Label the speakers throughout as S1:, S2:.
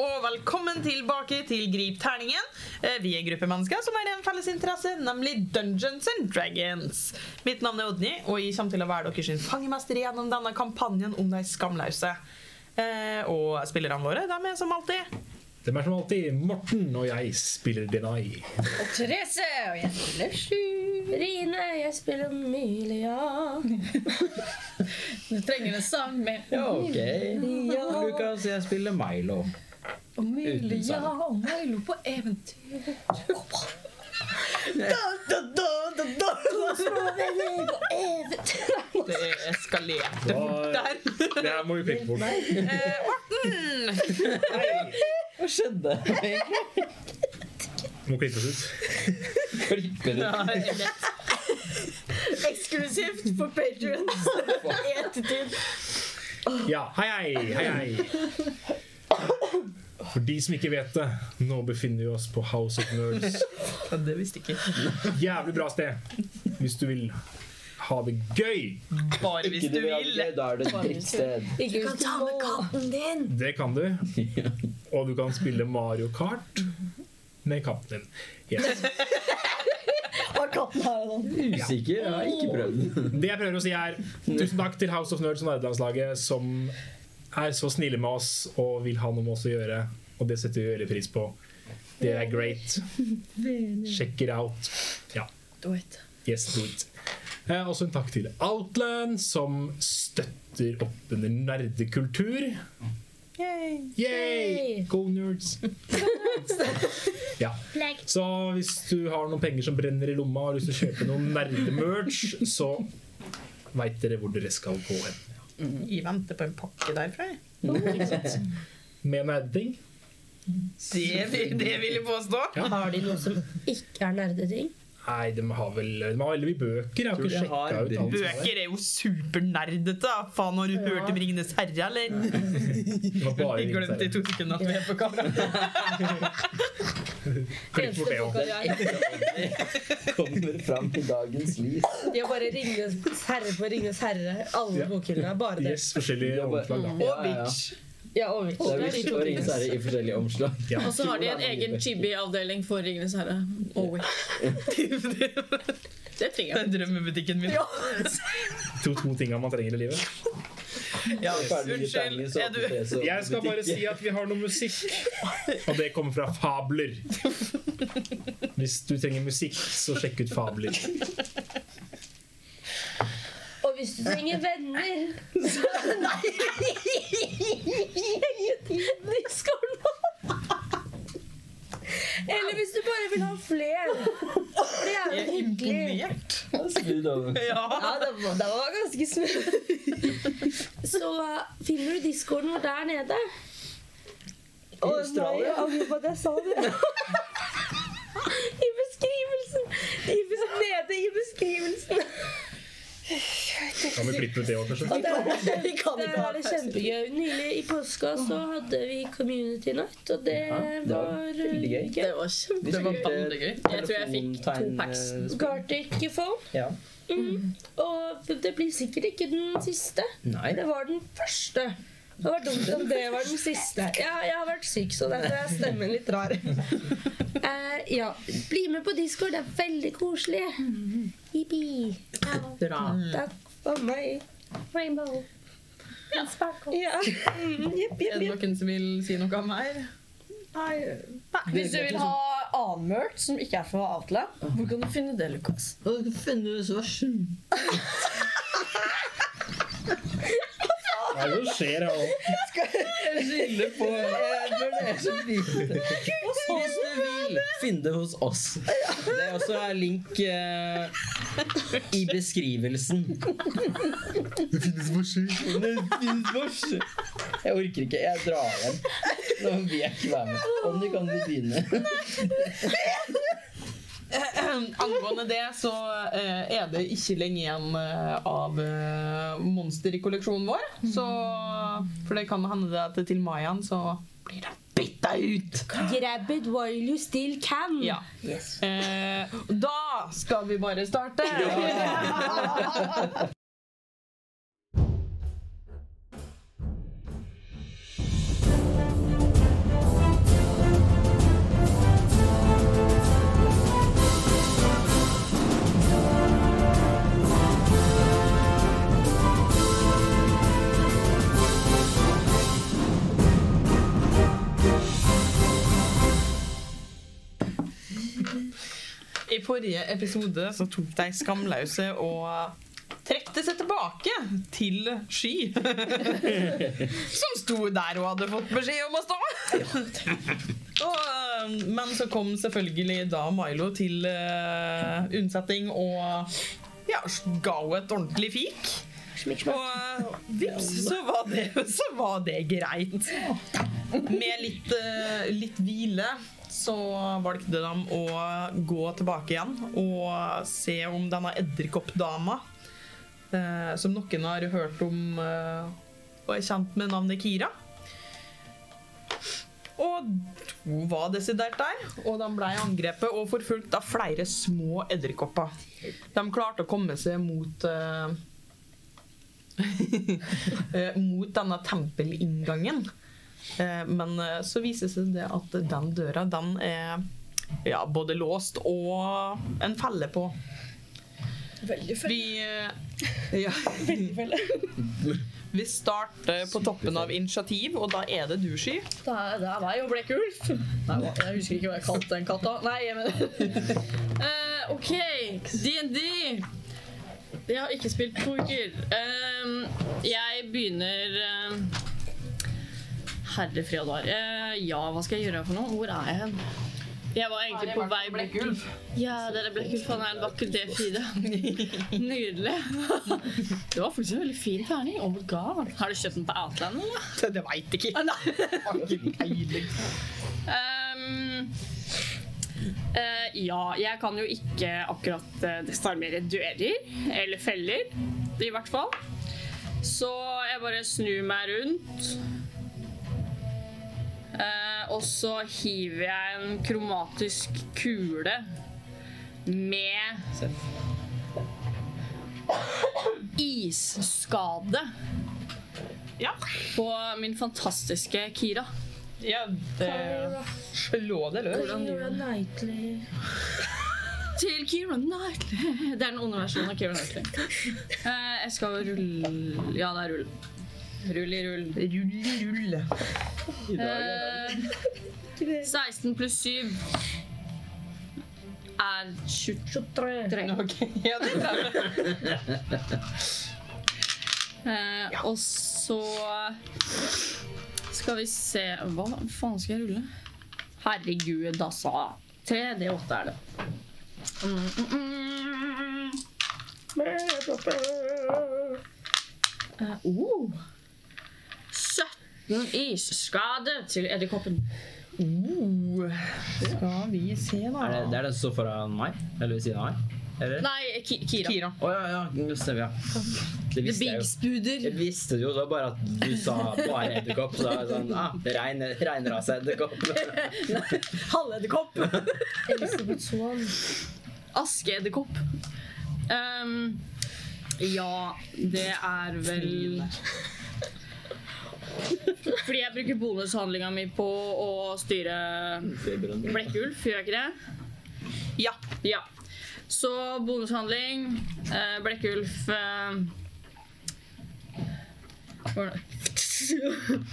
S1: og velkommen tilbake til Grip terningen. Eh, Vi er en gruppe mennesker som har en felles interesse, nemlig Dungeons and Dragons. Mitt navn er Odny, og jeg kommer til å være deres sin fangemester gjennom denne kampanjen om de skamløse. Eh, Og spillerne våre de er som alltid
S2: Dem er som alltid Morten og jeg spiller Denai.
S3: Therese, og jeg spiller Sju.
S4: Rine, jeg spiller Amelia.
S3: Du trenger en sang med
S5: Ja, ok. Lukas, jeg spiller Milo. Uten
S3: Amelia
S5: sang.
S3: og Milo på eventyr.
S1: Det eskalerte fort der.
S2: Det her må vi klippe bort.
S1: Eh, Morten!
S5: Hva skjedde?
S2: Må klippes ut.
S5: Klipper du?
S1: Ja, det er lett.
S3: Eksklusivt for patrons. Etetid.
S2: Ja, hei, hei, hei, hei. For de som ikke vet det, nå befinner vi oss på House of Nerds.
S1: Ja, Det visste jeg ikke.
S2: Jævlig bra sted hvis du vil ha det gøy.
S1: Bare hvis
S5: Ikke
S1: du
S5: det vi
S1: vil.
S5: hadde, Da er det et dritt sted.
S3: Ikke kan ta med katten.
S2: Det kan du. Og du kan spille Mario Kart med katten din. Yes.
S3: Har katten her og nå.
S5: Usikker? Jeg har ikke prøvd den.
S2: Det jeg prøver å si, er tusen takk til House of Nerds og nerdelandslaget som er så snille med oss og vil ha noe med oss å gjøre. Og det setter vi veldig pris på. Det er great. Check it out. Ja.
S3: Du vet.
S2: Yes, do it. Eh, også en takk til Outland, som støtter opp under nerdekultur. Yay! Go nerds! Ja.
S4: Flagg.
S2: Så hvis du har noen penger som brenner i lomma og har lyst til å kjøpe noen nerdemerch, så veit dere hvor dere skal gå hen.
S1: Jeg venter på en pakke derfra. jeg.
S2: Med nerding.
S1: Det, vil- det vil jeg påstå.
S4: Har de noe som ikke er nerdeting?
S2: Nei, de har vel de har veldig mye bøker. Jeg har
S5: Tror
S2: ikke
S5: de har
S2: sjekka ut alt. som er.
S1: Bøker er jo supernerdete. da. Faen, har du hørt om Ringenes herre, eller?
S2: Det var bare
S1: Vi glemte i
S2: Ringenes
S1: to sekunder at vi er på kamera.
S2: Klipp bort det også.
S3: boka jeg har.
S5: Kommer fram til dagens lys.
S3: De har bare Ringenes herre på Ringenes herre. Alle
S2: Ja.
S3: bokhyllene. Bare det.
S2: Yes, forskjellige omslag, da.
S1: Og bitch.
S3: Ja, og
S5: Det er
S3: Witch.
S5: Witch og Ringens herre i forskjellige omslag.
S2: Ja.
S6: Og så har de en egen chibi-avdeling for Ringenes herre. Og Witch. Det trenger
S1: Det
S6: jeg.
S1: er drømmebutikken min.
S2: To, to tinga man trenger i livet.
S1: Ja,
S5: Ferdige
S1: unnskyld.
S5: tegninger, så
S1: Er du
S5: åpner det så
S2: Jeg skal bare si at vi har noe musikk. Og det kommer fra Fabler. Hvis du trenger musikk, så sjekk ut Fabler.
S4: Og hvis du trenger venner
S3: Nei, skal du nå?
S4: Eller hvis du bare vil ha flere. For det er
S1: Jeg
S4: jo
S1: er
S4: hyggelig.
S1: imponert.
S5: Skru det over.
S1: Ja.
S3: Ja, det var, det var ganske smooth.
S4: Så uh, finner du discorden vår der nede.
S5: I Australia.
S4: angrer på at jeg sa det. I beskrivelsen. I bes nede i beskrivelsen.
S2: Kan vi klippe ut det også, kanskje?
S3: Vi kan
S4: Der
S3: ikke ha
S4: er det kjempegøy. Nylig i påska så hadde vi community night, og det
S5: Ja, det var
S4: var
S5: veldig gøy.
S4: uh,
S6: Det var kjempe... Det var bandegøy. Jeg tror jeg fikk to packs.
S4: Gartic Phone.
S5: Ja.
S4: Mhm. Og det blir sikkert ikke den siste.
S5: Nei.
S4: Det var den første. Det var dumt om det var den siste. Ja, jeg har vært syk, så derfor er stemmen litt rar. Eh, ja, bli med på Discord. Det er veldig koselig. Jippi.
S6: Bra.
S4: Takk for meg. Rainbow. Ja. Mm, Jepp,
S1: Er
S4: jepp,
S1: det
S4: jepp.
S1: noen som vil si noe mer?
S6: Hvis du vil
S3: liksom.
S6: ha annen merch som ikke er fra Outland, hvor kan du finne det, Lukas?
S5: eh,
S3: Du kan finne ut hva som
S2: Hva er det som skjer her nå?
S5: Skille på Jeg tror det er så fint. Hvis du vil, finn det hos oss. Det er også link eh, i beskrivelsen.
S2: Det finnes musikk.
S5: Det finnes vårs. Jeg orker ikke. Jeg drar hjem. Nå vil jeg ikke være med. Om du kan vi begynne.
S1: Angående det så eh, er det ikke lenge igjen eh, av eh, monster i kolleksjonen vår. Så, for det kan hende det at til mai igjen så blir det bytta ut.
S4: Grab it while you still can.
S1: Ja. Eh, da skal vi bare starte. forrige episode så tok de skamløse og trekte seg tilbake til Sky. Som sto der og hadde fått beskjed om å stå. Og, eh, men så kom selvfølgelig da Milo til eh, unnsetning og ja, ga henne et ordentlig fik. Og eh, vips, så var det, så var det greit. Med litt, eh, litt hvile så valgte de å gå tilbake igjen og se om denne edderkoppdama, eh, som noen har hørt om eh, og er kjent med navnet Kira. Og hun var desidert der, og de ble angrepet og forfulgt av flere små edderkopper. De klarte å komme seg mot eh, eh, mot denne tempelinngangen. Eh, Men eh, så viser det seg det at den døra den er ja, både låst og en felle på.
S6: Veldig fett.
S1: Vi, eh, ja. Vi starter på toppen av initiativ, og da er det du, Sky.
S6: Det er, det er meg og Blekkulf. Nei, hva- jeg husker ikke hva jeg kalte den katta. Nei, jeg mener Eh, OK, DND. Jeg har ikke spilt poker. Ehm, jeg begynner ehm, Herre fred og dar. Eh, ja, hva skal jeg gjøre for noe? Hvor er jeg hen? Jeg var egentlig på vei bort. Ja, dere Blekkulf, han er en vakker D4. Nydelig. Det var faktisk en veldig fin terning. Oh my god. Har du kjøpt den på Outland, eller?
S1: Det veit ikke.
S6: Ah, nei. Ehm, eh, ja, jeg kan jo ikke akkurat eh, desarmere dører eller feller, i hvert fall. Så jeg bare snur meg rundt. Eh, og så hiver jeg en kromatisk kule med isskade
S1: Ja.
S6: på min fantastiske Kira.
S1: ja, det Slå det løs.
S7: Keira Knightley.
S6: Til Keira Knightley. Det er den onde versjonen av Keira Knightley. Eh, jeg skal rulle Ja, det er rull. Rull i rull.
S1: Rull i rull.
S6: Eh, 16 pluss 7 er 23.
S1: Ok, ja, det stemmer.
S6: Eh, og så skal vi se Hva faen skal jeg rulle? Herregud, altså. da sa jeg. 3 D8 er det. Mm, mm, mm. Eh, oh. 17 isskader til edderkoppen.
S1: Oh, skal vi se,
S5: Er det,
S1: da.
S5: det er den som står foran meg? Eller ved siden av meg? Eller?
S6: Nei, eh, Ki Kira.
S1: Kira.
S5: Å ja, ja, det stemmer, ja. Det
S6: The
S5: visste
S6: Big
S5: jeg jo.
S6: Spooder.
S5: Jeg visste det jo, det var bare at du sa bare edderkopp. Så da var jeg sånn, ah, rein, reinrase edderkopp.
S6: Halvedderkopp.
S7: Elisabeth Swan.
S6: Askeedderkopp. Ehm, ja, det er vel Fordi jeg bruker bonushandlinga mi på å styre blekkulv, gjør jeg ikke det?
S1: Ja.
S6: Ja. Så bonushandling. Eh, Blekkulf eh, hvordan-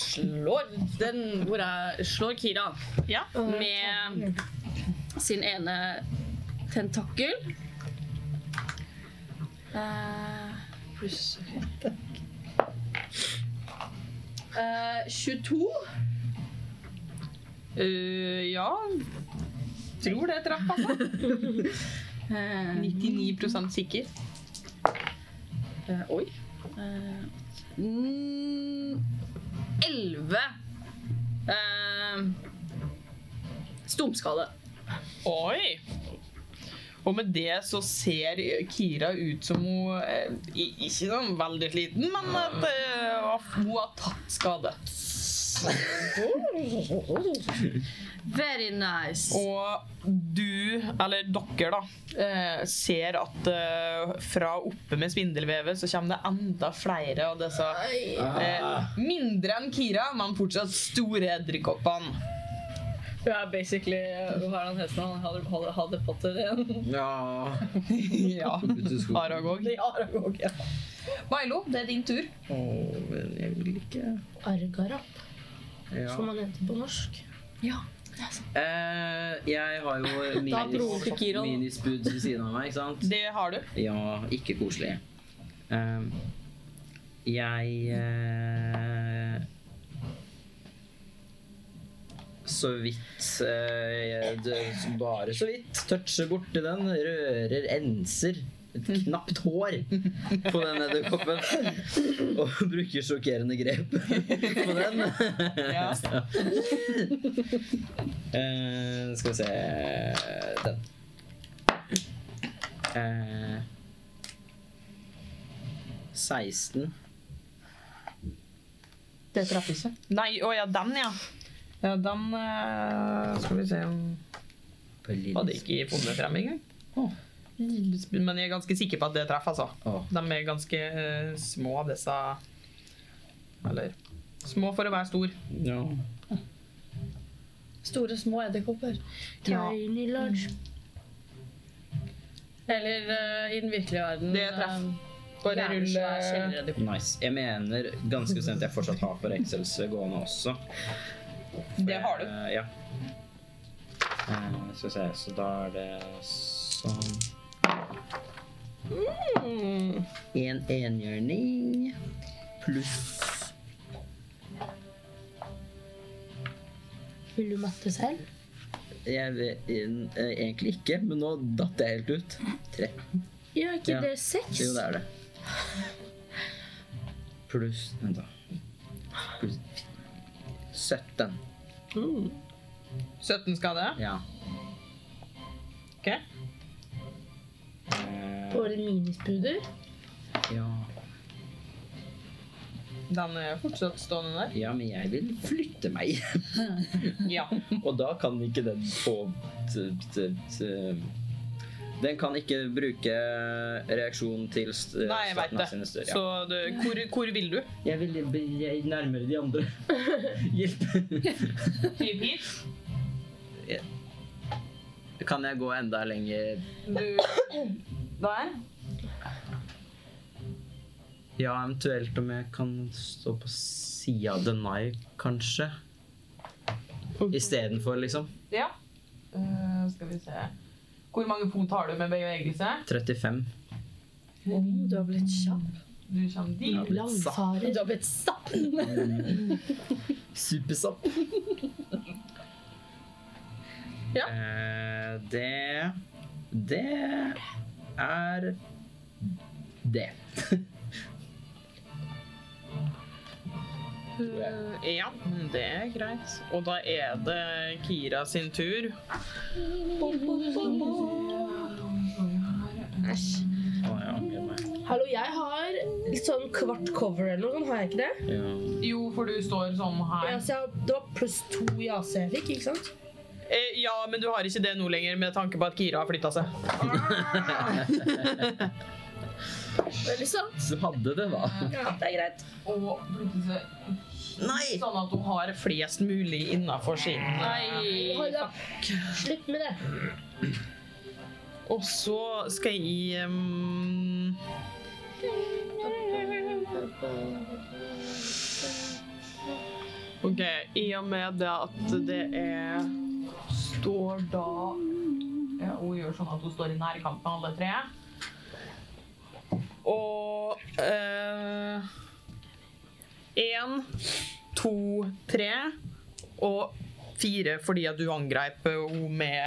S6: Slår den hvor er, Slår Kira
S1: Ja.
S6: med sin ene tentakkel. Eh, Pluss Eh, 22.
S1: Eh, ja. Tror det traff, altså.
S6: Eh,
S1: 99 sikker.
S6: Eh, oi. Eh, mm, 11 eh, Stumpskade.
S1: Oi! Og med det så ser Kira ut som hun eh, i- Ikke sånn veldig sliten, men at eh, at hun har tatt skade.
S6: Very nice.
S1: Og du, eller dere, da, eh, ser at eh, fra oppe med spindelvevet så kommer det enda flere av disse eh, mindre enn Kira, men fortsatt store edderkoppene.
S6: Hun er basically eh, Hva er han heter han? Harry- Harry Harry Potter igjen?
S5: Ja.
S1: ja. Aragog.
S6: Aragog, ja.
S1: Milo, det er din tur.
S5: Åh, men jeg vil ikke.
S7: Argarap,
S5: Ja.
S7: som han heter på norsk.
S6: Ja.
S5: Eh, jeg har jo
S6: Da dro til
S5: minis,
S6: Kiron.
S5: minisbud ved siden av meg, ikke sant?
S1: Det har du.
S5: Ja, ikke koselig. Ehm, jeg eh, Så vidt eh, jeg- det- Bare så vidt. Toucher borti den, rører, enser. Et knapt hår på den edderkoppen. Og bruker sjokkerende grep på den.
S1: Ja.
S5: Eh, skal vi se Den. Eh, 16.
S3: Det traff ikke.
S1: Nei, å ja, den, ja. Ja, den eh, Skal vi se om
S5: På lille
S1: Hadde ikke funnet frem engang. Men jeg er ganske sikker på at det treffer, altså.
S5: Å,
S1: De er ganske eh, små, disse Eller små for å være stor.
S5: ja.
S6: Store, små edderkopper.
S1: Ja.
S7: Tiny large.
S6: Eller eh, i den virkelige verden
S1: Det treff.
S6: eh,
S1: Bare
S6: jævlig
S1: rulle
S6: svær kjelleredderkopp.
S5: Nice. Jeg mener ganske bestemt jeg fortsatt har forrekselse gående også.
S1: Det har du.
S5: Eh, ja. Eh, skal vi se, så da er det sånn
S1: Mm.
S5: En enhjørning pluss
S7: Vil du matte selv?
S5: Jeg vet eh, egentlig ikke, men nå datt jeg helt ut. Tre.
S7: Ja, ikke
S5: Ja.
S7: det seks?
S5: Jo, det er det. Pluss Vent, da. Pluss 17.
S7: Mm.
S1: 17 skade.
S5: Ja.
S1: OK.
S5: Eh,
S7: På en minispuder?
S5: ja.
S1: Den er fortsatt stående der.
S5: ja, men jeg vil flytte meg.
S1: Ja.
S5: Og da kan ikke den få t- t- t- Den kan ikke bruke reaksjon til st-
S1: Nei, jeg veit
S5: statene
S1: det.
S5: sine større.
S1: Så du, hvor, hvor vil du?
S5: Jeg vil bli jeg- nærmere de andre. Hjelp.
S1: Typ hit.
S5: kan jeg gå enda lenger?
S1: Du Der.
S5: Ja, eventuelt om jeg kan stå på sida av Denai, kanskje. Istedenfor, liksom.
S1: Ja. Eh, skal vi se Hvor mange fot har du med bevegelse?
S5: 35.
S6: Du har blitt kjapp.
S1: Du kommer dit.
S5: Jeg har blitt satt.
S7: Langfarer.
S6: Du har blitt sapp.
S5: Supersatt.
S1: Ja.
S5: Eh, det Det er det. Tror jeg.
S1: Eh, ja, det er greit. Og da er det Kira sin tur.
S7: Æsj.
S5: Å ja, angrer meg.
S7: Hallo, jeg har litt sånn kvart cover eller noe sånt, har jeg ikke det?
S5: Ja.
S1: Jo, for du står sånn
S7: Ja,
S1: her.
S7: så jeg, har- det var pluss to i AC jeg fikk, ikke sant?
S1: Eh, ja, men du har ikke det nå lenger, med tanke på at Kira har flytta seg.
S6: Veldig sant.
S5: Så hadde det, da.
S7: Ja, det er greit.
S1: Og flytte seg sånn at hun har flest mulig innafor sin eh,
S7: Hold
S6: Nei.
S7: opp. Slutt med det.
S1: Og så skal jeg ehm, OK, i og med det at det er Står da ja, Hun gjør sånn at hun står i nærkamp med alle tre. Og eh, Én, to, tre og fire fordi at du angrep henne med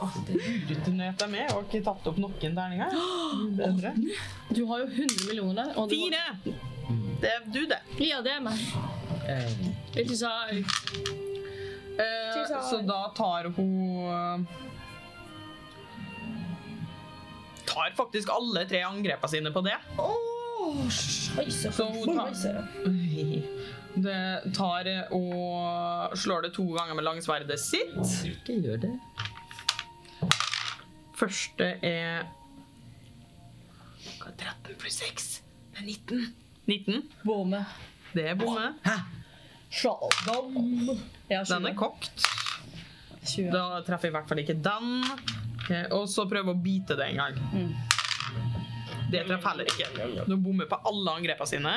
S1: Åh, det urutinert jeg med. Jeg har ikke tatt opp noen terninger. Bedre.
S6: Du har jo 100 millioner der. og du-
S1: Fire! Det er du, det.
S6: Ja, det er meg.
S5: Eh,
S6: Ikke sant?
S1: Eh,
S7: Tusen.
S1: så da tar hun eh, Tar faktisk alle tre angrepene sine på det.
S7: Oi, så
S1: Så hun tar-
S7: Oi, så-
S1: Det tar eh, og slår det to ganger med langsverdet sitt.
S5: ikke gjør det.
S1: Første er Hva er 13 pluss 6 det er 19. 19.
S6: Bomme.
S1: Det er bomme.
S6: Sjaldom. Ja,
S1: Den er kokt. Eh, Da treffer jeg i hvert fall ikke den. Ok, og så prøve å bite det en gang. Det treffer heller ikke. De bommer på alle angrepene sine.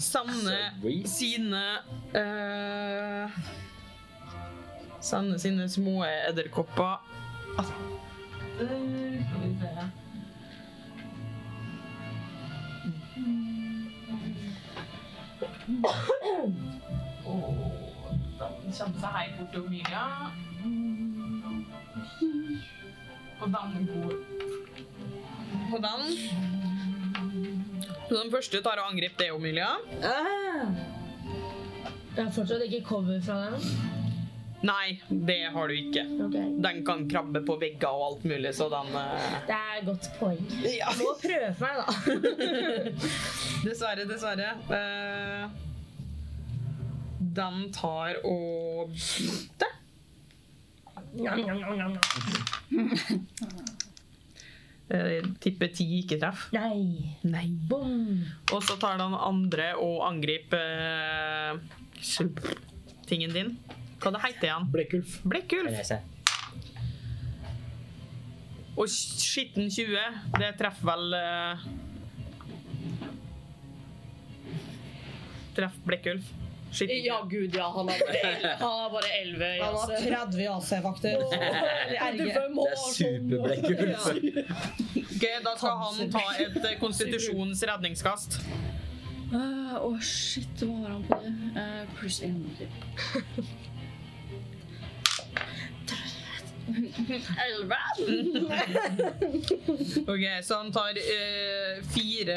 S1: Sanne sine eh, Sanne sine små edderkopper Altså, Den kommer seg helt bort til Omilia. Og den går Og den Så den første tar og angriper det, Omilia.
S5: Ah.
S7: Jeg har fortsatt ikke cover fra dem.
S1: Nei, det har du ikke. Den kan krabbe på vegger og alt mulig, så den eh,
S7: Det er et godt poeng. Må prøve meg, da.
S1: Dessverre, dessverre. Eh, den tar og Der. Eh, tipper ti ikke treff.
S7: Nei.
S1: Nei.
S7: Bom.
S1: Og så tar den andre og angriper eh, tingen din. Hva det heter igjen?
S2: Blekkulf.
S1: Blekkulf.
S5: Jeg ser.
S1: Og skitten 20, det treffer vel uh, Treff Blekkulf. Skitten
S6: Ja, gud, ja. Han er bare el- han er bare 11.
S3: Han har 30 AC-vakter.
S5: Det er superblekkulf.
S1: Ok, da skal han ta et eh, konstitusjons redningskast.
S6: Eh, Å, shit. Hva har han på det? Eh, pluss 1. Elleve?
S1: Ok, Så han tar eh, fire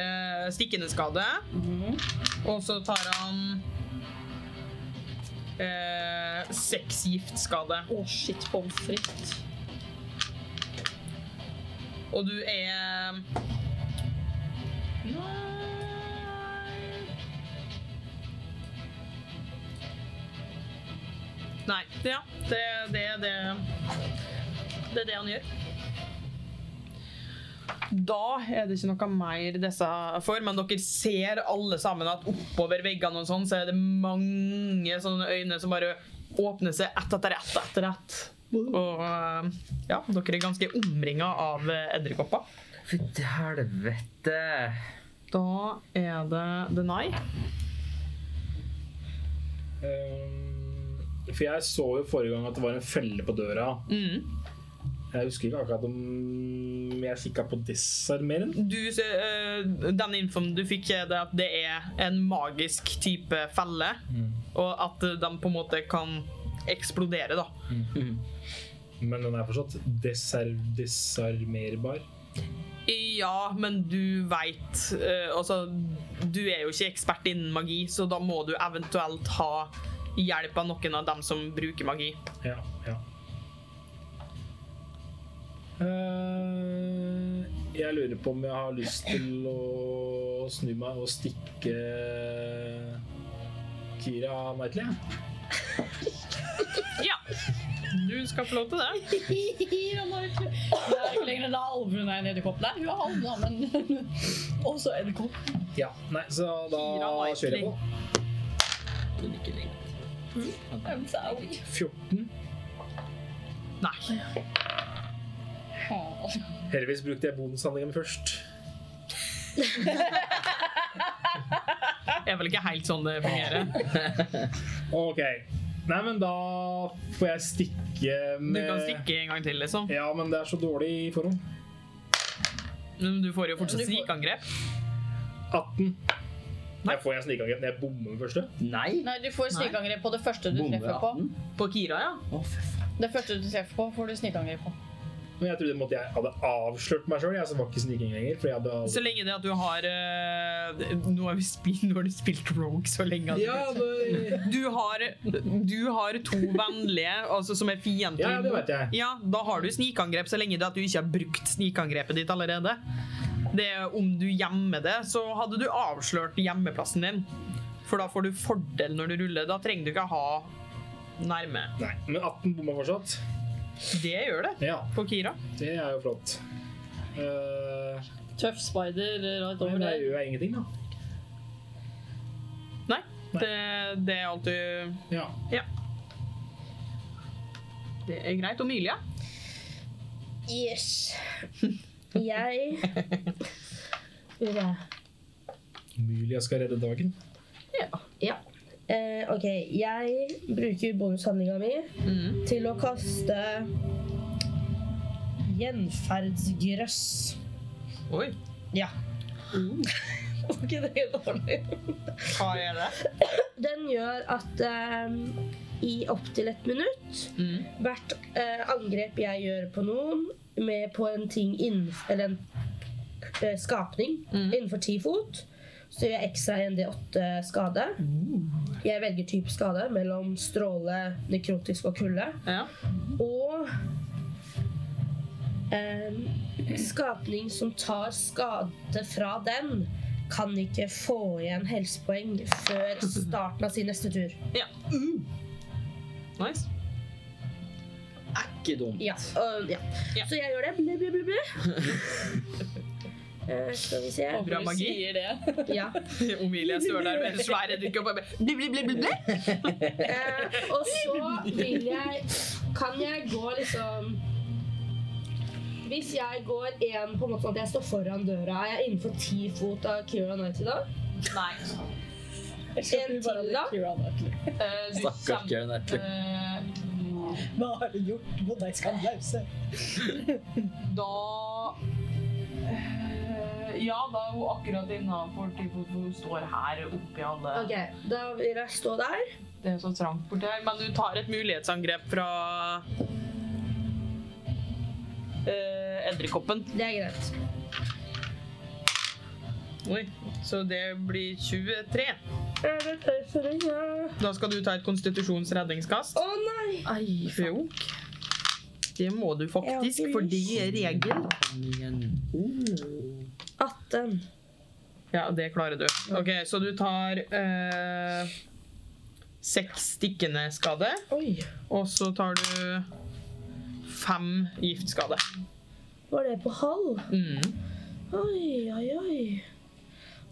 S1: stikkende skade. Og så tar han eh, seks giftskade.
S6: Å, shit. Pommes frites.
S1: Og du er Nei. Nei. Ja, det er det, det Det er det han gjør. Da er det ikke noe mer disse for, men dere ser alle sammen at oppover veggene og sånn, så er det mange sånne øyne som bare åpner seg ett etter ett etter ett. Og eh, ja, dere er ganske omringa av eh, edderkopper.
S5: Fytti helvete.
S1: Da er det Denai.
S2: Um, for jeg så jo forrige gang at det var en felle på døra.
S1: Mm.
S2: Jeg husker ikke akkurat om jeg kikka på desarmeren.
S1: Du, eh, den infoen du fikk, er det at det er en magisk type felle, og at eh, den på en måte kan eksplodere, da.
S2: Men den er fortsatt desar desarmerbar.
S1: Ja, men du veit eh, Altså, du er jo ikke ekspert innen magi, så da må du eventuelt ha hjelp av noen av dem som bruker magi.
S2: Ja, ja. Eh, jeg lurer på om jeg har lyst til å snu meg og stikke Kira Knightley. jeg.
S1: Ja. Du skal få lov til det.
S6: Han har ikke- Det er ikke lenger enn da alvuen er en edderkopp. Nei, hun er halv, da, men også edderkopp.
S2: Ja, nei, så da
S1: Kira Knightley.
S2: kjører jeg på.
S5: Men ikke lenger.
S6: I'm sorry.
S2: 14.
S1: Nei.
S6: Faen.
S2: Heldigvis brukte jeg bonushandlingen først.
S1: Det er vel ikke helt sånn det fungerer.
S2: Ok. Nei, men da får jeg stikke
S1: Du
S2: med
S1: kan stikke en gang til, liksom.
S2: Ja, men det er så dårlig i forhånd.
S1: Men du får jo fortsatt snikangrep.
S2: 18. Jeg får en snikangrep når jeg bommer med første.
S5: Nei.
S6: Nei, du får snikangrep på det første du
S5: Bomber
S6: treffer på.
S5: 18.
S1: På Kira, ja.
S5: Å, fy faen.
S6: Det første du treffer på, får du snikangrep på.
S2: Men jeg trodde måtte jeg hadde avslørt meg sjøl. Jeg som var ikke sniking lenger. Fordi jeg hadde
S1: Så lenge det at du har eh, Nå har, vi spilt, nå har du spilt Rogue så lenge. at du-
S2: Ja, det,
S1: Du, har, du har to vennlige altså, som er fiendtlige.
S2: ja, det vet jeg.
S1: Ja, da har du snikangrep så lenge det at du ikke har brukt snikangrepet ditt allerede. Det er Om du gjemmer det, så hadde du avslørt hjemmeplassen din. For da får du fordel når du ruller. Da trenger du ikke ha nærme.
S2: Nei, Men 18 bomma fortsatt.
S1: Det gjør det
S2: Ja,
S1: på Kira.
S2: det er jo flott. Eh,
S6: Tøff spider right
S2: nei,
S6: over
S2: da
S6: der.
S2: gjør jeg ingenting, da.
S1: Nei, det, det er alt du
S2: Ja.
S1: Det er greit. Og Mylia?
S3: Yes.
S4: Jeg Skal vi se.
S2: Mulig jeg skal redde dagen.
S4: Ja. Eh, OK. Jeg bruker bonushandlinga mi
S1: Mm.
S4: til å kaste
S8: Gjenferdsgrøss.
S1: Oi, Mm.
S8: Ja. Var ikke det dårlig?
S1: hva er det?
S4: Den gjør at eh, i opptil et minutt
S1: Mm.
S4: hvert eh, angrep jeg gjør på noen med på en ting innenfor Eller en eh, skapning
S1: Mm.
S4: innenfor ti fot, så gjør jeg ekstra 1D8 skade.
S1: Mm.
S4: Jeg velger type skade mellom stråle, nekrotisk og kulde.
S1: Ja.
S4: Og em, skapning som tar skade fra den, kan ikke få igjen helsepoeng før starten av sin neste tur.
S1: Mm. Nice.
S5: Er ikke dumt.
S4: Ja. øhm, ja.
S1: Ja.
S4: Så jeg gjør det. Blu, blu, blu, blu. Eh, skal vi se.
S1: Bra
S6: Du
S1: magi.
S6: sier det.
S4: Ja.
S1: Omilie står der med en svær eddik og bare bli, bli, bli, bli, bli.
S4: Eh, og så vil jeg Kan jeg gå liksom Hvis jeg går en på en måte sånn at jeg står foran døra, er jeg innenfor ti fot av Kira Knighty da?
S1: Nei.
S6: Jeg skjønner
S4: En
S6: bare
S4: til, da?
S6: at det er Kira Knightley.
S1: Eh, du
S5: Stakkars
S1: kjem-
S5: Kieran Knightley.
S1: Eh,
S9: Hva har du gjort mot deg skamlause?
S1: Da eh, Ja, da er hun akkurat innafor hun står her oppi alle
S4: Ok, Da vil jeg stå der.
S1: Det er så trangt borti her. Men du tar et mulighetsangrep fra eh, edderkoppen.
S4: Det er greit.
S1: Oi. Så det blir 23.
S4: Er det tøysering, ja?
S1: Da skal du ta et konstitusjonsredningskast.
S4: Å nei!
S1: Ai, jo. Det må du faktisk, for det er regel.
S4: 18.
S1: Ja, det klarer du. Ok, Så du tar eh, seks stikkende skade,
S4: Oi.
S1: og så tar du fem giftskade.
S4: Var det på halv?
S1: Mm.
S4: Oi, oi, oi.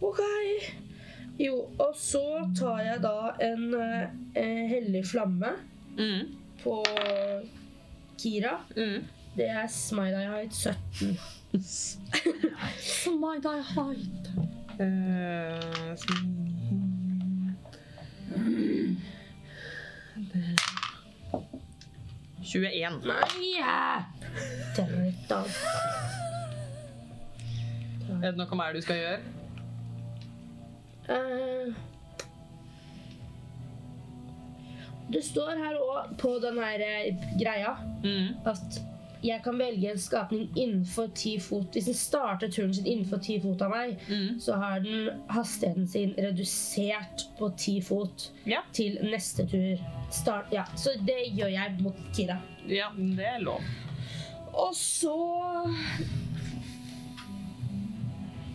S4: OK. Jo, og så tar jeg da en eh, eh, hellig flamme
S1: Mm.
S4: på Kira.
S1: Mm.
S4: Det er Smiley Height 17.
S1: Eh, sm- Det- 21.
S4: Den er litt da.
S1: Er det noe mer du skal gjøre?
S4: Eh, det står her òg på den her eh, greia
S1: Mm.
S4: at jeg kan velge en skapning innenfor ti fot. Hvis den starter turen sin innenfor ti fot av meg,
S1: Mm.
S4: så har den hastigheten sin redusert på ti fot
S1: Ja.
S4: til neste tur. Start, ja. Så det gjør jeg mot Kira.
S1: Ja, det er lov.
S4: Og så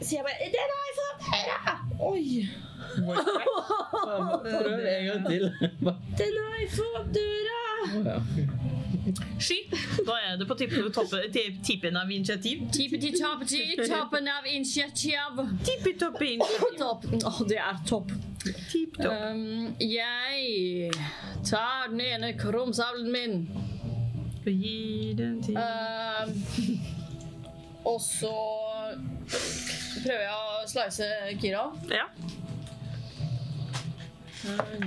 S4: sier jeg bare Det har jeg fått høre!
S8: Oi!
S5: Prøv en gang til.
S4: Den har jeg fått døra!
S5: Ja.
S1: Sky. Da er det på tippen, toppe- ti- tippen av initiativ.
S6: Tippeti toppeti, toppen av initiativ.
S1: Tippetoppe initiativ.
S6: Topp. Åh, det er topp.
S1: Tipptopp.
S6: Um, jeg tar den ene krumsavlen min.
S1: Gi den til
S6: Um, og så prøver jeg å slice Kira.
S1: Ja.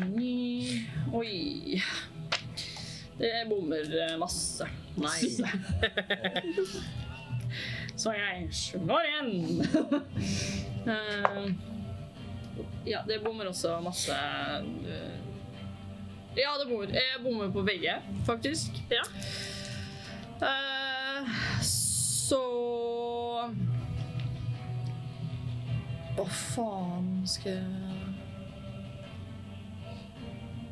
S6: Ni. Oi. Det bommer eh, masse. Nei. Så jeg slår igjen. Eh, ja, det bommer også masse eh, Ja, det bommer. Jeg bommer på begge, faktisk.
S1: Ja.
S6: Eh, så Hva faen skal jeg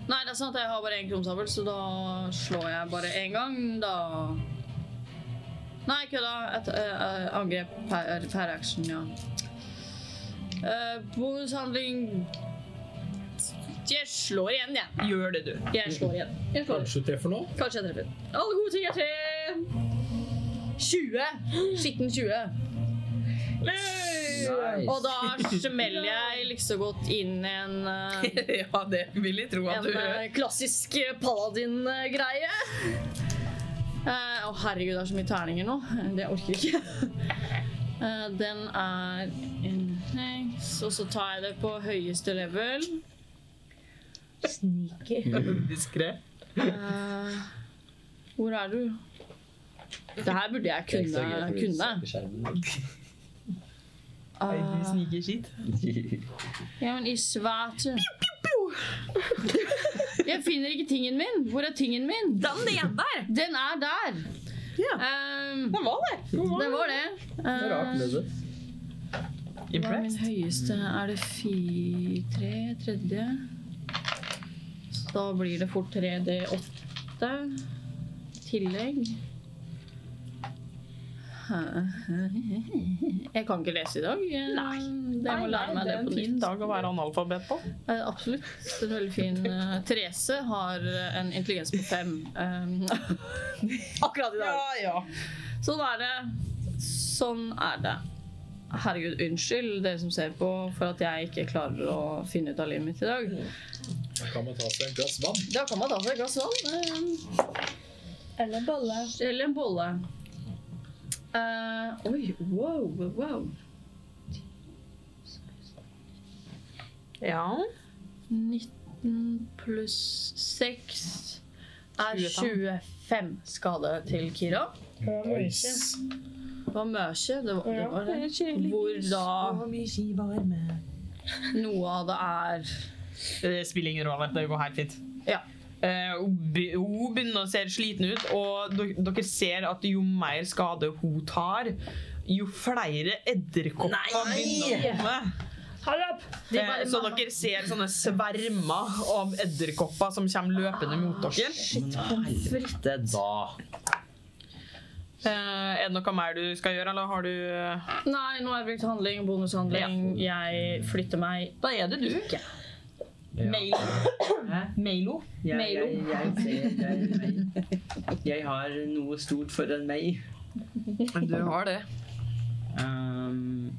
S6: Nei, det er sant. Jeg har bare én krumsabel, så da slår jeg bare én gang, da. Nei, kødda. Et eh, eh, angrep per, per action, ja. Eh, bonushandling Jeg slår igjen, jeg.
S1: Gjør det, du.
S6: Jeg slår igjen. Jeg slår.
S2: Kanskje du treffer nå?
S6: Kanskje jeg treffer. Alle gode ting er tre. 20. Skitten 20.
S5: Nice.
S6: Og da smeller jeg liksom godt inn en eh,
S1: ja, det vil jeg tro at
S6: en
S1: du gjør.
S6: eh, klassisk paladin-greie. Eh, Å, herregud, det er så mye terninger nå. Det orker jeg ikke. Eh, den er en heks, og så tar jeg det på høyeste level.
S7: Sneaky.
S5: Diskré.
S6: Eh, hvor er du? Det her burde jeg kunne. kunne.
S1: Du
S6: Eh,
S1: sniker skitt.
S6: ja, men i svarte Jeg finner ikke tingen min. Hvor er tingen min?
S1: Den igjen der!
S6: Den er der.
S1: Ja.
S6: Ehm,
S1: Den var der. Den var
S6: det var det. Eh,
S5: Det er rart med det.
S6: Ehm, hva er min høyeste? Er det fi... tre? Tredje? Så da blir det fort 3D8 tillegg. Jeg kan ikke lese i dag. Nei. Det må lære meg det på nytt.
S1: dag å være analfabet på.
S6: Eh, Absolutt. Det er veldig fin. Eh, Therese har eh, en intelligens på fem. Ehm, Akkurat i dag.
S1: Ja, ja.
S6: Sånn er det. Sånn er det. Herregud, unnskyld dere som ser på for at jeg ikke klarer å finne ut av livet mitt i dag.
S2: Da kan man ta seg et glass vann.
S6: Da kan man ta seg et glass vann.
S7: Eller bolle.
S6: eh, Eller en bolle. Eh, oi, wow, wow, wow.
S1: ja.
S6: 19 pluss 6 er
S1: 25.
S6: 25 skade til Kira.
S2: Nice.
S6: Det var mye. Det var, det var det. Hvor da
S1: Så mye skivarme.
S6: noe av det er
S1: Det spiller ingen rolle. Det går helt fint.
S6: Ja.
S1: Eh, hun be- hun begynner å se sliten ut, og dere, dere ser at jo mer skade hun tar, jo flere edderkopper begynner å komme.
S6: De
S1: Eh,
S6: bare-
S1: så dere ser sånne svermer av edderkopper som kommer løpende mot dere.
S5: Helvete, da.
S1: Eh, er det noe mer du skal gjøre, eller har du eh?
S6: Nei, nå har jeg brukt handling, bonushandling. Jeg flytter meg.
S1: Da er det du. Mailo. Mailo.
S5: Jeg,
S6: Mail.
S5: jeg, jeg, jeg, jeg, jeg, jeg har noe stort foran meg.
S1: Du har det.
S5: Ehm,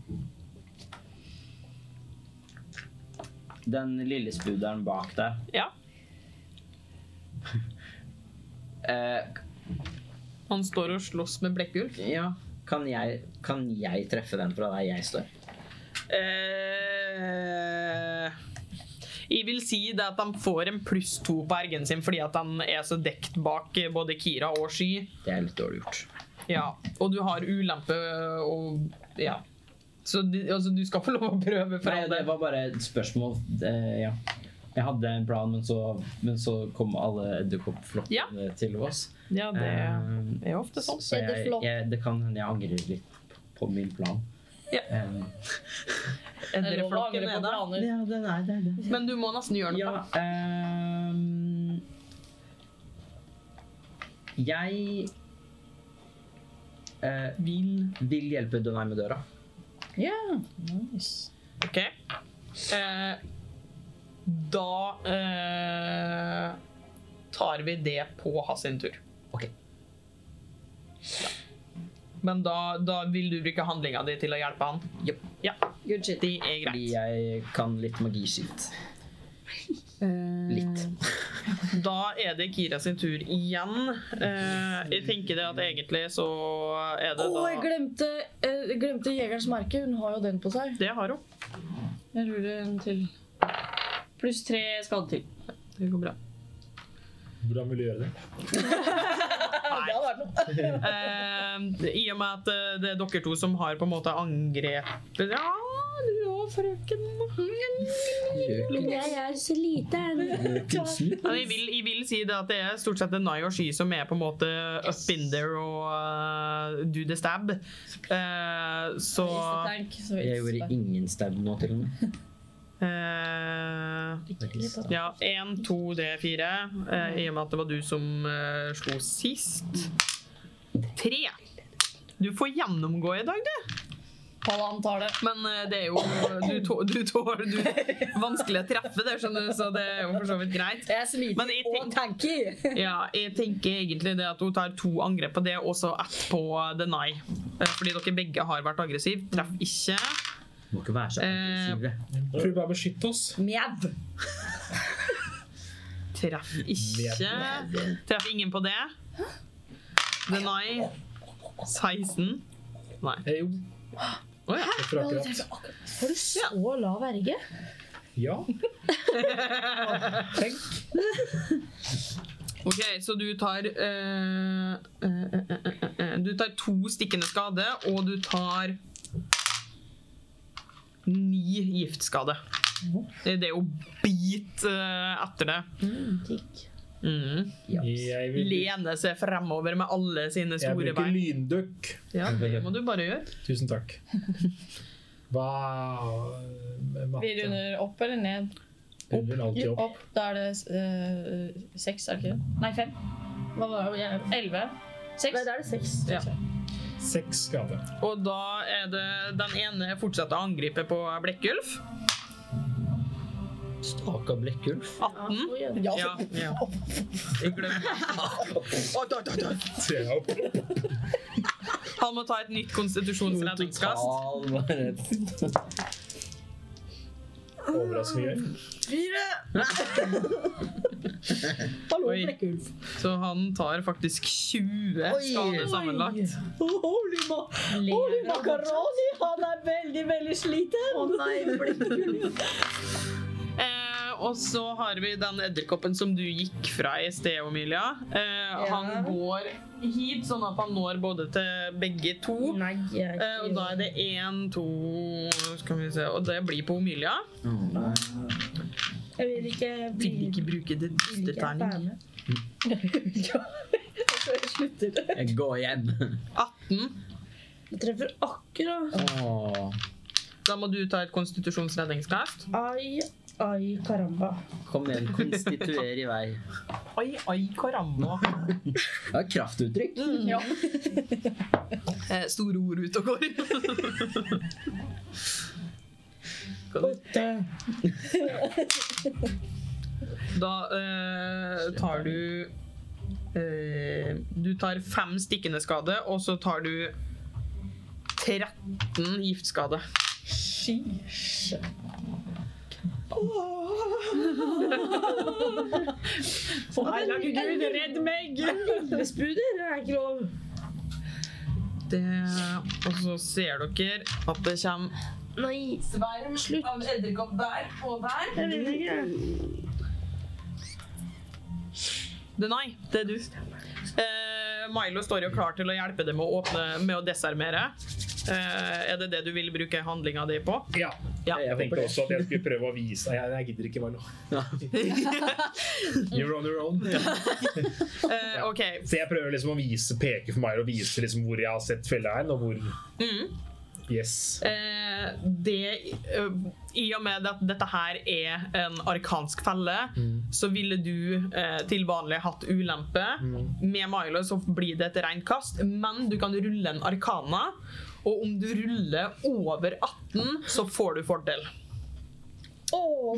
S5: den lille spuderen bak deg.
S1: Ja.
S5: Eh,
S1: Han står og slåss med Blekkulf.
S5: ja, kan jeg, kan jeg treffe den fra der jeg står?
S1: Eh, jeg vil si det at de får en pluss to på ergen sin fordi at han er så dekt bak både Kira og Sky.
S5: Det er litt dårlig gjort.
S1: Ja. Og du har ulempe og Ja. Så du, altså, du skal få lov å prøve for
S5: Nei,
S1: all
S5: det
S1: del.
S5: var bare et spørsmål. Eh, ja. Jeg hadde en plan, men så, men så kom alle edderkoppflokkene til oss.
S1: Ja, det
S5: Eh,
S1: er jo ofte sånn.
S5: Så jeg, jeg, det kan hende jeg angrer litt på min plan.
S1: Ja.
S5: Eh,
S1: Edderflokken er der.
S6: planer.
S5: ja, det er det. det.
S1: Men du må nesten gjøre noe.
S5: Ja, ehm, jeg eh,
S1: Vil.
S5: vil hjelpe deg med døra.
S1: OK. Eh, da eh, tar vi det på hans sin tur.
S5: Ok.
S1: Ja. Men da, da vil du bruke handlinga di til å hjelpe han?
S5: Japp.
S1: Ja,
S6: Good shit.
S1: det er
S5: Fordi
S1: greit.
S5: jeg kan litt magiskitt.
S6: Eh,
S5: Litt.
S1: Mm. Da er det Kira sin tur igjen. Eh, jeg tenker det at egentlig så er
S6: Å,
S1: det
S6: jeg
S1: da
S6: glemte, eh, glemte jegerens merke. Hun har jo den på seg.
S1: Det har hun.
S6: Jeg ruller en til. Pluss tre skade til.
S1: Det går bra.
S2: Hvordan vil du gjøre det?
S1: Eh, I og med at eh, det er dere to som har på en måte angrepet Ja, du og frøken
S7: Men jeg er så liten.
S1: Men jeg vil, jeg vil si det at det er stort sett Nai og Sky som er på en måte up in there og eh, do the stab. Eh, så
S6: Tank, så vi-
S5: Jeg gjorde ingen stab nå, til og med.
S1: eh, Ja, én, to, tre, fire. Eh, I og med at det var du som eh, slo sist. Tre. Du får gjennomgå i dag, du.
S6: Halvannen tar det.
S1: Men eh, det er jo Du tå- du tåler du, vanskelig å treffe, det skjønner du, så det er jo for så vidt greit.
S6: Jeg er sliten
S1: Men jeg tenk-
S6: og tanky.
S1: Ja, jeg tenker egentlig det at hun tar to angrep på det, og så ett på deny. Eh, Fordi dere begge har vært aggressive. Treff ikke.
S5: Må ikke
S1: Eh,
S5: være så aggressive.
S2: Prøv bare å beskytte oss.
S1: Mjau. Treff ikke. Treff ingen på det. Deny 16. Nei.
S2: Eh, jo,
S1: Å ja.
S2: treffer akkurat.
S7: Har du så lav erge?
S2: Ja.
S1: Ok, så du tar eh, eh, eh, eh, eh, Du tar to stikkende skade, og du tar ni giftskade. Det det er jo bit eh, etter det. Mm.
S2: Jeg vil, jeg
S1: Lene seg fremover med alle sine store
S2: bruker
S1: bein.
S2: lyndøkk.
S1: Ja, det må du bare gjøre.
S2: Tusen takk. Hva med matte?
S6: Vi runder opp eller ned?
S2: Hun vil alltid opp.
S6: Opp. Da er det eh, seks, er det ikke det? Nei, fem. Hva var det? Jeg- Elleve?
S7: Nei,
S6: Seks?
S7: da er det seks.
S1: Ja.
S2: Seks skade.
S1: Og da er det den ene fortsetter å angripe på Blekkulf.
S5: Staka blekkulf.
S1: 18.
S10: Ja,
S1: Ja. ja. Jeg glemte.
S2: Tre opp.
S1: Han må ta et nytt konstitusjonsredningskast.
S5: Total bare-
S2: Overraskende gøy.
S10: hallo,
S1: Oi.
S10: Blekkulf.
S1: Så han tar faktisk 20 skader sammenlagt.
S10: Oh, holy, ma holy macaroni! Han er veldig, veldig sliten. Å nei, Blekkulf.
S1: Eh, og så har vi den edderkoppen som du gikk fra i sted, Omilia. Eh, Han går hit, sånn at han når både til begge to.
S7: Nei, jeg er
S1: Eh, og da er det én, to Skal vi se Og det blir på Omilia.
S7: Jeg vil ikke bli
S1: Vil ikke bruke det
S7: vil ikke være
S1: dusterterning.
S7: med.
S5: Jeg går hjem.
S1: 18.
S7: Jeg treffer akkurat.
S5: Åh,
S1: Da må du ta et konstitusjonsredningskast.
S7: Ai, ai, karamba.
S5: kom igjen, konstituer i vei.
S1: Oi, oi, karamba.
S5: Det var et kraftuttrykk.
S1: Mm.
S6: Ja.
S1: Eh, store ord ute og går. Da eh, tar du eh, Du tar fem stikkende skade, og så tar du 13 giftskade. Hellige gud, redd meg!
S7: Lesbuder, det er ikke lov.
S1: Det, og så ser dere at det kommer
S7: Nei,
S1: sverm av edderkopp der og der.
S7: jeg vil ikke.
S1: Denai, det er du. Eh, Milo står jo klar til å hjelpe deg med å åpne med å desarmere. Eh, er det det du vil bruke handlinga di på?
S2: Ja.
S1: Ja.
S2: Jeg tenkte også at jeg skulle prøve å vise Nei, jeg gidder ikke, Marlo. You're on your own.
S1: Eh, OK.
S2: Så jeg prøver liksom å vise, peke for meg og vise liksom hvor jeg har sett fella hen, og hvor
S1: Mm.
S2: Yes.
S1: Eh, det eh, I og med at dette her er en arkansk felle, så ville du eh, til vanlig hatt ulempe. Med Milo så blir det et rent kast, men du kan rulle en arkana. Og om du ruller over 18, så får du fordel.
S6: Oh,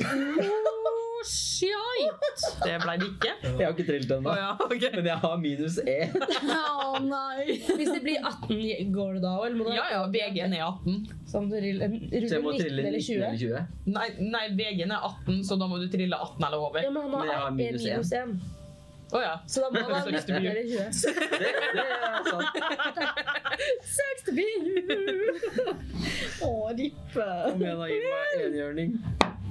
S1: Det ble det ikke.
S5: Jeg har ikke trilt
S1: Å
S5: ennå.
S1: ja, ok.
S5: Men jeg har minus E. én.
S7: Hvis det blir 18, går det da òg? Eller må det
S1: Ja ja, VG-en er 18.
S7: sånn du ruller en-
S5: Så jeg må
S7: ruller 19
S5: trille
S7: eller
S5: 19
S7: 20?
S5: eller 20.
S1: Nei, nei VG-en er 18, E så da må du trille 18 eller over.
S7: Ja, men han
S5: Men jeg
S7: har
S5: har
S7: 1
S5: minus en.
S7: minus 1.
S1: Å ja.
S7: Så da må han ha
S1: Seks til
S7: 19 eller 20.
S5: Det, det er sant.
S7: Seks til byen!
S10: Å, Rippe.
S5: Kom igjen, da. Gi meg enhjørning.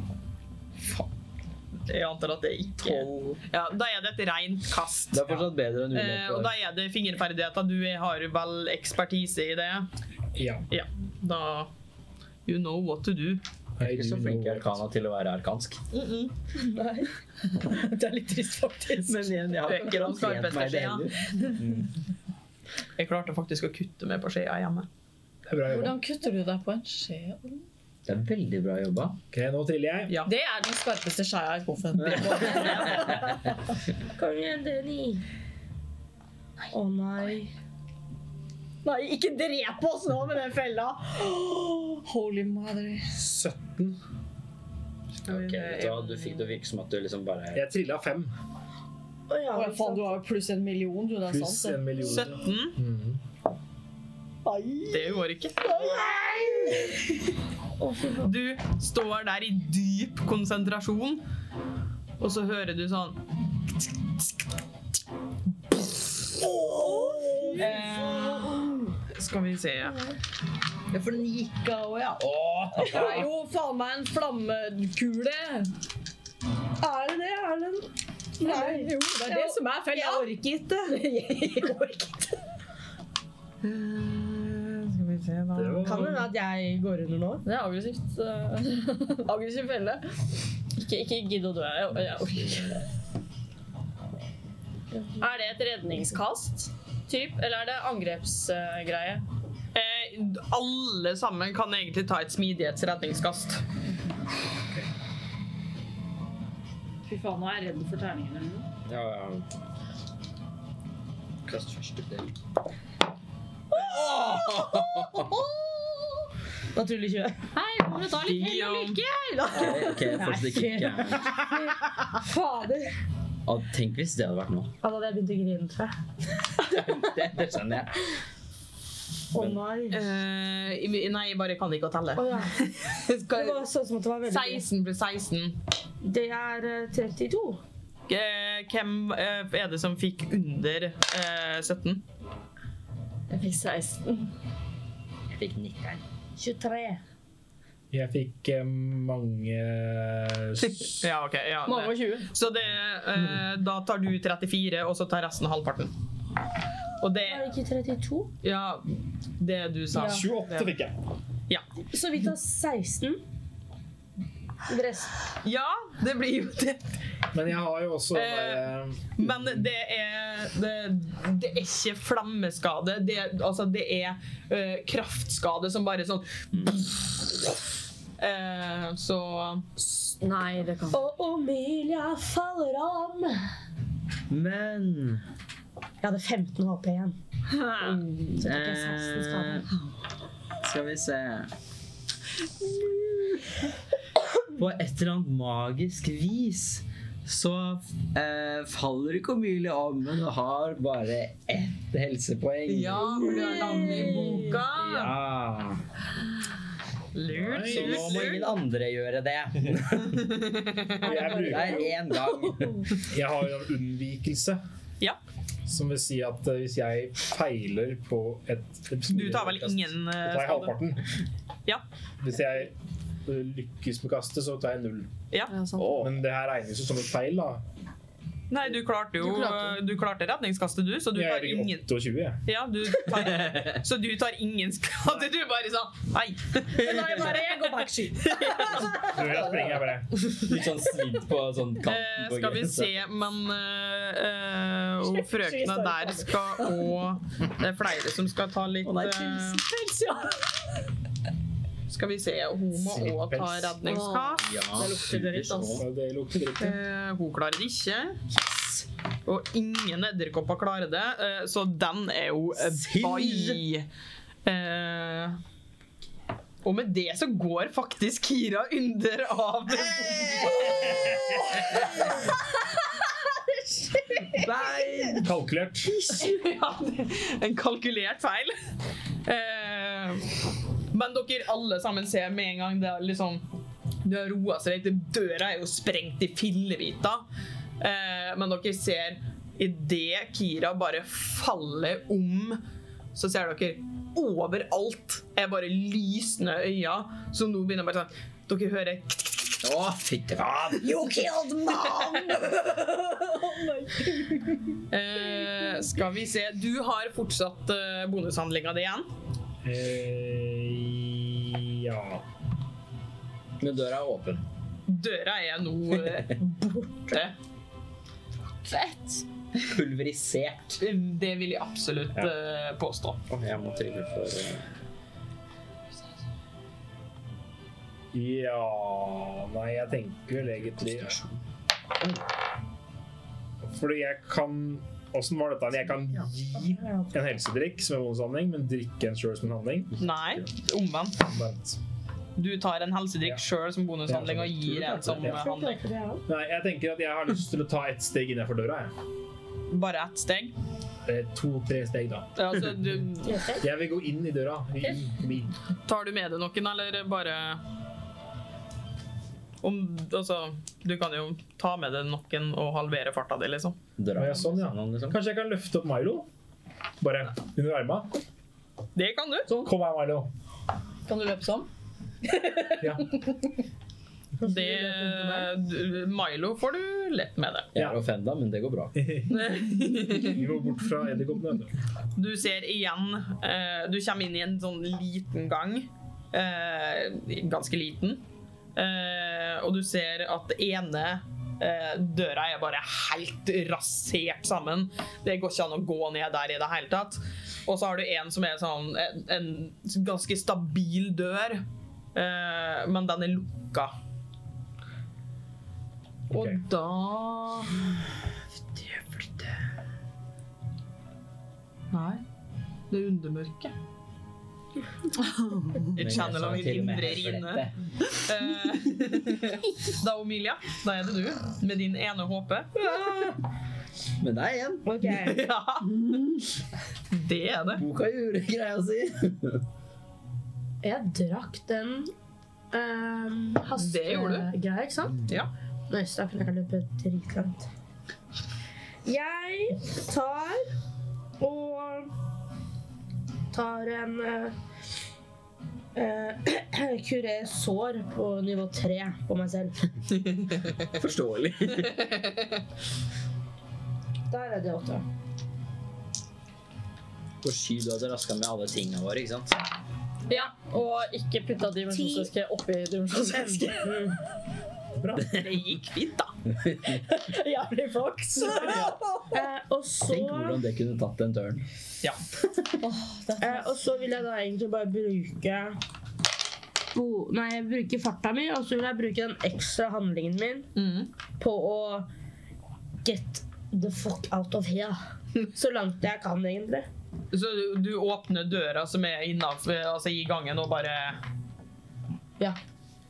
S1: Jeg antar at det ikke
S5: Tolv.
S1: ja, Da er det et rent kast.
S5: Det er fortsatt bedre enn
S1: Eh, og da
S5: ulempe.
S1: er det fingerferdigheter. Du er- har vel ekspertise i det.
S2: Ja.
S1: Ja, da You know what to do.
S5: Jeg er ikke så flink i arkana til å være arkansk.
S10: Det er litt trist, faktisk.
S5: Men igjen, jeg har
S1: Øker
S5: ikke
S1: om
S5: trent meg det
S1: skarpeste
S5: heller.
S1: Jeg klarte faktisk å kutte meg på skjea hjemme.
S2: Det er bra jobba.
S6: Hvordan kutter du deg på en skje?
S5: Det er veldig bra jobba.
S2: Ok, nå triller jeg.
S1: Ja.
S6: Det er den skarpeste skjea i skuffen.
S7: Kom igjen, Denny. Å nei.
S10: Nei, ikke drep oss nå med den fella.
S6: Holy mother.
S2: 17.
S5: Ok, vet du hva? Du fikk det å virke som at du liksom bare
S2: Jeg trilla fem.
S7: Å ja,
S6: Å,
S7: ikke
S6: faen,
S7: sant.
S6: du har jo pluss en million, du. Det er
S2: Pluss
S6: sant.
S2: en million. Mhm.
S1: 17.
S10: Nei.
S1: Det går ikke. Du står der i dyp konsentrasjon, og så hører du sånn
S10: Å, fy
S1: Eh, skal vi se
S10: Ja, for den gikk av òg, ja.
S6: Det er jo faen meg en flammekule.
S7: Er det det, Erlend?
S3: Nei, jo,
S6: Det er det som er fella.
S10: Jeg orker ikke.
S1: Eh, Skal vi se, da.
S2: Det
S10: Kan
S2: var
S10: hende at jeg går under nå.
S6: Det er aggressivt. eh, aggressiv felle. Ikke, ikke gidd å dø. Jeg, jeg orker ikke. Er det et redningskast? Typ, eller er det angrepsgreie?
S1: Eh, alle sammen kan egentlig ta et smidighetsredningskast.
S3: Fy faen, nå er jeg redd for terningene mine.
S5: Ja, ja. Kast første del.
S10: Naturlig 20.
S3: Hei, må du ta litt hell og lykke?
S5: Ok, fortsatt ikke
S10: Nei.
S5: gærent.
S10: Fader.
S5: Ja, Tenk hvis det hadde vært nå.
S10: Da hadde jeg begynt å grine, tror jeg.
S5: Det, det skjønner jeg.
S10: Å nei.
S1: Eh, nei, jeg bare kan ikke å telle.
S10: Å ja. Det
S1: Skal-
S10: var sånn som at det var veldig
S1: 16 pluss 16.
S10: Det er eh, 32.
S1: Eh, hvem eh, er det som fikk under eh, 17?
S6: Jeg fikk 16.
S5: Jeg fikk nikkeren.
S10: 23.
S2: Jeg fikk eh, mange s-
S1: Ja, ok. Ja, det-
S6: Mange og 20.
S1: Så det, eh, da tar du 34, og så tar resten halvparten.
S7: Er
S1: Og det
S7: det ikke 32?
S1: Ja, det du sa.
S2: 28 fikk jeg.
S7: Så vi tar 16. Resten.
S1: Ja, det blir jo det.
S2: Men jeg har jo også
S1: Eh,
S2: bare
S1: Men det er Det, det er ikke flammeskade. Det, er- altså, det er eh, kraftskade som bare sånn Eh, Så
S6: Nei, det kan
S7: Og Omelia faller om.
S5: Men
S7: Jeg hadde 15 HP igjen. Så tok jeg 16 skader.
S5: Eh, Skal vi se På et eller annet magisk vis så eh, faller ikke Omilie om, men hun har bare ett helsepoeng.
S1: Ja, for du har navnet i boka.
S5: Ja.
S1: Lurt,
S5: Så nå
S1: lurt,
S5: må ingen
S1: lurt.
S5: andre gjøre det.
S2: Jeg,
S5: Det
S2: bruker,
S5: er én gang.
S2: jeg har jo en unnvikelse.
S1: Ja.
S2: Som vil si at eh, hvis jeg feiler på et
S1: Du tar vel ingen eh,
S2: Da tar jeg
S1: skade?
S2: halvparten.
S1: Ja.
S2: Hvis jeg eh, lykkes med kastet, så tar jeg null.
S6: Ja, sant.
S2: Men det her regnes jo som et feil, da.
S1: Nei, du klarte jo
S6: Du klarte.
S1: Du klarte redningskastet, du, så du
S2: jeg
S1: tar
S2: ligger
S1: ingen
S2: 28, jeg.
S1: Ja, du tar, så du tar ingen skade? Du bare sånn Nei.
S6: Jeg går bak sky.
S2: Du vet, jeg springer jeg bare.
S5: Litt sånn svidd på sånn kanten.
S1: Eh,
S5: på
S1: skal vi
S5: grensa.
S1: se, men eh, eh, og frøkene der skal og Det er flere som skal ta litt eh, Skal vi se. Hun må òg ta
S2: Slippels.
S1: redningskast.
S5: Ja,
S6: Det lukter dritt,
S5: super sånn.
S6: ass.
S5: små.
S2: Ja, Det lukter dritt. ja.
S1: Eh, hun klarer det ikke. Og ingen edderkopper klarer det, eh, så den er jo eh,
S5: Sild.
S1: bye. Eh, og med det så går faktisk Kira under av Nei,
S2: Kalkulert.
S1: ja, En kalkulert feil. Eh, men dere alle sammen ser med en gang det er liksom Det har roa seg litt. Døra er jo sprengt i fillebiter. Eh, men dere ser idet Kira bare faller om, så ser dere overalt er bare lysende øyne som nå begynner bare sånn Dere hører
S5: Å, fytti faen!
S1: eh, Skal vi se. Du har fortsatt eh, bonushandlinga di igjen.
S2: Eh, ja.
S5: Men døra er åpen.
S1: Døra er nå eh, borte.
S6: Fett.
S5: Pulverisert.
S1: Det vil jeg absolutt
S5: Ja.
S1: eh, påstå.
S5: Å, jeg må trylle for eh,
S2: Ja Nei, jeg tenker vel egentlig Fordi jeg kan Åssen var dette? Jeg kan gi en helsedrikk som en bonushandling, men drikke en sjøl som en handling.
S1: Nei, omvendt.
S2: Vent.
S1: Du tar en helsedrikk
S2: Ja.
S1: sjøl som bonushandling og gir en som eh,
S2: Ja.
S1: handling.
S2: Nei, jeg tenker at jeg har lyst til å ta ett steg innenfor døra. jeg.
S1: Bare ett steg.
S2: Eh, To-tre steg, da.
S1: Altså, du,
S2: Jeg vil gå inn i døra. I min.
S1: tar du med deg noen, eller bare om, altså, Du kan jo ta med deg noen og halvere farta di, liksom.
S5: døra.
S2: Å, ja, sånn, ja.
S5: Liksom.
S2: Kanskje jeg kan løfte opp Milo? Bare under arma.
S1: Det kan du.
S2: Kom her, Milo.
S6: Kan du løpe sånn?
S2: Ja.
S1: Det, du- Milo får du lett med det.
S5: Jeg er offenda, men det går bra.
S2: Vi går bort fra edderkoppene. vet
S1: Du
S2: du.
S1: ser igjen eh, Du kommer inn i en sånn liten gang. eh, ganske liten. Eh, og du ser at det ene eh, døra er bare helt rasert sammen. Det går ikke an å gå ned der i det hele tatt. Og så har du en som er sånn en, en ganske stabil dør, eh, men den er lukka.
S2: Ok.
S1: Og da Djevlete. Nei. Det er undermørket. Et channel av min indre rine. Eh, da, Omilia, da er det du med din ene håpe.
S5: Men det er igjen.
S1: Ja. Det er det.
S5: Boka gjorde greia si.
S4: Jeg drakk den um,
S1: Det gjorde
S4: hastegreia, ikke sant?
S1: Ja.
S4: Nei, så da kan jeg løpe dritlangt. Jeg tar og tar en eh, eh, kurer sår på nivå 3 på meg selv.
S5: Forståelig.
S4: Der er det åtte.
S5: For sky, du hadde raska med alle tinga våre, ikke sant?
S6: Ja, og ikke putta dimensjonsøske oppi dimensjonsøske.
S1: Det gikk fint, da.
S6: Jævlig flaks.
S4: Eh, og så
S5: Tenk hvordan det kunne tatt en tørn.
S4: Eh, og så vil jeg da egentlig bare bruke bo, Nei, jeg bruker farta mi, og så vil jeg bruke den ekstra handlingen min på å get the fuck out of here. Så langt jeg kan, egentlig.
S1: Så du, du åpner døra som er innenfor, altså i gangen, og bare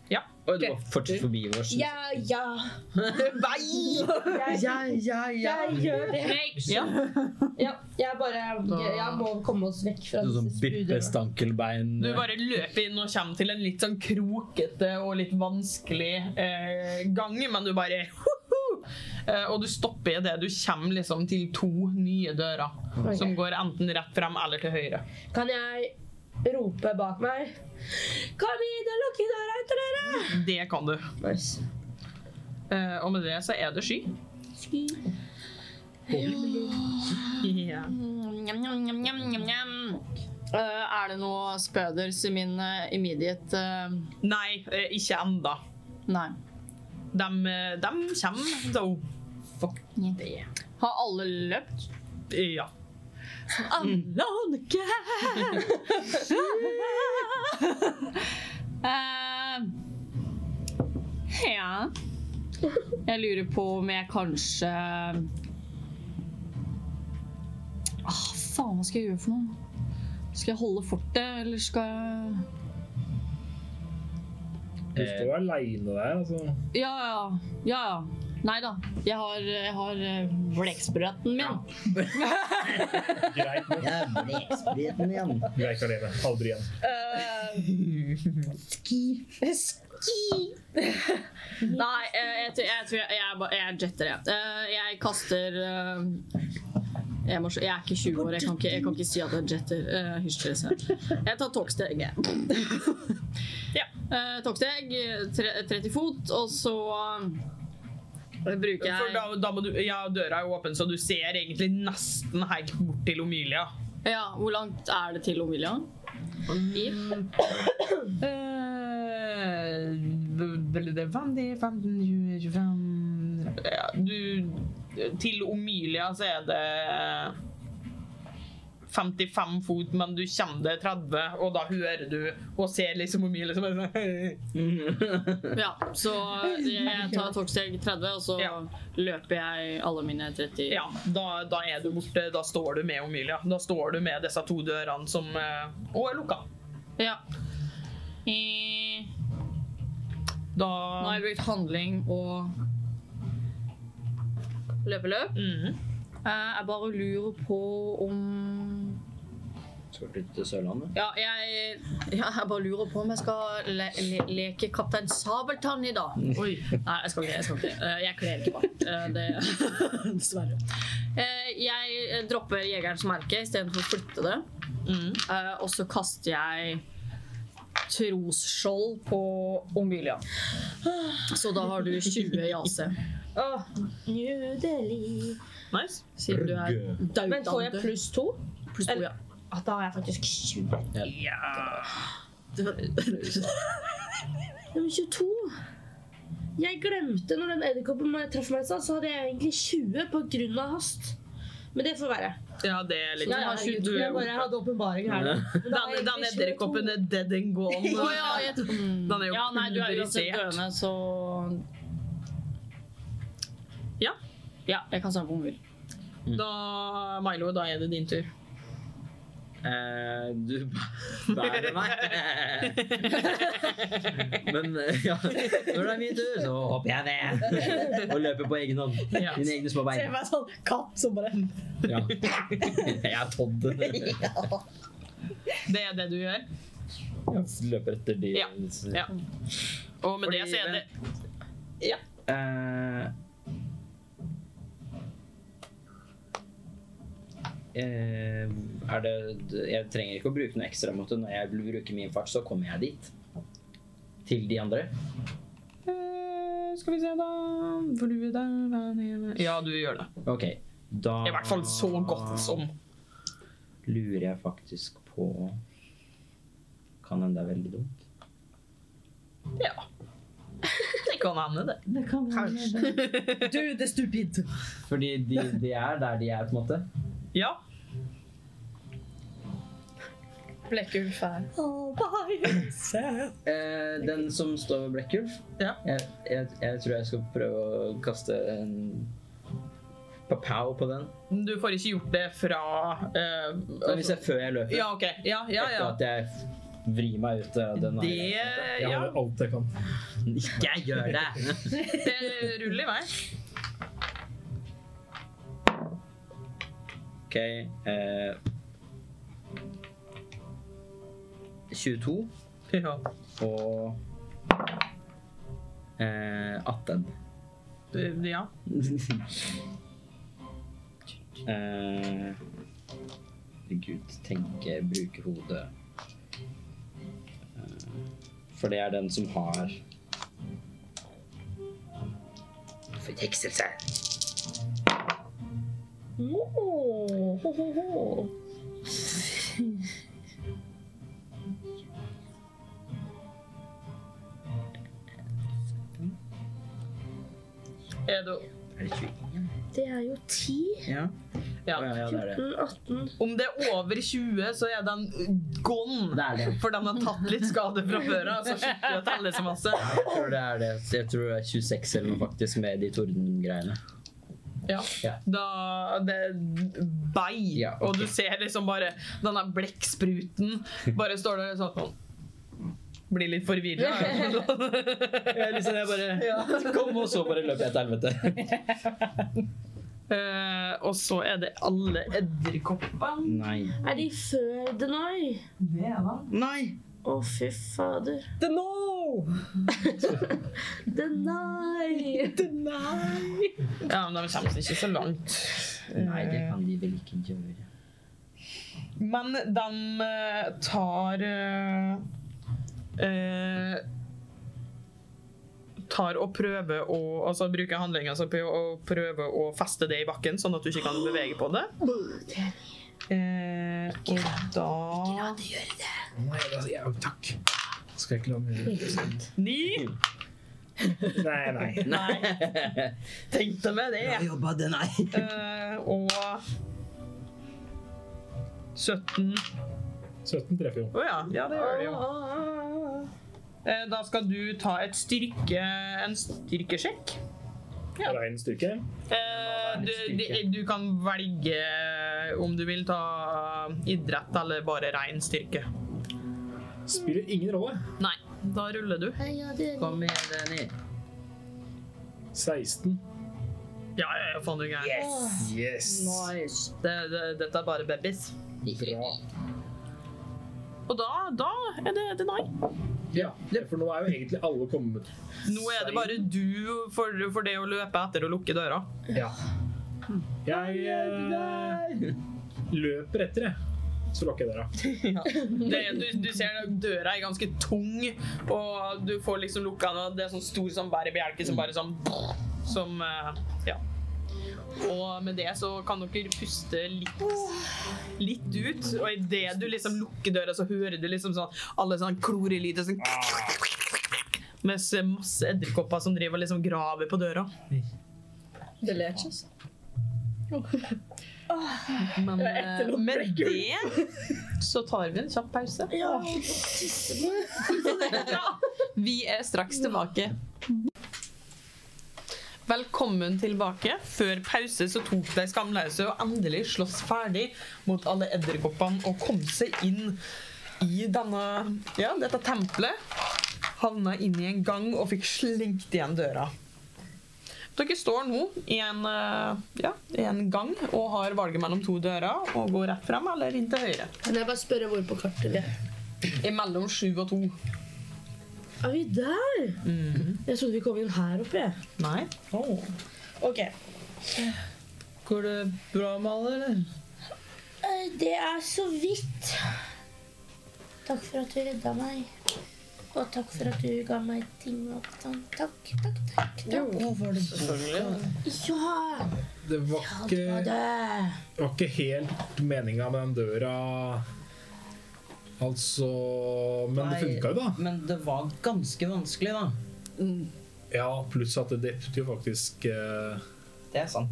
S5: Og du var fortsatt forbi oss.
S4: Ja, ja.
S1: Nei!
S4: Jeg,
S5: ja,
S4: jeg gjør det.
S1: Ja.
S4: Ja, jeg bare jeg, jeg må komme oss vekk fra
S5: Du sånn
S4: disse
S5: bippe
S4: spudene.
S5: stankelbein.
S1: Du bare løper inn og kommer til en litt sånn krokete og litt vanskelig eh, gang, men du bare «Hoho!» eh, Og du stopper idet du kommer liksom til to nye dører,
S4: Ok.
S1: som går enten rett frem eller til høyre.
S4: Kan jeg rope bak meg? Kom hit og lukk døra etter dere!
S1: Det kan du.
S4: Nice.
S1: Eh, og med det så er det sky. Ja.
S6: Mm, Njam, njam, njam, njam, njam, njam. Eh, er det noe spøders i min eh, immediate eh,
S1: Nei, eh, ikke enda.
S6: Nei.
S1: De, eh, de kommer, da. Fuck det.
S6: Har alle løpt?
S1: Ja.
S6: Alonke! Eh, ja. Jeg lurer på om jeg kanskje ah, Faen, hva skal jeg gjøre for noe? Skal jeg holde fortet, eller skal jeg
S5: eh,
S2: Du står aleine der, altså.
S6: Ja, ja. ja, ja. Nei da. Jeg har, jeg har eh, bleksprøyten min.
S2: Greit, men
S5: Jævlig spriten igjen.
S2: du er ikke alene. Aldri igjen.
S6: Nei, eh, jeg, tror- jeg tror jeg, jeg, ba- jeg jetter det. Eh, Jeg kaster eh, jeg, må, se- jeg er ikke 20 år, jeg kan ikke, jeg kan ikke si at jeg jetter. Eh, Hysj dere selv. Jeg tar togsteg. jeg. ja. eh, Togsteg, tre- 30 fot, og så eh, bruker
S1: For da,
S6: jeg
S1: da må du, ja, døra er åpen, så du ser egentlig nesten helt bort til Omilia.
S6: Ja, Hvor langt er det til Omilia? Mm.
S1: Eh, ble det 50, 15, 20, 25 ja, Du Til Omilia så er det 55 fot, men du kommer det 30, og da hører du og ser liksom Omilia som er sånn
S6: Ja, så jeg tar togsteg 30, og så
S1: Ja.
S6: løper jeg alle mine 30
S1: Ja, da, da er du borte. Da står du med Omilia. Da står du med disse to dørene som eh, Og er lukka.
S6: Ja. Eh,
S1: Da
S6: Nå har jeg brukt handling og løpeløp.
S1: Mhm.
S6: Eh, Jeg bare lurer på om
S5: skal flytte til Sørlandet?
S6: Ja, jeg, ja, jeg bare lurer på om jeg skal le le leke Kaptein Sabeltann i dag. Oi. Nei, jeg skal ikke. Jeg, skal ikke. Eh, jeg kler ikke bart. Eh, det- Dessverre. Eh, Jeg dropper Jegerens merke istedenfor å flytte det.
S1: Mm.
S6: Eh, Og så kaster jeg trosskjold på Omilia. Så da har du 20 i AC,
S7: Åh, nydelig.
S1: Nice.
S6: siden du er daudande.
S7: Men får jeg pluss to?
S6: Pluss to, ja.
S7: Ah, da er jeg faktisk 20. Nummer 22. Jeg glemte når den edderkoppen meg- traff meg, i stad, så hadde jeg egentlig 20 på grunn av hast. Men det får være.
S1: Ja, det er litt
S6: Så du har
S10: herregud,
S6: 22
S10: jeg bare hadde åpenbaring her nå. Men da
S1: Den,
S10: er jeg
S1: den
S10: egentlig
S1: edderkoppen er dead and gone.
S6: Å ja, jeg tror
S1: Den er jo
S6: Ja, nei, du er uansett
S1: pulverisert.
S6: døende, så
S1: Ja.
S6: Ja, jeg kan snakke om vil.
S1: Da, Milo, da er det din tur.
S5: Eh, du b- bærer meg. Men eh, ja, når det er min tur, så hopper jeg ned og løper på egen hånd.
S1: Ja.
S5: Mine egne små
S10: ser
S5: bein.
S10: meg sånn katt som bare
S5: Ja. Jeg er Todd. Jeg
S1: Det er det du gjør.
S5: løper etter de
S1: Ja. Ja. Og med
S5: Fordi-
S1: det så er det Ja.
S5: Eh, eh, er det, jeg trenger ikke å bruke noe ekstra mot det. Når jeg bruker min fart, så kommer jeg dit. Til de andre.
S1: Eh, Skal vi se, da. Hvor du er der, der nede. Ja, du gjør det.
S5: Ok, da
S1: I hvert fall så godt som.
S5: Lurer jeg faktisk på Kan hende det er veldig dumt.
S1: Ja. Det kan hende, det.
S10: Det kan Kanskje. Du, det er stupid.
S5: Fordi de, de er der de er, på en måte.
S1: Ja.
S6: Blekkulf er
S10: Oh, bye.
S5: Eh, den som står ved Blekkulf
S1: Ja.
S5: jeg, jeg, jeg tror jeg skal prøve å kaste en papow på den.
S1: Du får ikke gjort det fra eh,
S5: Men hvis jeg før jeg løper.
S1: Ja, OK. Ja, ja, ja.
S5: Etter at jeg vrir meg ut av den
S1: Det
S2: Jeg
S1: Ja,
S2: har alt jeg kan.
S5: Ikke gjør det!
S1: det ruller i vei.
S5: OK eh, 22
S1: Ja.
S5: og eh, 18.
S1: ja.
S5: Eh, Herregud, tenke, bruke hodet. Eh, For det er den som har Forhekselse.
S7: Oh, ho, ho, ho.
S1: Er det,
S5: Er det 21?
S7: Det er jo 10,
S5: Ja.
S1: ja.
S5: Å ja, ja, det er det.
S7: 14, 18
S1: Om det er over 20, så er den gone.
S5: Det er det.
S1: For den har tatt litt skade fra før av. Så slutter å telle så masse.
S5: Jeg tror det er det. Jeg tror det er 26 eller noe faktisk med de tordengreiene.
S1: Ja.
S5: Ja.
S1: Da det Bei.
S5: Ja, ok.
S1: Og du ser liksom bare denne blekkspruten bare står der sånn Blir litt forvirra.
S5: Jeg, liksom, jeg bare kom, og så bare løp jeg til helvete.
S1: Eh, og så er det alle edderkoppene.
S5: Nei.
S7: Er de før Denai?
S5: Nei!
S7: Å, fy fader.
S10: The no!
S7: Denai!
S10: The nei!
S1: Ja, men de kommer seg ikke så langt.
S5: Nei, det kan de vel ikke gjøre.
S1: Men de eh, tar eh, eh, Tar og prøver å Altså bruker handlinga si på å prøve å feste det i bakken, sånn at du ikke kan bevege på det. Eh, og da
S2: Nei, da sier jeg takk. Skal jeg ikke la meg
S1: Ni!
S2: Nei, nei.
S1: Nei, tenkte meg det.
S5: Bra jobba, det, nei.
S1: Eh, og 17
S2: 17 treffer jo.
S1: Å ja. ja, det gjør det jo. Eh, Da skal du ta et styrke, en styrkesjekk. Ja.
S2: Rein styrke.
S1: Eh, Du,
S5: styrke.
S1: du kan velge eh, om du vil ta eh, idrett eller bare ren styrke.
S2: Spiller ingen rolle.
S1: Nei, da ruller du.
S5: Kom igjen, Denny.
S2: 16.
S1: Ja, ja, ja, faen du er gæren.
S2: Yes.
S1: Det- det- Dette er bare babys.
S2: Bra.
S1: Og da, da er det deny.
S2: Ja, for nå er jo egentlig alle kommet
S1: Nå er det bare du for, for det å løpe etter og lukke døra.
S2: Ja. Jeg eh, løper etter, jeg. Så lukker jeg døra.
S1: Det, du, du ser at døra er ganske tung, og du får liksom lukka den, og det er sånn stor sånn bærebjelke som bare sånn Som eh, Ja. Og med det så kan dere puste litt, litt ut, og idet du liksom lukker døra, så hører du liksom sånn alle sånn klorelyder sånn Mens masse edderkopper som driver og liksom graver på døra.
S6: Delicious.
S1: Men
S6: Jeg er
S1: eh,
S6: etterlåt
S1: med
S6: brekker.
S1: det så tar vi en kjapp pause. Vi er straks tilbake. Velkommen tilbake. Før pause så tok de skamløse og endelig slåss ferdig mot alle edderkoppene og kom seg inn i denne, ja, dette tempelet. Havna inn i en gang og fikk slengt igjen døra. Dere står nå i en, eh, ja, i en gang og har valget mellom to dører og går rett frem eller inn til høyre.
S7: Kan jeg bare spørre hvor på kartet vi er?
S1: Imellom sju og to.
S7: Er vi der? Jeg trodde vi kom inn her oppe. jeg.
S1: Mhm. Nei.
S3: Ok.
S5: Går det bra med alle, eller?
S4: Eh, Det er så vidt. Takk for at du redda meg. Og takk for at du ga meg ting og sånn. Takk, takk, takk. takk. Ja,
S2: Det var
S4: det var
S2: ikke,
S4: det.
S2: var ikke helt meninga med den døra Altså Men det funka jo, da.
S5: Men det var ganske vanskelig, da.
S2: Ja, pluss at det drepte jo faktisk eh,
S5: Det er sant.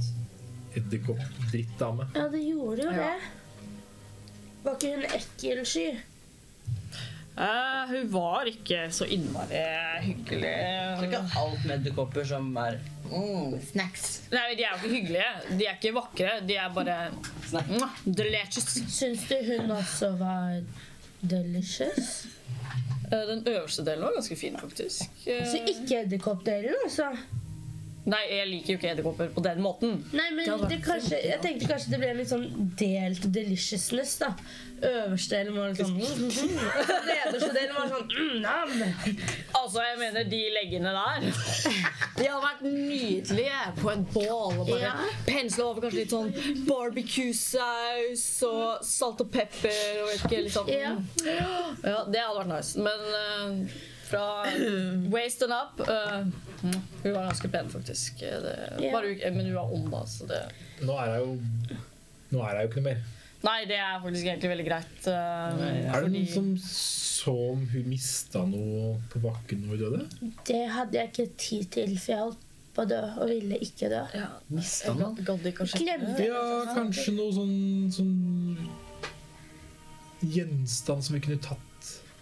S2: edderkopp-drittdame.
S4: Ja, det gjorde jo det. Var ikke hun ekkel sky?
S6: Eh, hun var ikke så innmari
S5: Det er
S6: hyggelig.
S5: ikke alt med edderkopper som er mm,
S4: Snacks.
S6: Nei, De er jo ikke hyggelige. De er ikke vakre. De er bare Mwah, delicious.
S4: Syns du hun også var delicious?
S6: Eh, Den øverste delen var ganske fin, faktisk. Eh,
S4: Så ikke edderkoppdelen, altså?
S6: Nei, jeg liker jo ikke edderkopper på den måten.
S4: Nei, men det kanskje, jeg tenkte kanskje det ble litt sånn delt deliciousness, da. Øverste delen var litt sånn Nederste delen var sånn mm, nam.
S6: Altså, jeg mener de leggene der. De hadde vært nydelige på en bål. Og bare
S4: Ja.
S6: pensle over kanskje litt sånn barbecue-saus og salt og pepper og vet ikke, litt sånn.
S4: Ja.
S6: Ja, det hadde vært nice. Men eh, fra waist and up eh, Hun var ganske pen, faktisk. Eh, Det,
S4: Ja.
S6: bare, hun- men hun var ond, da. Så det
S2: Nå er jeg jo Nå er jeg jo ikke noe mer.
S6: Nei, det er faktisk egentlig veldig greit. eh,
S2: Er det noen
S6: fordi-
S2: som så om hun mista noe på bakken da hun døde?
S4: Det hadde jeg ikke tid til, for jeg holdt på å dø og ville ikke dø.
S6: ja, Jeg gadd ikke å sjekke.
S4: Glemte
S2: Ja, kanskje noe sånn, sånn Gjenstand som vi kunne tatt.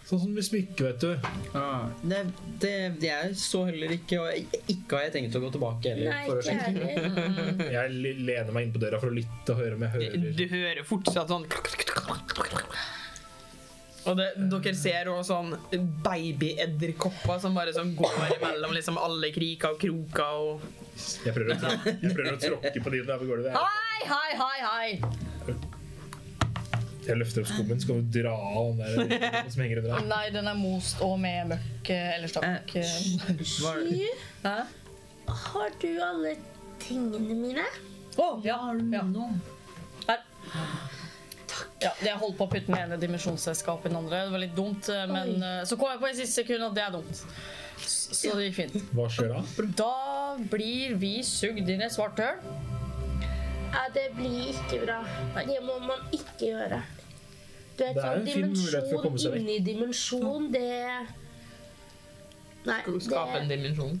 S2: Sånn som med smykke, vet du.
S5: ah, det, det, det er så heller ikke Og ikke har jeg tenkt å gå tilbake heller.
S4: Nei,
S5: for å
S4: ikke jeg
S5: sjekke.
S4: heller.
S2: Jeg l- lener meg inn på døra for å lytte og høre om jeg hører
S1: Du hører fortsatt sånn Og det, dere ser også sånn babyedderkopper som bare sånn går mellom liksom alle kriker og kroker og
S2: Jeg prøver å, trå- jeg prøver å tråkke på de der på gulvet. Jeg,
S6: Hei, hei, hei, hei!
S2: jeg løfter opp skummen, så kan du dra av den der som henger under her.
S6: Nei, den er most og med møkk eh, eller stakk. eh.
S5: Var det-
S6: Hæ?
S4: Har du alle tingene mine?
S6: Å, ja. ja. Her. Ja, jeg holdt på å putte den ene dimensjonsselskapet i den andre. Det var litt dumt, eh, men eh, så kom jeg på i siste sekund at det er dumt. S- Så det gikk fint.
S2: Hva skjer da?
S6: Da blir vi sugd inn i et svart høl.
S4: Ja, det blir ikke bra. Det må man ikke gjøre. Du vet,
S2: Det er
S4: sånn
S2: en fin mulighet for å komme seg
S4: dimensjon
S2: vekk.
S4: inni dimensjon, det Nei,
S1: skaper en
S4: det,
S1: dimensjon.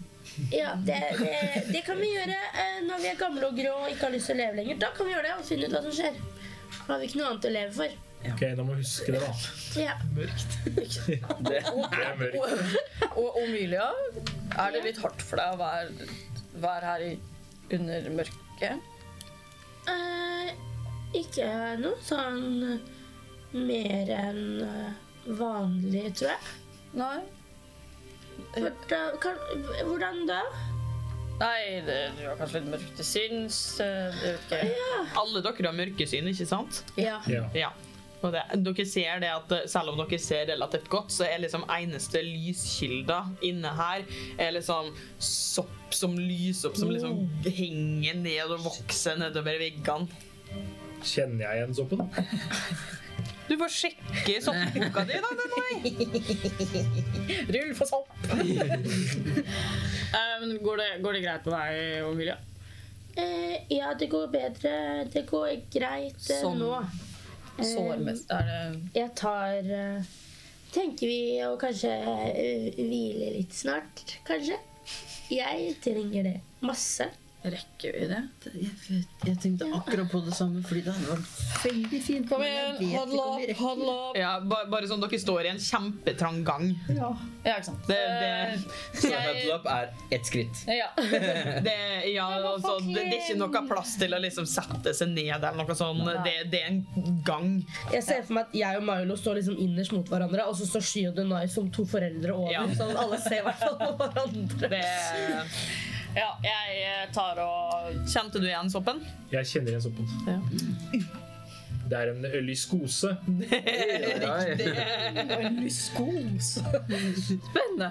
S4: ja, det, det, det kan vi gjøre eh, når vi er gamle og grå og ikke har lyst til å leve lenger. Da kan vi gjøre det og finne ut hva som skjer. Da har vi ikke noe annet å leve for.
S2: Ok, Da må jeg huske det, da.
S4: Ja.
S2: Det er mørkt.
S6: Og Omilia, er det litt hardt for deg å være, være her i, under mørket?
S4: Eh, ikke noe sånn mer enn eh, vanlig, tror jeg.
S6: Nei.
S7: Eh.
S4: Hvordan, kan, hvordan da?
S6: Nei, det, du har kanskje litt mørkt til sinns. eh, Jeg vet ikke.
S1: Alle dere har mørkesyn, ikke sant?
S4: Ja.
S2: Ja.
S1: Ja. Og Og det, dere ser det at eh, selv om dere ser relativt godt, så er liksom eneste lyskilda inne her er liksom sopp som lyser opp, som liksom henger ned og vokser nedover veggene.
S2: Kjenner jeg igjen soppen?
S1: Du får sjekke soppboka di, da. Den er.
S6: Rull for sopp! Eh, men går, det, går det greit på deg, Omilia?
S4: Eh, ja, det går bedre. Det går greit eh,
S1: Sånn.
S4: nå. Eh,
S6: Sårmest er det
S4: Jeg tar eh, Tenker vi å kanskje eh, hvile litt snart, kanskje? Jeg trenger det masse.
S6: Rekker vi det?
S5: Jeg, jeg tenkte akkurat på det samme, fordi det hadde vært veldig fint.
S6: Kom
S5: men jeg
S6: igjen,
S5: vet ikke
S6: handle
S5: om vi
S6: opp,
S5: rekker
S6: handle opp!
S1: Ja, ba, bare sånn dere står i en kjempetrang gang.
S6: Ja, ikke sant.
S1: Det,
S6: Eh,
S1: det,
S5: Så
S6: Jeg-
S5: huddle up er ett skritt.
S6: Ja.
S1: det, ja, altså, det, det er ikke noe plass til å liksom sette seg ned eller noe sånt. Det, det er en gang.
S7: Jeg ser for meg at jeg og Milo står liksom innerst mot hverandre, og så står Sky og Denai som to foreldre over.
S1: Ja.
S7: Sånn at alle ser i hvert fall på hverandre.
S1: Det,
S6: ja, jeg eh, tar og
S1: kjente du igjen soppen?
S2: Jeg kjenner igjen soppen.
S1: Ja.
S2: Det er en lyskose.
S6: Spennende.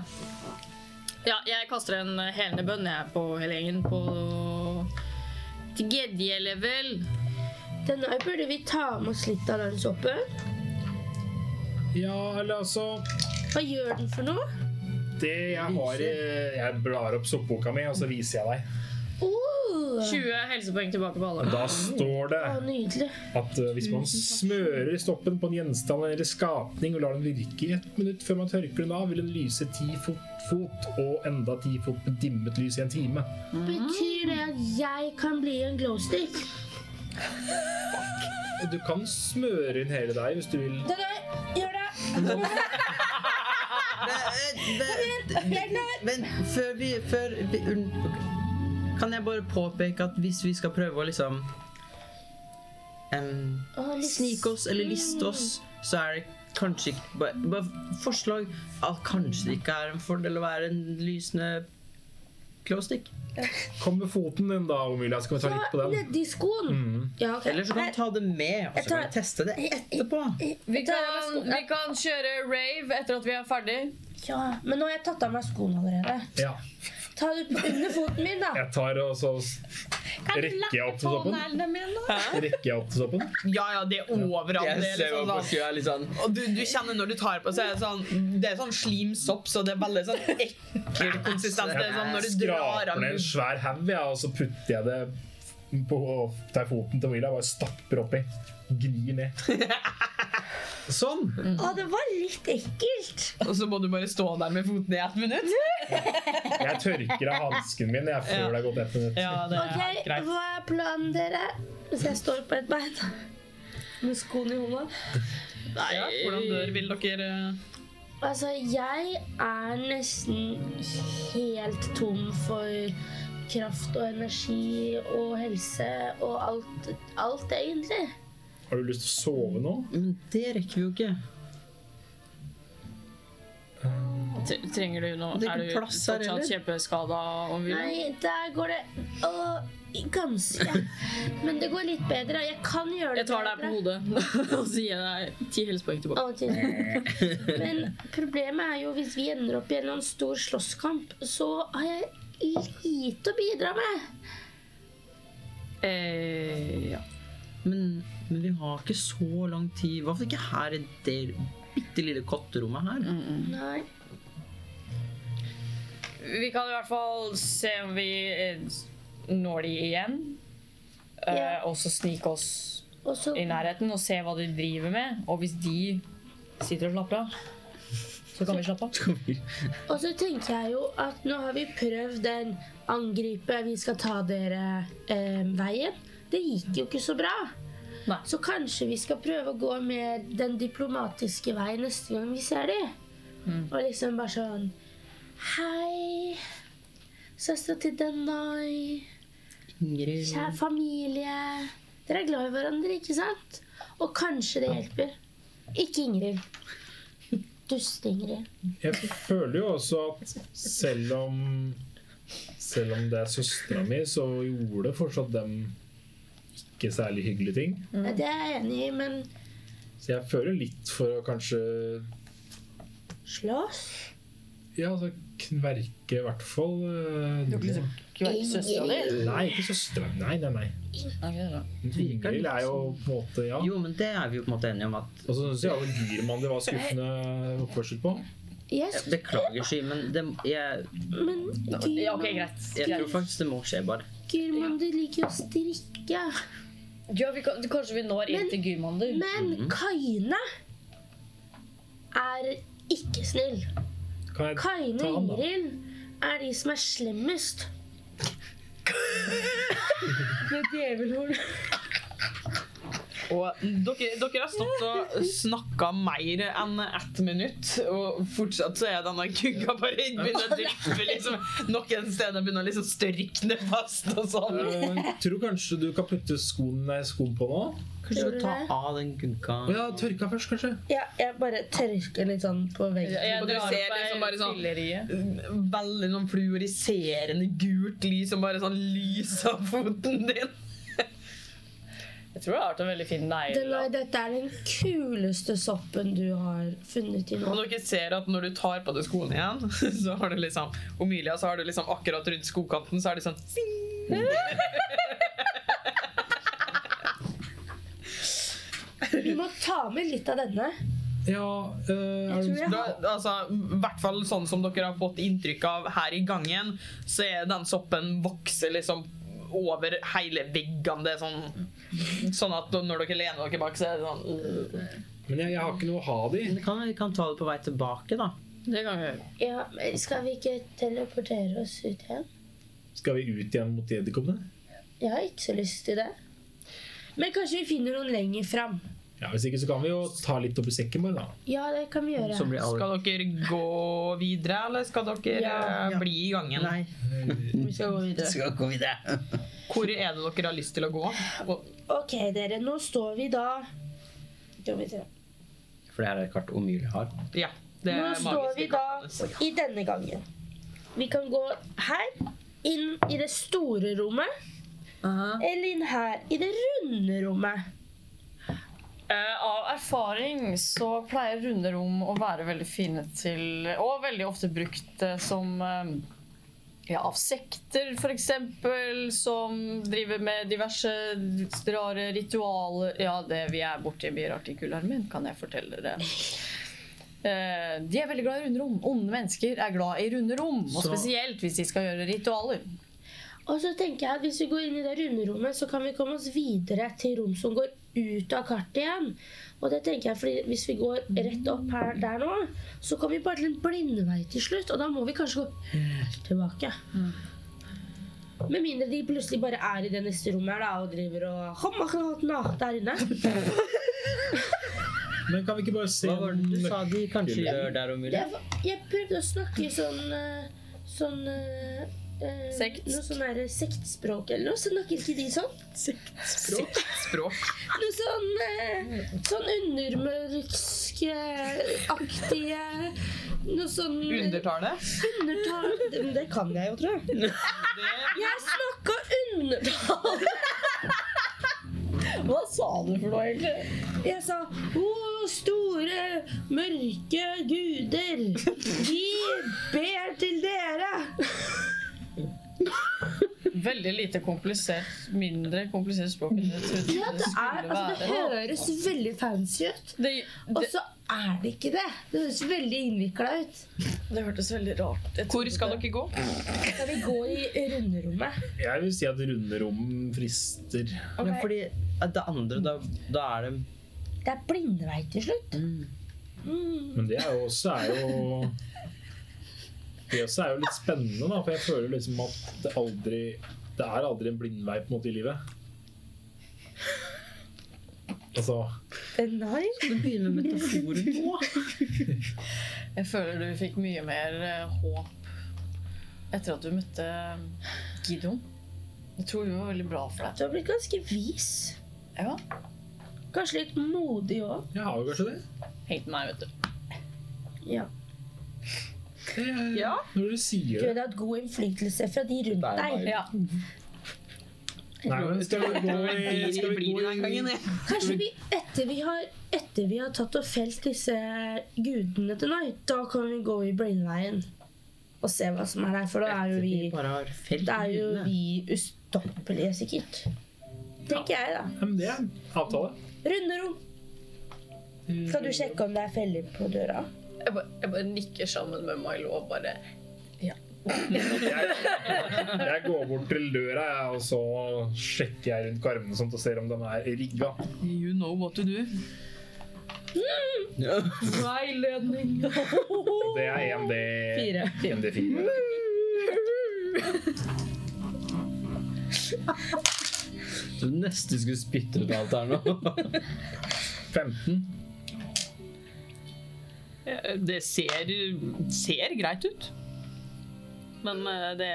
S6: Ja, jeg kaster en helende bønn jeg på hele gjengen på tredje level.
S4: Denne her burde vi ta med oss litt av den såpen.
S2: Ja, eller altså
S4: Hva gjør den for noe?
S2: Det jeg har i Jeg blar opp soppboka mi, og så viser jeg deg.
S4: Oh,
S6: 20 helsepoeng tilbake på alle.
S2: Da står det
S4: å, nydelig.
S2: at eh, hvis man smører stoppen på en gjenstand eller skapning og lar den virke i ett minutt før man tørker den av, vil den lyse ti fot, fot og enda ti fot med dimmet lys i en time.
S4: Betyr det at jeg kan bli en glowstick?
S2: Du kan smøre inn hele deg hvis du vil.
S7: Denai, gjør det!
S5: Men før vi, før vi unn- Kan jeg bare påpeke at hvis vi skal prøve å liksom em,
S4: Å, litt-
S5: Snike oss eller liste oss, så er det kanskje ikke bare, bare forslag at kanskje det ikke er en fordel å være en lysende glowstick.
S2: Kom med foten din, da, Omilia. Skal vi ta litt på
S4: Ja,
S2: den?
S4: Nedi skoen.
S2: Mm.
S4: Ja, ok.
S5: Eller så kan du ta det med, og så kan du teste det etterpå.
S6: Vi
S4: tar av
S6: kan,
S4: meg skoene.
S6: vi kan kjøre rave etter at vi er ferdig.
S4: Ja, men nå har jeg tatt av meg skoene allerede.
S2: Ja.
S4: Ta det på under foten min, da.
S2: Jeg tar og så s- rekker jeg opp til soppen. Rekker jeg opp til soppen?
S1: Ja, ja, det er overalt. Det er liksom sånn,
S5: skua litt sånn
S1: og du, du kjenner når du tar på, så er det sånn Det er sånn slimsopp, så det er veldig sånn ekkel konsistens. Det er sånn når du drar
S2: Skraper
S1: av
S2: ned en svær haug, ja, og så putter jeg det på der foten til Omilia. Bare stapper oppi. Gnir ned. Sånn.
S4: Å, det var litt ekkelt.
S1: Og så må du bare stå der med foten i ett minutt.
S2: Jeg tørker av hansken min jeg før
S1: Ja.
S2: det har gått ett minutt.
S1: Ja, det
S4: Ok,
S1: er greit.
S4: hva er planen, dere? Hvis jeg står på et bein.
S7: Med skoene i hånda.
S1: Nei, hvordan dør vil dere eh?
S4: Altså, jeg er nesten helt tom for kraft og energi og helse og alt, alt egentlig.
S2: Har du lyst til å sove nå?
S5: Men det rekker vi jo ikke.
S6: Tre- Trenger du noe?
S5: Det er
S6: Er
S5: ikke
S6: du
S5: plass her
S6: fortsatt
S5: heller.
S6: kjempeskada? og vil-
S4: Nei, der går det å, ganske. Men det går litt bedre. Jeg kan gjøre
S6: Jeg
S4: det
S6: tar deg på
S4: bedre.
S6: hodet og så gir jeg deg ti helsepoeng tilbake.
S4: Ok. Men problemet er jo hvis vi ender opp i en eller annen stor slåsskamp, så har jeg lite å bidra med.
S6: Eh, ja.
S5: Men, men vi har ikke så lang tid. Hva for ikke her i det bitte lille kotterommet her?
S4: Nei.
S6: Vi kan i hvert fall se om vi eh, når de igjen. Eh,
S4: Ja.
S6: Og så snike oss
S4: Og så
S6: i nærheten og se hva de driver med. Og hvis de sitter og slapper av, så kan vi slappe av.
S4: Og så tenker jeg jo at nå har vi prøvd den angripe, vi skal ta dere eh, veien. Det gikk jo ikke så bra.
S6: Nei.
S4: Så kanskje vi skal prøve å gå mer den diplomatiske veien neste gang vi ser dem. Og liksom bare sånn Hei, søstera til Denai.
S5: Ingrid
S4: Kjære familie. Dere er glad i hverandre, ikke sant? Og kanskje det hjelper. Ikke Ingrid. Dust Ingrid.
S2: Jeg føler jo også at selv om Selv om det er søstera mi, så gjorde fortsatt dem ikke særlig hyggelige ting.
S4: Ja, Det er jeg enig i, men
S2: Så jeg føler litt for å kanskje
S11: Slåss?
S2: Ja, altså kverke i hvert fall. eh,
S12: Du har ikke lyst til å være søstera di?
S2: Nei, ikke søstera. Nei, nei, nei.
S12: Ok, da.
S2: Ingrid er jo på en måte Ja.
S5: Jo, men det er vi jo på en måte enige om at
S2: Og så syns jeg alle Gyrmann det var skuffende oppførsel på.
S4: Jeg
S5: jeg Beklager, Sky, men det, jeg,
S4: Men
S6: Ja, OK, greit.
S5: jeg tror faktisk det må skje, bare.
S4: Gyrmann, du liker jo å strikke.
S13: Ja, vi kan, kanskje vi når inn
S4: Men-
S13: til Gudmander.
S2: Mhm.
S4: Men Kaine er ikke snill.
S2: Kan jeg
S4: Kaine
S2: Ta
S4: og
S2: han, da.
S4: Ingrid er de som er slemmest.
S13: Med djevelhorn.
S1: Og dere, dere har stått og snakka mer enn ett minutt, og fortsatt så er denne kugga bare begynner å dryppe liksom. Noen steder begynner å liksom størkne fast og sånn.
S2: Eh, tror kanskje du kan putte skoen, nei, skoen på nå?
S5: Kanskje du tar av den gunka
S2: Å ja, tørka først, kanskje.
S4: Ja, jeg bare tørker litt sånn på veggen.
S6: Jeg
S1: Og du
S6: drar opp
S1: ser liksom bare
S6: ei
S1: sånn-
S6: fillerie.
S1: Veldig noen fluoriserende gult lys som bare sånn lyser av foten din.
S6: Jeg tror jeg har hatt en veldig fin negle.
S4: Denai, dette er den kuleste soppen du har funnet i nå.
S1: Og dere ser at når du tar på deg skoene igjen, så har du liksom Omilia, så har du liksom akkurat rundt skokanten, så er det sånn «Sing!»
S4: Vi må ta med litt av denne.
S2: Ja, eh, er
S4: Jeg tror
S2: det
S4: jeg
S1: da,
S4: har
S1: altså, i hvert fall sånn som dere har fått inntrykk av her i gangen, så er den soppen vokser liksom over hele veggene. Det er sånn, sånn at når dere lener dere bak, så er det sånn
S2: Men jeg, jeg har ikke noe å ha det i.
S5: Vi kan, vi kan ta det på vei tilbake, da.
S6: Det kan vi gjøre.
S11: Ja, men skal vi ikke teleportere oss ut igjen?
S2: Skal vi ut igjen mot edderkoppene?
S11: Jeg har ikke så lyst til det.
S4: Men kanskje vi finner noen lenger fram.
S2: Ja, hvis ikke så kan vi jo ta litt oppi sekken vår, da.
S11: Ja, det kan vi gjøre.
S5: Så blir alle
S1: Skal dere gå videre, eller skal dere
S5: Ja.
S1: eh, bli i gangen?
S5: Nei,
S12: Vi skal gå videre.
S5: skal gå videre.
S1: Hvor er det dere har lyst til å gå? Og,
S4: Ok, dere, nå står vi da Skal vi se.
S5: For det her er et kart Omilie har.
S1: ja, det
S4: Nå
S1: er
S4: står
S1: magiske
S4: vi
S1: kartene.
S4: da i denne gangen. Vi kan gå her, inn i det store rommet, eller inn her, i det runde rommet.
S6: Eh, av erfaring så pleier runde rom å være veldig fine til Og veldig ofte brukt eh, som eh, ja, av sekter, f.eks., som driver med diverse rare ritualer Ja, det vi er borti mye rart i kularen min, kan jeg fortelle dere. Eh, de er veldig glad i runde rom. Onde mennesker er glad i runde rom. Og
S5: Så-
S6: spesielt hvis de skal gjøre ritualer.
S4: Og så tenker jeg at Hvis vi går inn i det runde rommet, så kan vi komme oss videre til rom som går ut av kartet igjen. Og det tenker jeg, fordi Hvis vi går rett opp her der nå, så kommer vi bare til en blindvei til slutt. Og da må vi kanskje gå helt tilbake. Med mindre de plutselig bare er i det neste rommet her da, og driver og «Hommakanatna» der inne.
S2: Men kan vi ikke bare se
S5: Hva var det Mm. du
S2: om-
S5: sa de kanskje gjør der, Omilie?
S4: Jeg, jeg prøvde å snakke i sånn eh, Sånn eh, eh,
S6: Sekt.
S4: Noe sånn der sektspråk eller noe. Snakker ikke de sånn?
S1: Språk. Språk.
S4: Noe sånn eh, Sånn undermørksaktige Noe sånn
S1: Undertale.
S4: undertal... Det, men det kan jeg jo, tror jeg.
S1: Det
S4: Jeg snakka undertal!
S12: Hva sa du for noe, egentlig?
S4: Jeg sa Å, store, mørke guder, vi ber til dere.
S6: Veldig lite komplisert. Mindre komplisert språk enn jeg trodde
S4: Ja, det, er,
S6: skulle
S4: altså, det
S6: være.
S4: høres veldig fancy ut.
S6: Det,
S4: Og
S6: det,
S4: så er det ikke det. Det høres veldig innvikla ut.
S6: det hørtes veldig rart jeg
S1: Hvor
S6: trodde
S1: skal
S6: det-
S1: dere gå?
S4: Skal vi gå i runderommet?
S2: Jeg vil si at runde rom frister.
S5: Ja, fordi eh, det andre, da, da er det
S4: Det er blindvei til slutt.
S2: Men det er jo også er jo Det også er jo litt spennende, da, for jeg føler liksom at det aldri Det er aldri en blindvei på en måte i livet. Altså
S4: Nei.
S6: Jeg føler du fikk mye mer eh, håp etter at du møtte eh, Gideon. Jeg tror det var veldig bra for deg.
S4: Du har blitt ganske vis.
S6: Ja,
S4: Kanskje litt modig òg.
S2: Jeg har jo kanskje det.
S6: helt meg, vet du.
S4: Ja.
S2: det er-
S1: Ja.
S2: Når du
S4: Du
S2: sier det.
S4: hadde hatt god innflytelse fra de rundt deg.
S6: Ja.
S2: Nei, men skal vi gå i Skal vi
S1: blir
S2: gå
S1: det den
S2: i
S1: gangen, jeg.
S7: Kanskje vi etter vi har, etter vi har tatt og felt disse gudene til Night, da kan vi gå i Brainveien og se hva som er der. For da er jo vi,
S5: bare har felt
S7: da er jo
S5: gudene.
S7: vi ustoppelige, sikkert. Tenker jeg, da.
S2: Ja, men det er en avtale.
S7: Runderom. Skal du sjekke om det er feller på døra?
S6: Jeg bare, jeg bare nikker sammen med Milo og bare
S2: Jeg, jeg går bort til døra, jeg, og så sjekker jeg rundt karmene sånt og ser om de er rigga.
S1: You know what to do.
S5: Ja.
S3: Veiledning.
S2: Og det er 1D
S3: Fire.
S2: 1D4.
S5: Du nesten skulle spytte ut alt her nå.
S2: 15.
S1: Eh, Det ser, ser greit ut. Men eh, det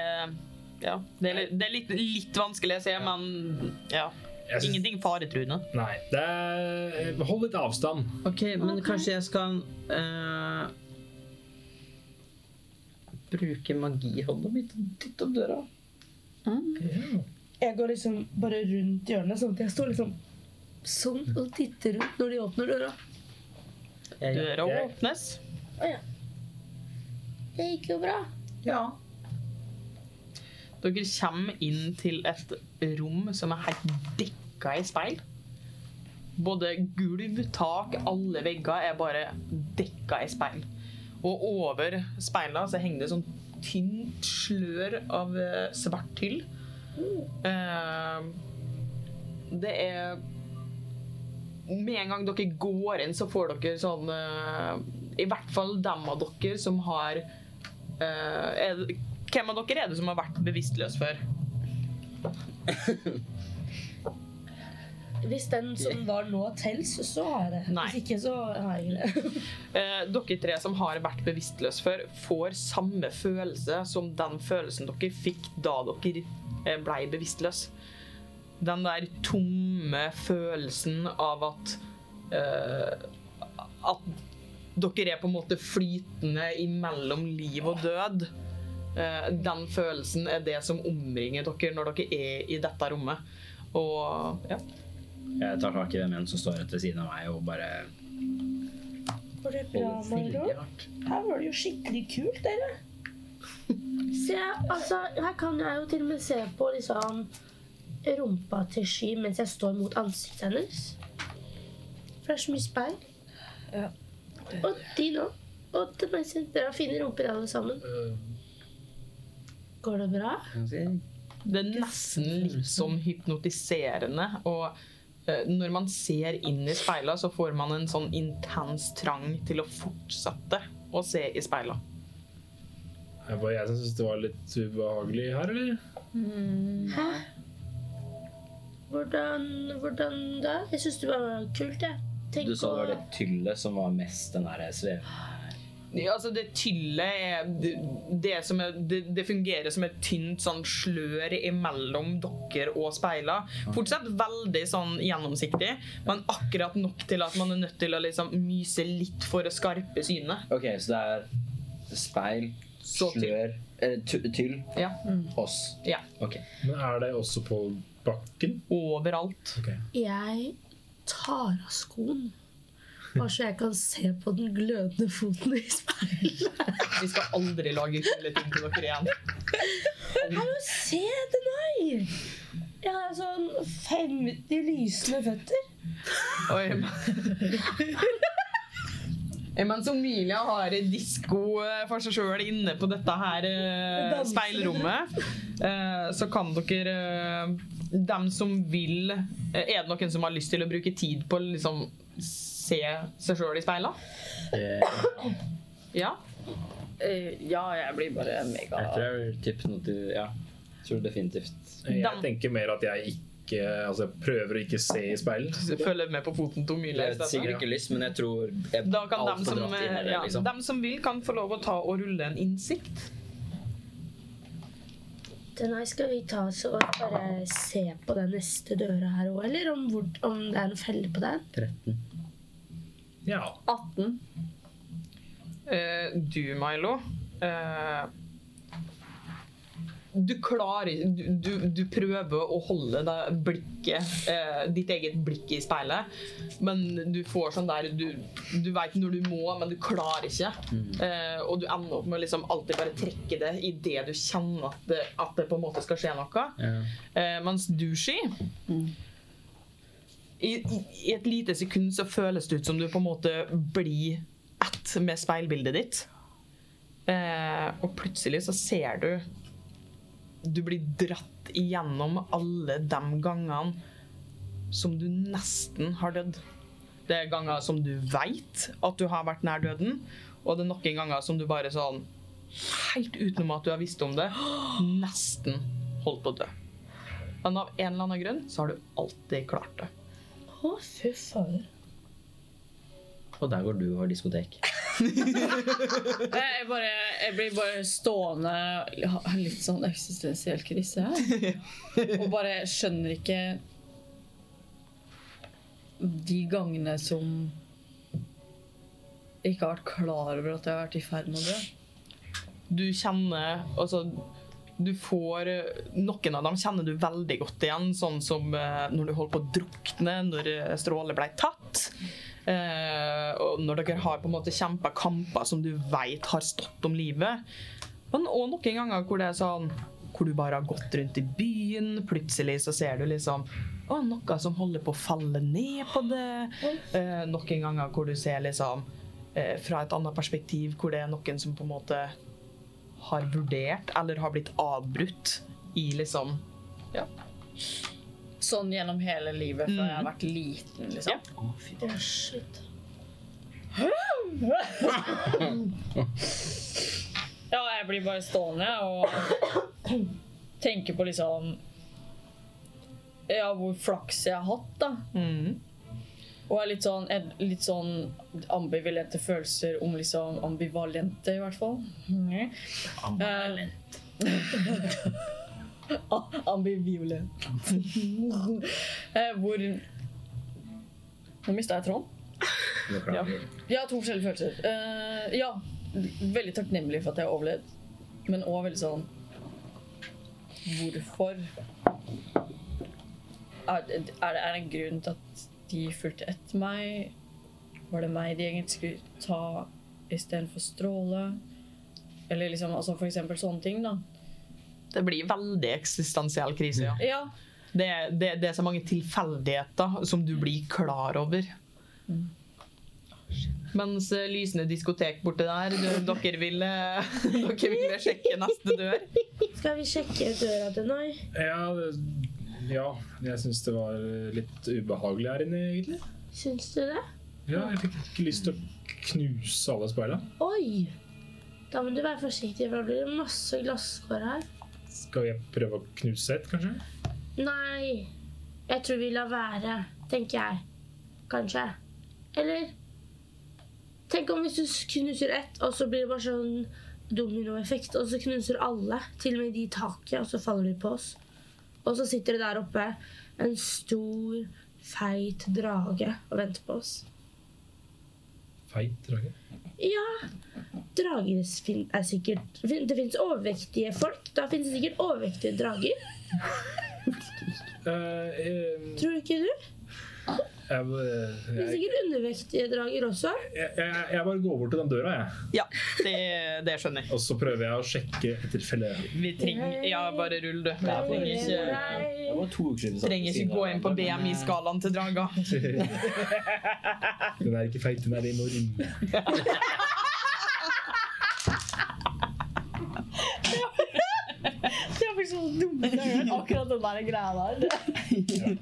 S1: Ja. Det er, li- det er litt, litt vanskelig å se, men ja.
S2: Jeg syns-
S1: Ingenting faretruende.
S2: Nei. Det er, hold litt avstand.
S5: Ok, men kanskje jeg skal eh, Bruke magihånda mi til å dytte opp døra?
S7: Jeg går liksom bare rundt hjørnet, sånn at jeg står liksom sånn og titter rundt når de åpner døra.
S5: Jeg,
S1: Døra
S2: Jeg-
S1: åpnes.
S4: Det gikk jo bra.
S5: ja.
S1: Dere kommer inn til et rom som er helt dekka i speil. Både gulv, tak, alle vegger er bare dekka i speil. Og over speilene så henger det sånn tynt slør av eh, svart tyll. Eh, det er Med en gang dere går inn, så får dere sånn eh, I hvert fall dem av dere som har eh, er, Hvem av dere er det som har vært bevisstløs før?
S7: Hvis den som var nå tels, så har jeg det.
S1: Nei.
S7: Hvis ikke, så har jeg ikke det.
S1: Eh, dere tre som har vært bevisstløs før, får samme følelse som den følelsen dere fikk da dere eh, ble bevisstløs. Den der tomme følelsen av at eh, At dere er på en måte flytende imellom liv og død. Eh, den følelsen er det som omringer dere når dere er i dette rommet. Og ja.
S5: Jeg tar tak i den en som står rett ved siden av meg, og bare
S7: Går det bra, Margot?
S5: holder stille hardt.
S7: Her var det jo skikkelig kult, dere.
S4: Se, altså, her kan jeg jo til og med se på liksom rumpa til Sky mens jeg står mot ansiktet hennes. For det er så mye speil.
S3: Ja.
S4: Og de nå. Og til meg selv. Dere har fine rumper alle sammen.
S2: Eh,
S4: Går det bra?
S1: Det er nesten litt sånn hypnotiserende. Og eh, når man ser inn i speila, så får man en sånn intens trang til å fortsette å se i speila.
S2: Det var jeg som syntes det var litt ubehagelig her, eller?
S4: Hæ? Hvordan, hvordan da? Jeg syns det var kult, jeg. Tenk
S5: Du sa det
S4: å-
S5: var det tyllet som var mest den der svevende
S1: Ja, Altså, det tyllet er det, det, som er det, det fungerer som et tynt sånn slør imellom dere og speila. Fortsatt veldig sånn gjennomsiktig, men akkurat nok til at man er nødt til å liksom myse litt for å skarpe synet.
S5: Ok, så det er speil,
S1: Så til.
S5: slør, eh, ty- tyll,
S1: Ja.
S5: oss.
S1: Ja.
S5: Ok.
S2: Men er det også på bakken?
S1: Overalt.
S7: Jeg tar av skoen. Bare så jeg kan se på den glødende foten i speilet.
S1: Vi skal aldri lage kule ting til dere igjen.
S7: Hallo, se til meg! Jeg har sånn 50 lysende føtter.
S1: Oi. Eh, Mens Omilia har disko eh, for seg sjøl inne på dette her eh,
S7: Danser.
S1: speilrommet, eh, så kan dere eh, Dem som vil eh, Er det noen som har lyst til å bruke tid på å liksom se seg sjøl i speila?
S5: Eh,
S1: Ja?
S6: eh, Ja, jeg blir bare mega
S5: jeg tror jeg tipper noe til, ja. Jeg tror definitivt.
S2: Jeg
S1: Dam-
S2: tenker mer at jeg ikke Altså, jeg prøver å ikke se i speilet.
S1: Følg med på foten til Omilia.
S5: Jeg
S1: i
S5: vet
S1: stedet.
S5: sikkert ikke lyst, men jeg tror jeg
S1: altså. Da kan
S5: alt
S1: dem
S5: for
S1: som, eh,
S5: dratt inn i det,
S1: ja,
S5: liksom.
S1: dem som vil, kan få lov å ta og rulle en innsikt.
S7: Den her skal vi ta så og bare se på den neste døra her òg, eller om, hvor, om det er en felle på den.
S5: 13.
S2: Ja.
S6: 18.
S1: Eh, du, Milo eh, du klarer du, du, du prøver å holde deg blikket, eh, ditt eget blikk i speilet, men du får sånn der Du, du veit når du må, men du klarer ikke. Eh, og du ender opp med å liksom alltid bare trekke det idet du kjenner at det, at det på en måte skal skje noe.
S5: Ja.
S1: Eh, mens Dushi i, i, I et lite sekund så føles det ut som du på en måte blir ett med speilbildet ditt. Eh, og plutselig så ser du Du blir dratt igjennom alle de gangene som du nesten har dødd. Det er ganger som du veit at du har vært nær døden, og det er noen ganger som du bare sånn Helt utenom at du har visst om det, nesten holdt på å dø. Men av en eller annen grunn så har du alltid klart det.
S10: Å, fy fader.
S5: Og der hvor du har diskotek.
S6: Nei, Jeg, bare, jeg blir bare stående jeg har litt sånn eksistensiell krise her. Og bare skjønner ikke de gangene som jeg ikke har vært klar over at jeg har vært i ferd med å dø.
S1: Du kjenner Altså, du får eh, Noen av dem kjenner du veldig godt igjen, sånn som eh, når du holdt på å drukne, når eh, stråler ble tatt. Eh, og når dere har på en måte kjempa kamper som du veit har stått om livet. Men òg noen ganger hvor det er sånn Hvor du bare har gått rundt i byen, plutselig så ser du liksom å, noe som holder på å falle ned på det. Eh, noen ganger hvor du ser liksom eh, fra et annet perspektiv, hvor det er noen som på en måte har vurdert eller har blitt avbrutt i liksom
S6: Sånn gjennom hele livet fra jeg har
S1: Mm.
S6: vært liten, liksom.
S1: Ja.
S6: Ja, jeg blir bare stående og tenker på liksom Ja, hvor flaks jeg har hatt, da.
S1: mm,
S6: Og er litt sånn, er litt sånn ambivalente følelser om liksom ambivalente, i hvert fall. Mm. Ambivalent. ambivalent. Eh, Hvor Nå mista jeg tråden.
S5: Beklager.
S6: Jeg har to forskjellige følelser. Eh, ja, veldig takknemlig for at jeg har overlevd. Men òg veldig sånn Hvorfor er, er, det, er det en grunn til at de fulgte etter meg? Var det meg de egentlig skulle ta istedenfor Stråle? Eller liksom, altså for eksempel sånne ting, da.
S1: Det blir veldig eksistensiell krise, ja.
S6: Ja,
S1: Det, er- det, det er så mange tilfeldigheter som du blir klar over. Mens eh, lysende diskotek borte der, du- dere ville, dere ville sjekke neste dør.
S7: Skal vi sjekke døra til Noi?
S2: Ja, det- ja jeg syns det var litt ubehagelig her inne, egentlig.
S7: Syns du det?
S2: Ja, jeg fikk ikke lyst til å knuse alle speila.
S7: Oi! Da må du være forsiktig, for da blir det masse glasskår her.
S2: Skal jeg prøve å knuse et, kanskje?
S7: Nei, jeg tror vi lar være, tenker jeg. Kanskje. Eller Tenk om hvis du s- knuser ett, og så blir det bare sånn dominoeffekt, og så knuser alle, til og med de i taket, og så faller de på oss. Og så sitter det der oppe en stor, feit drage og venter på oss.
S2: Feit drage.
S7: Ja, drager fin- er sikkert fin- Det fins overvektige folk. Da fins det sikkert overvektige drager.
S2: Eh, eh,
S7: Tror ikke du?
S2: jeg,
S7: Det er
S2: jeg,
S7: sikkert undervektige drager også.
S2: jeg, jeg, jeg bare går bort til den døra, jeg.
S1: Ja, det, det skjønner jeg.
S2: Og så prøver jeg å sjekke etter felle.
S1: Vi trenger Ja, bare rull, du. Jeg trenger ikke,
S5: Det var to uker siden. vi satt
S1: trenger
S5: ved siden
S1: ikke gå
S5: av
S1: inn på
S5: hverandre, men, eh,
S1: BMI-skalaen til draga.
S2: den er ikke feit, den er enorm.
S6: det er faktisk sånn dumme greier. Akkurat den der greia der.
S2: Ja,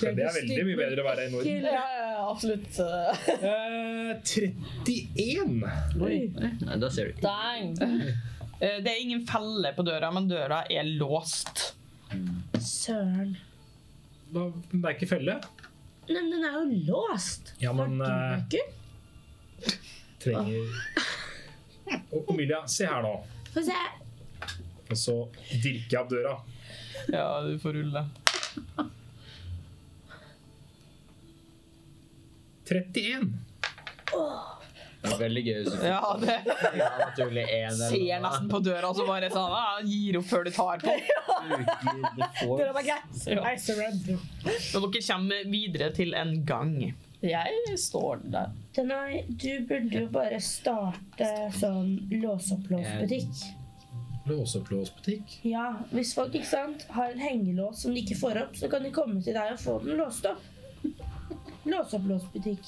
S2: det er veldig mye bedre å være enorm.
S6: Ja, ja, ja, absolutt. eh,
S2: Eh, 31.
S5: Nei, da ser du ikke.
S6: Dang.
S1: Eh, Det er ingen felle på døra, men døra er låst.
S7: Søren.
S2: Da, det er ikke felle.
S7: Nei, men den er jo låst.
S2: Ja, men
S7: Har
S2: eh,
S7: du nøkkel?
S2: trenger Og Emilia, se her nå.
S7: Få se.
S2: Og så dirker jeg opp døra.
S1: Ja, du får rulle.
S2: 31.
S5: Det er veldig gøy hvis du
S1: Ja, det
S5: fikk av naturlig en
S1: ser nesten på døra og så bare sånn ja, Gir opp før du tar på.
S5: Dere var
S10: I surrender.
S1: Og dere kommer videre til en gang.
S6: Jeg står der.
S4: Denai, du burde jo bare starte sånn lås-opp-lås-butikk.
S2: Eh.
S5: Låseblåsbutikk.
S4: Ja, hvis folk ikke sant, har en hengelås som de ikke får opp, så kan de komme til deg og få den låst opp. Lås-opp-lås-butikk.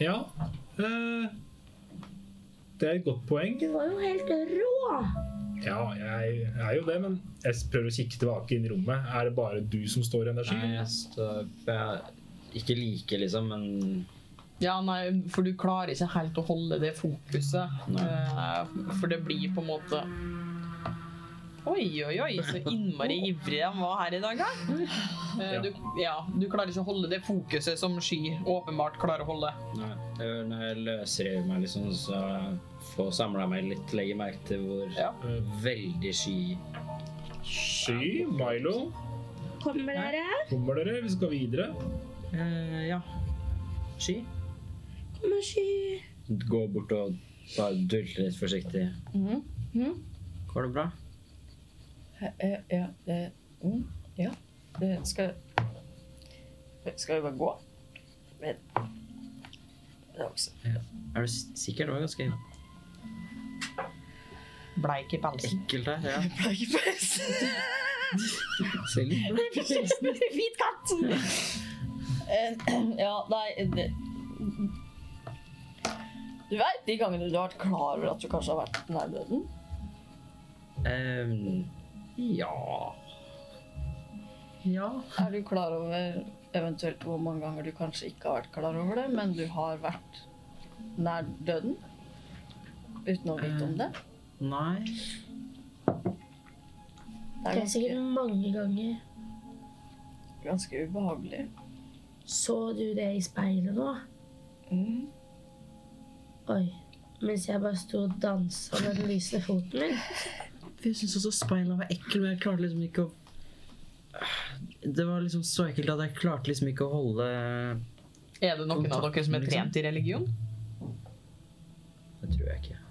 S2: Ja. eh, det er et godt poeng.
S4: Du var jo helt rå!
S2: Ja, jeg er jo det, men jeg prøver å kikke tilbake inn i rommet. Er det bare du som står i energi?
S5: Nei, jeg står jeg, Ikke like, liksom, men
S1: Ja, nei, for du klarer ikke helt å holde det fokuset. eh, For det blir på en måte Oi, oi, oi, så innmari ivrig de var her i dag, da. Eh,
S2: Ja.
S1: Du, ja, du klarer ikke å holde det fokuset som Sky åpenbart klarer å holde.
S5: Nei, jeg- når jeg løsriver meg, liksom, så får samla meg litt, legger merke til hvor
S1: Ja.
S5: veldig sky
S2: Sky, Milo,
S4: Kommer dere?
S2: kommer dere? Vi skal videre.
S1: Eh, ja.
S5: Sky?
S4: Kommer sky.
S5: Gå bort og bare dulte litt forsiktig. Går det bra?
S6: Eh, Ja, det, mm, ja. Det skal Skal vi bare gå? Men det er også
S5: Er du s- sikker? Det var ganske
S1: Bleik i pelsen.
S5: ekkelt her. Ja.
S6: Plaggefest!
S5: Ser litt bra ut.
S6: Hvit katt! Eh, ja, nei det, Du veit de gangene du har vært klar over at du kanskje har vært nær døden?
S5: Ehm, ja Ja.
S6: Er du klar over eventuelt hvor mange ganger du kanskje ikke har vært klar over det, men du har vært nær døden? Uten å vite om det?
S5: Nei.
S6: Det er
S4: Det er sikkert
S6: ganske,
S4: mange ganger.
S6: ganske ubehagelig.
S4: Så du det i speilet nå?
S6: Mm.
S4: Oi. Mens jeg bare sto og dansa med den lysende foten min.
S5: For jeg syntes også speilene var ekle, men jeg klarte liksom ikke å Det var liksom så ekkelt at jeg klarte liksom ikke å holde
S1: Er det noen av dere som er trent i religion?
S5: Det tror jeg ikke.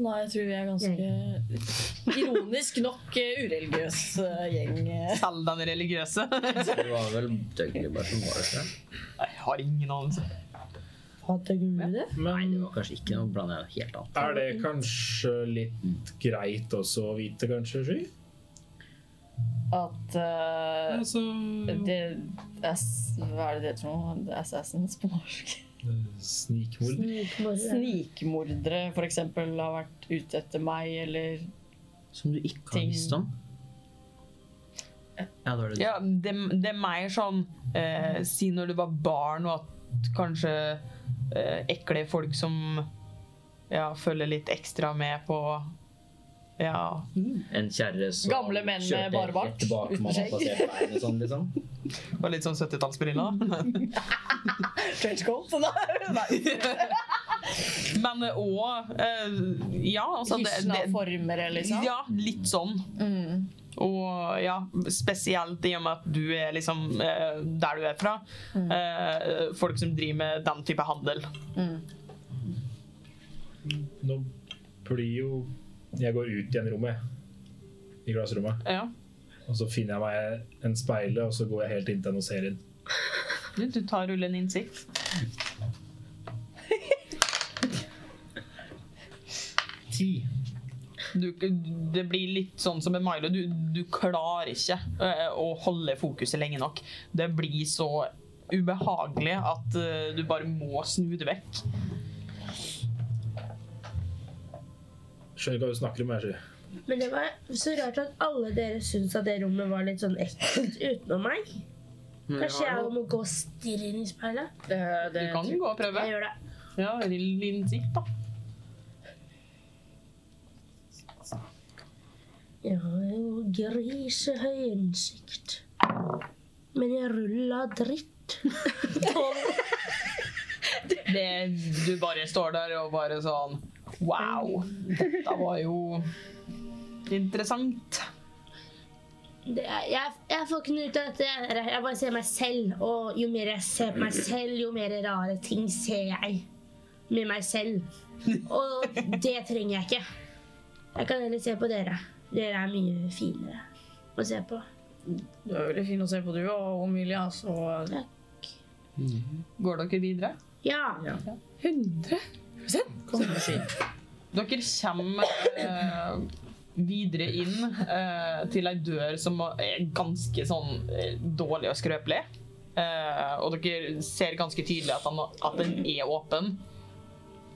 S6: Nei, jeg tror vi er ganske ironisk nok eh, ureligiøs eh, gjeng. eh.
S1: Selv den religiøse?
S5: Det var vel døgnlig bare som var det. tror jeg.
S1: Jeg har ingen anelse.
S5: Nei, det
S2: Men
S5: var kanskje ikke noe blander jeg helt annet.
S2: er det kanskje litt greit også å vite, kanskje, Sky?
S6: At eh,
S2: Altså
S6: det er, s- Hva er det det heter for noe? Det er Assassins på norsk.
S2: eh, Snikmord.
S4: Snikmorder.
S6: Snikmordere for eksempel har vært ute etter meg, eller
S5: Som du ikke har
S6: Ting.
S5: visst om? Ja, det var det du
S1: Ja, det, det er mer sånn eh, Si når du var barn, og at kanskje eh, ekle folk som ja, følger litt ekstra med på Ja.
S5: En kjerre som
S6: Gamle menn med bare bart,
S5: rett bak
S6: uten
S5: man har
S6: skjegg.
S5: passert veien og sånn, liksom.
S1: Det var litt sånn 70-tallsbriller.
S6: trenchcoat. Nei.
S1: Men òg eh, Ja, altså det,
S6: Hysjende
S1: det,
S6: former, liksom.
S1: Ja, litt sånn.
S6: Mm.
S1: Og ja, spesielt i og med at du er liksom eh, der du er fra. Eh, folk som driver med den type handel.
S6: mm.
S2: Nå blir jo Jeg går ut igjen i rommet. I glassrommet.
S1: Ja.
S2: Og så finner jeg meg en speile, og så går jeg helt inntil den og ser inn.
S1: Du, du tar rullen innsikt. du, det blir litt sånn som med Milo. Du, du klarer ikke eh, å holde fokuset lenge nok. Det blir så ubehagelig at eh, du bare må snu det vekk.
S2: Skjønner ikke hva du snakker om, jeg, Sky.
S4: Men det var så rart at alle dere syns at det rommet var litt sånn ekkelt utenom meg.
S5: Men jeg
S4: Kanskje
S5: har
S4: jeg
S5: jo-
S4: må gå og stirre inn i speilet?
S6: Det,
S1: Du
S6: det,
S1: kan gå og prøve.
S4: Jeg gjør det.
S1: Ja, rull innsikt, da.
S4: Jeg har jo grisehøy innsikt. Men jeg rulla dritt.
S1: Det, du bare står der og bare sånn Wow, dette var jo interessant.
S4: Det er, jeg, jeg får ikke noe ut av dette. Jeg, jeg bare ser meg selv. Og jo mer jeg ser på meg selv, jo mer rare ting ser jeg.
S7: med meg selv. Og det trenger jeg ikke. Jeg kan heller se på dere. Dere er mye finere å se på.
S6: Du er veldig fin å se på, du og Omilia, så
S1: Går dere videre?
S7: Ja.
S6: 100
S1: Dere kommer eh, videre inn eh, til ei dør som er ganske sånn eh, dårlig og skrøpelig. Eh, og dere ser ganske tydelig at, han, at den er åpen.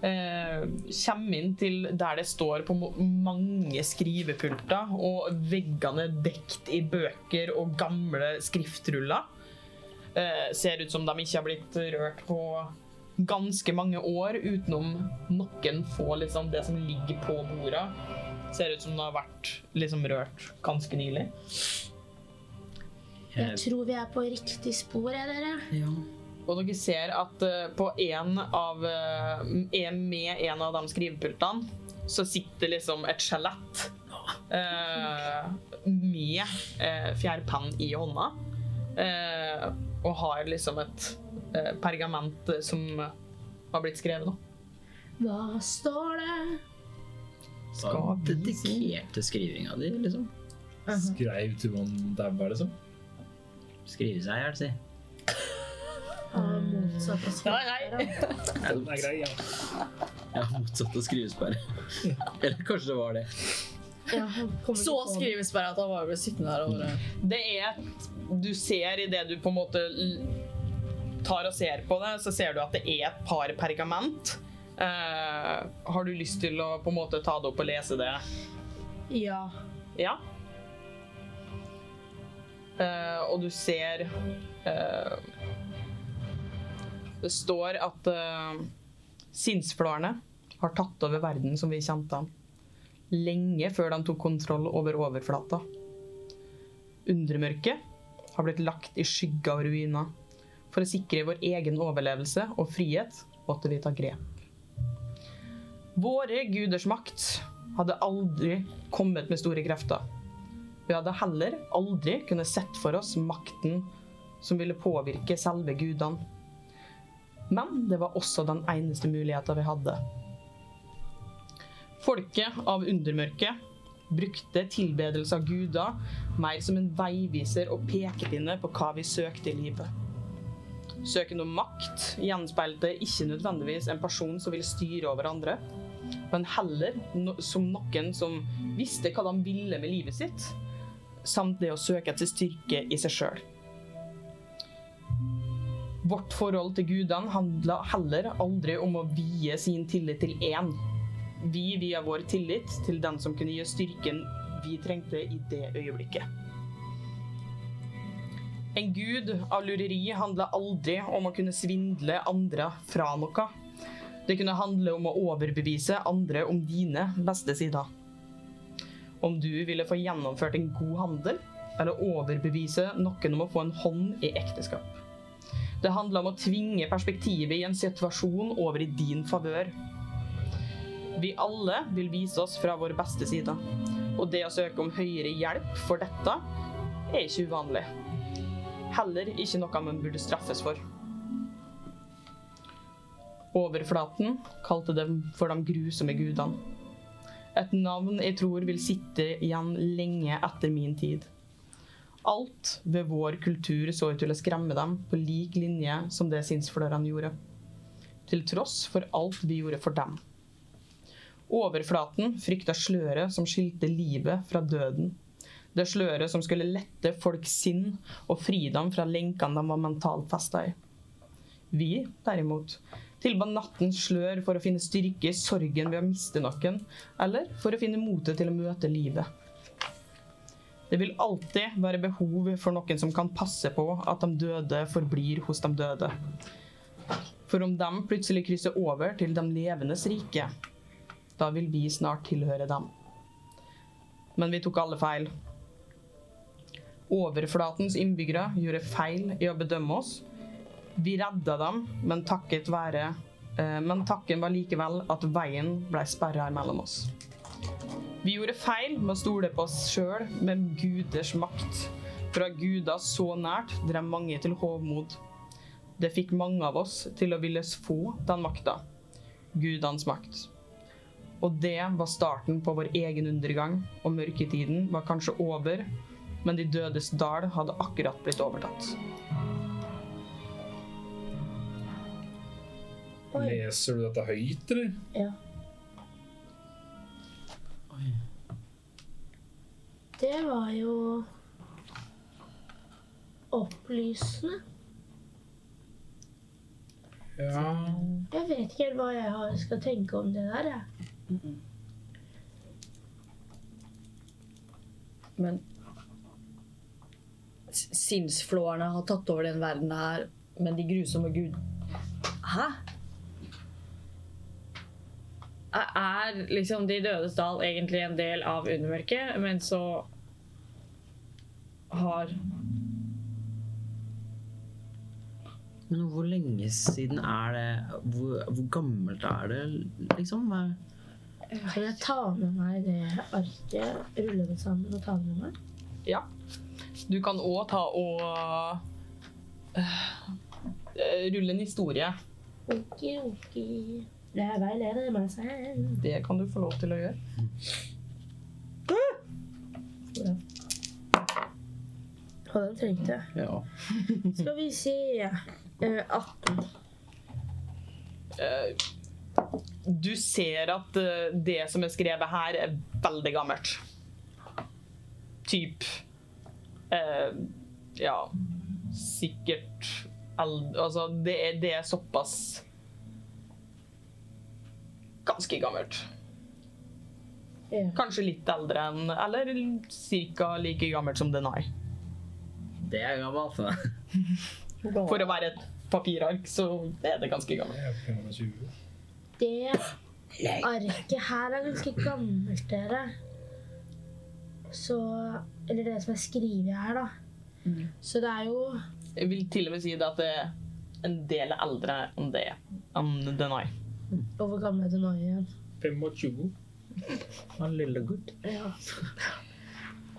S1: Eh, kommer inn til der det står på mo- mange skrivepulter, og veggene er dekt i bøker og gamle skriftruller. Eh, ser ut som de ikke har blitt rørt på ganske mange år utenom noen få liksom, det som ligger på bordet. Ser ut som det har vært liksom, rørt ganske nylig.
S5: Eh,
S4: Jeg tror vi er på riktig spor, jeg, dere.
S1: Og dere ser at eh, på en av eh, en- Med en av de skrivepultene så sitter liksom et skjelett eh, med eh, fjærpenn i hånda. eh, og har liksom et eh, pergament eh, som har blitt skrevet, da.
S4: Hva står det?
S1: Skal vi
S5: Dedikerte skrivinga di, liksom.
S2: Skreiv til man daua, liksom.
S5: Skrive seg i hjel, si.
S4: Ah, motsatt av
S6: Nei, nei.
S2: Den er grei, ja.
S5: Ja, motsatt av skrivesperre. Eller kanskje det var det.
S6: Så skrivesperre at han bare ble sittende der og bare
S1: Det er et Du ser i det du på en måte l- tar og ser på det, så ser du at det er et par pergament. Eh, har du lyst til å på en måte ta det opp og lese det?
S7: Ja.
S1: Ja. Eh, og du ser eh, Det står at uh, sinnsflarene har tatt over verden som vi kjente den. Lenge før de tok kontroll over overflata. Undremørket har blitt lagt i skygge av ruiner. For å sikre vår egen overlevelse og frihet måtte vi ta grep. Våre guders makt hadde aldri kommet med store krefter. Vi hadde heller aldri kunnet sett for oss makten som ville påvirke selve gudene. Men det var også den eneste muligheten vi hadde. Folket av undermørket brukte tilbedelse av guder mer som en veiviser og pekepinne på hva vi søkte i livet. Søken om makt gjenspeilte ikke nødvendigvis en person som ville styre over andre, men heller no som noen som visste hva de ville med livet sitt, samt det å søke etter styrke i seg sjøl. Vårt forhold til gudene handla heller aldri om å vie sin tillit til én. Vi via vår tillit til den som kunne gi styrken vi trengte i det øyeblikket. En gud av lureri handla aldri om å kunne svindle andre fra noe. Det kunne handle om å overbevise andre om dine beste sider. Om du ville få gjennomført en god handel, eller overbevise noen om å få en hånd i ekteskap. Det handla om å tvinge perspektivet i en situasjon over i din favør. Vi alle vil vise oss fra vår beste side, og det å søke om høyere hjelp for dette er ikke uvanlig. Heller ikke noe man burde straffes for. Overflaten kalte dem for de grusomme gudene. Et navn jeg tror vil sitte igjen lenge etter min tid. Alt ved vår kultur så ut til å skremme dem på lik linje som det sinnsflørene gjorde. Til tross for alt vi gjorde for dem. Overflaten frykta sløret som skilte livet fra døden. Det sløret som skulle lette folks sinn og fri dem fra lenkene de var mentalt festa i. Vi, derimot, tilba nattens slør for å finne styrke i sorgen ved å miste noen, eller for å finne motet til å møte livet. Det vil alltid være behov for noen som kan passe på at de døde forblir hos de døde. For om de plutselig krysser over til de levendes rike, da vil vi snart tilhøre dem. Men vi tok alle feil. Overflatens innbyggere gjorde feil i å bedømme oss, vi redda dem, men takket være eh, Men takken var likevel at veien ble sperra mellom oss. Vi gjorde feil med å stole på oss sjøl med guders makt. Fra guder så nært drev mange til hovmod. Det fikk mange av oss til å ville få den makta. gudenes makt. Og det var starten på vår egen undergang, og mørketiden var kanskje over, men de dødes dal hadde akkurat blitt overtatt.
S2: Leser du dette høyt, eller?
S4: Det var jo opplysende.
S2: Ja
S4: Jeg vet ikke helt hva jeg har- skal tenke om det der. Jeg.
S3: Men s- sinnsflåerne har tatt over den verden her, men de grusomme gud... Hæ?
S6: Er- Er liksom De dødes dal egentlig en del av undermørket, men så har
S5: Men hvor lenge siden er det Hvor, hvor gammelt er det, liksom? Er-
S4: Kan jeg ta med meg det arket, rulle det sammen og ta det med meg?
S1: Du kan òg ta og øh, rulle en historie.
S4: Oki, oki. Jeg veileder meg selv.
S1: Det kan du få lov til å gjøre.
S4: Og den trengte jeg.
S5: Ja.
S4: Skal vi se eh, 18.
S1: Eh, du ser at eh, det som er skrevet her, er veldig gammelt. Typ eh, Ja, sikkert eld, Altså, det er, det er såpass Ganske gammelt.
S4: Ja.
S1: Kanskje litt eldre enn Eller ca. like gammelt som Denai.
S5: Det er gammelt. da.
S1: For å være et papirark, så er det ganske gammelt.
S2: Jeg er 25.
S4: Det arket her er ganske gammelt, dere. Så Eller det som er skrevet her, da. Så det er jo
S1: Jeg vil til og med si det at det er en del eldre enn det enn Denai.
S4: Og hvor gammel er du nå igjen?
S2: 25.
S5: Han lille gutt.
S4: Ja.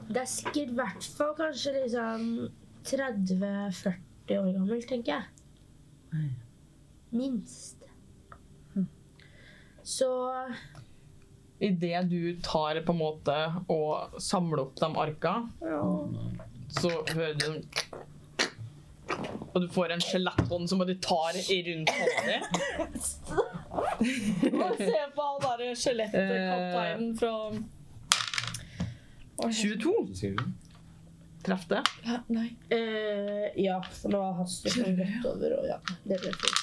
S4: Det er sikkert i hvert fall kanskje liksom 30-40 år gammelt, tenker jeg. Minst. Så
S1: Idet du tar på en måte og samler opp de arka, så hører du Og du får en skjeletthånd som bare tar i rundt håret.
S6: Å, Se på han derre skjelettkapteinen fra
S1: 22. Treff det.
S6: Hæ? Nei.
S10: Eh, ja, for det var hastig som rett over, og ja. Det ble fint.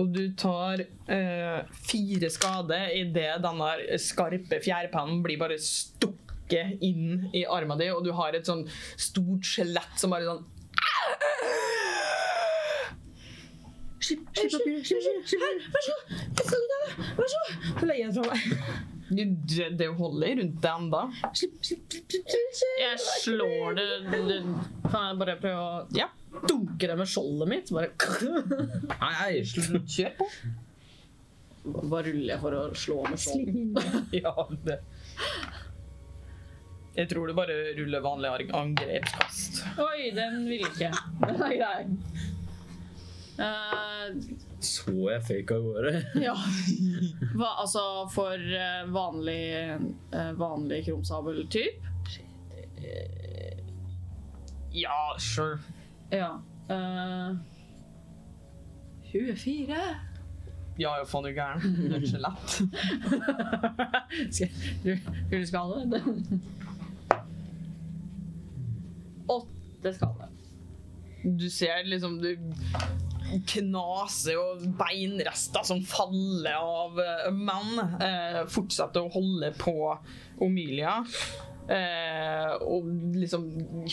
S1: Og du tar eh, fire skader idet denne skarpe fjærpennen blir bare stukket inn i armen din, og du har et sånn stort skjelett som bare sånn Slipp, slipp, slipp, slipp, slipp, slipp, slipp, slipp,
S6: Jeg slår det, det Kan jeg bare prøve å
S1: Ja.
S6: dunke det med skjoldet mitt? Bare
S5: Nei, nei, slutt.
S1: slipp, slipp,
S6: Hva ruller jeg for å slå med skjold?
S1: slipp, slipp, slipp, slipp, jeg tror du bare ruller vanlig arg- angrepskast.
S6: Oi, den ville ikke. Den er grei. Eh,
S5: Så jeg fake av gårde?
S6: Ja. Hva, altså for eh, vanlig, eh, vanlig krumsabeltyp?
S1: Ja, sure.
S6: Ja. eh, 24.
S1: Ja, ja, faen, du er gæren. Det er et skjelett.
S6: Skal jeg rulle skade? Åtte skade.
S1: Du ser liksom du knaser og beinrester som faller av eh, menn. Eh, fortsetter å holde på Omilia. Eh, og liksom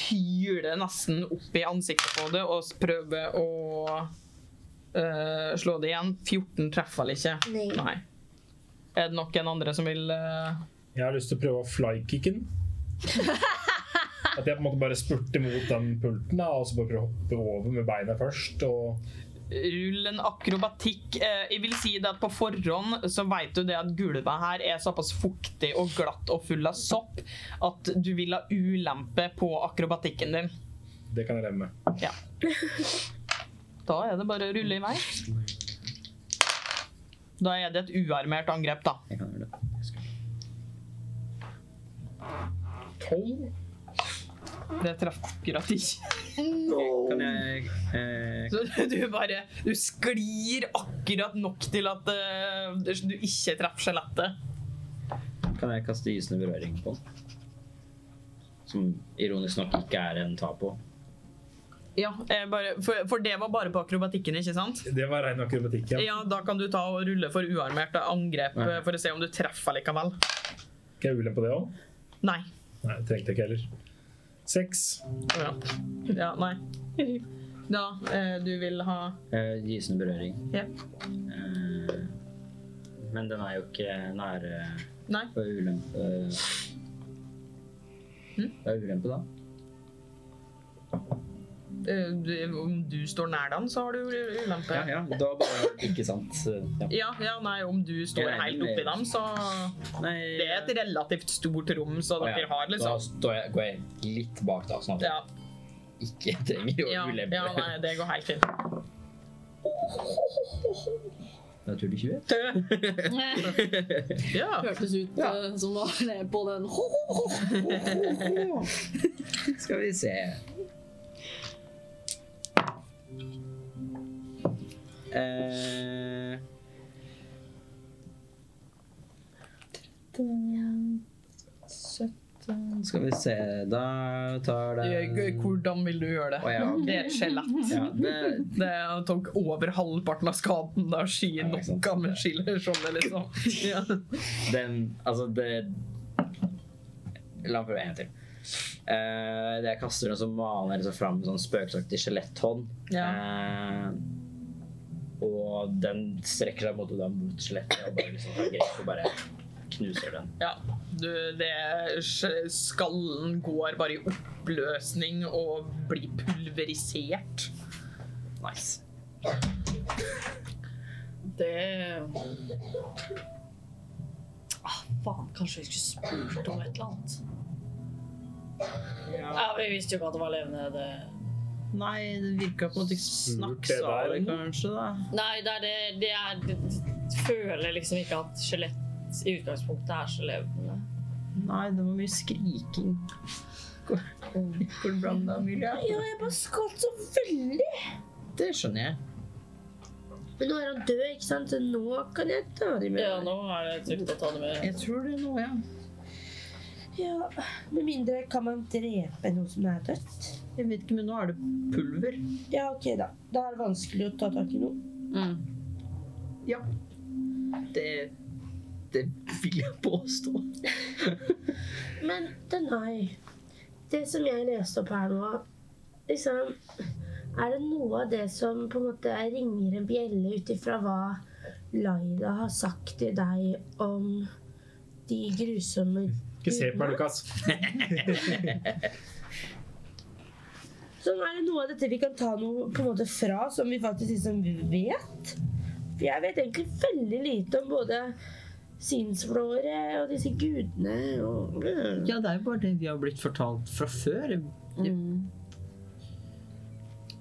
S1: hyler nesten opp i ansiktet på det og s- prøver å eh, slå det igjen. 14 treffer vel ikke?
S4: Nei.
S1: Nei. Er det noen andre som vil eh,
S2: Jeg har lyst til å prøve flykicken. At jeg på en måte bare spurter mot den pulten da, og så bare prøver å hoppe over med beina først. Og
S1: Rull en akrobatikk. Eh, jeg vil si det at På forhånd så vet du det at gulvet her er såpass fuktig og glatt og full av sopp at du vil ha ulempe på akrobatikken din.
S2: det kan jeg leve med.
S1: Da er det bare å rulle i vei. Da er det et uarmert angrep, da.
S5: Jeg kan gjøre det.
S1: Det traff akkurat ikke.
S5: Kan jeg eh,
S1: Så du bare Du sklir akkurat nok til at eh, du ikke treffer skjelettet.
S5: Kan jeg kaste gysende berøring på den? Som ironisk nok ikke er en tap på.
S1: Ja, jeg bare, for, for det var bare på akrobatikken, ikke sant?
S2: Det var ren akrobatikk, ja.
S1: Ja, da kan du ta og rulle for uarmert angrep
S5: Nei.
S1: eh, for å se om du treffer likevel.
S2: Skal jeg ulempe på det òg?
S1: Nei.
S2: Nei, det trengte jeg ikke heller. Seks.
S1: Ja, ja nei. Da, eh, du vil ha
S5: Eh, gysende berøring.
S1: Ja.
S5: Eh, men den er jo ikke nære
S1: Nei.
S5: på ulempe.
S1: Mm.
S5: Det er ulempe, da.
S1: eh, du- Om du står nær den, så har du u- ulempe.
S5: Ja, ja. Da bare Ikke sant. eh, Ja.
S1: Ja, ja, nei, om du står
S5: Jeg regner
S1: helt
S5: med-
S1: oppi dem, så
S5: Nei,
S1: Det er et relativt stort rom, så
S5: Å, ja.
S1: dere har liksom
S5: Da står jeg, går jeg litt bak, da, sånn at
S1: ja,
S5: jeg ikke trenger å
S1: ja,
S5: ulempe.
S1: ja, nei, det går helt fint.
S5: Naturlig 20.
S1: Ja.
S6: Hørtes ut eh, som det var ned på den ho, ho, ho.
S5: Skal vi se. Eh, skal vi se Da tar det
S1: eh, Hvordan vil du gjøre
S5: Å
S1: det?
S5: ja. ok.
S1: Det er et skjelett.
S5: ja det,
S1: Det tok over halvparten av skaden da skien
S5: Ja, ikke sant.
S1: nok av med skiller sånn, det liksom. Ja.
S5: Den Altså, det La meg prøve en til. Eh, det jeg kaster, og så maler jeg så fram en sånn spøkelsesaktig skjeletthånd. Eh, og den strekker seg på en måte da mot skjelettet og bare liksom tar grep og bare knuser den.
S1: Ja, du, det er- sk- Skallen går bare i oppløsning og blir pulverisert.
S5: Nice.
S6: Det ah, Faen, kanskje vi skulle spurt om et eller annet. Ja. Vi visste jo ikke at det var levende. Det.
S5: Nei, det virka på en måte ikke snakk
S2: det der,
S5: salig, kanskje, da.
S6: Nei, det er det, det er det Føler liksom ikke at skjelett i utgangspunktet er så levende.
S5: Nei, det var mye skriking. Går går det bra med deg, Amelia?
S4: Ja, jeg bare skvatt så veldig.
S5: Det skjønner jeg.
S4: Men nå er han død, ikke sant? Så nå kan jeg ta det med.
S6: Ja, nå er det trygt å ta det med.
S5: Jeg tror det nå, ja.
S4: Ja, Med mindre kan man drepe noe som er dødt.
S5: Jeg vet ikke, men nå er det pulver.
S4: Ja, ok, da. Da er det vanskelig å ta tak i noe.
S5: Det, det vil jeg påstå.
S4: Men Denai, det som jeg leste opp her nå liksom, Er det noe av det som på en måte ringer en bjelle ut ifra hva Laila har sagt til deg om de grusomme
S2: Ikke se på meg, Lukas.
S4: Sånn, er det noe av dette vi kan ta noe på en måte fra, som vi faktisk liksom vet? For jeg vet egentlig veldig lite om både sinnsflåre og disse gudene og
S5: Ja, det er jo bare det vi har blitt fortalt fra før.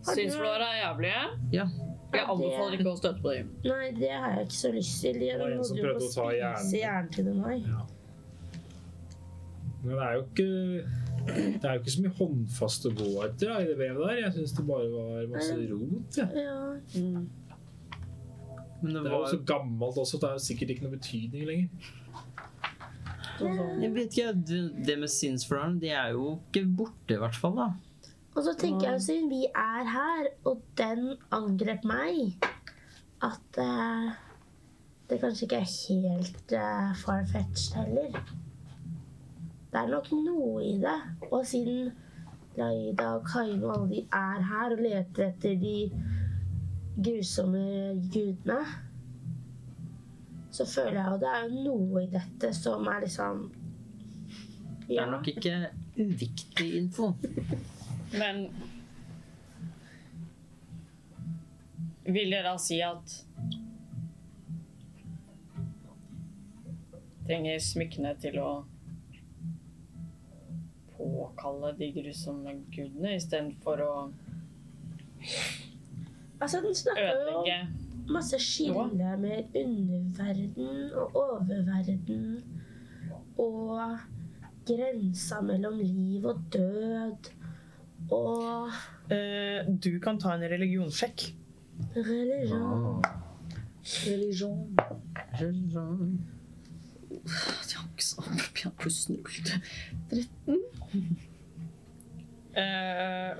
S6: Synsflåra er jævlige.
S5: Ja.
S6: Jeg anbefaler ikke å støte på dem.
S4: Nei, det har jeg ikke så lyst til. Jeg
S2: Det var en som
S4: holder jo på
S2: prøvde å ta hjernen.
S4: spise hjernen til den her.
S2: Men det er jo ikke det er jo ikke så mye håndfast å gå etter da, i det brevet der. Jeg syns det bare var masse rot. jeg.
S4: Ja.
S5: Men det
S2: Det er jo
S5: var
S2: så gammelt også, det er jo sikkert ikke noe betydning lenger.
S5: Jeg vet ikke, det- det med sinnsflaren, de er jo ikke borte i hvert fall, da.
S4: Og så tenker jeg, siden vi er her, og den angrep meg, at eh, det kanskje ikke er helt uh, far-fetched heller. Det er nok noe i det. Og siden Laida og Kain og alle de er her og leter etter de grusomme gudene, så føler jeg jo det er noe i dette som er liksom
S5: Det er nok ikke uviktig info.
S6: Men Vil det da si at Trenger smykkene til å påkalle de grusomme gudene istedenfor å
S4: Altså, den snakker jo
S6: ødelegge
S4: masse skille med underverden og oververden og grensa mellom liv og død og
S1: Eh, du kan ta en religionssjekk.
S4: religion.
S3: Religion.
S6: Jeg har ikke så jeg har pluss null.
S1: Eh,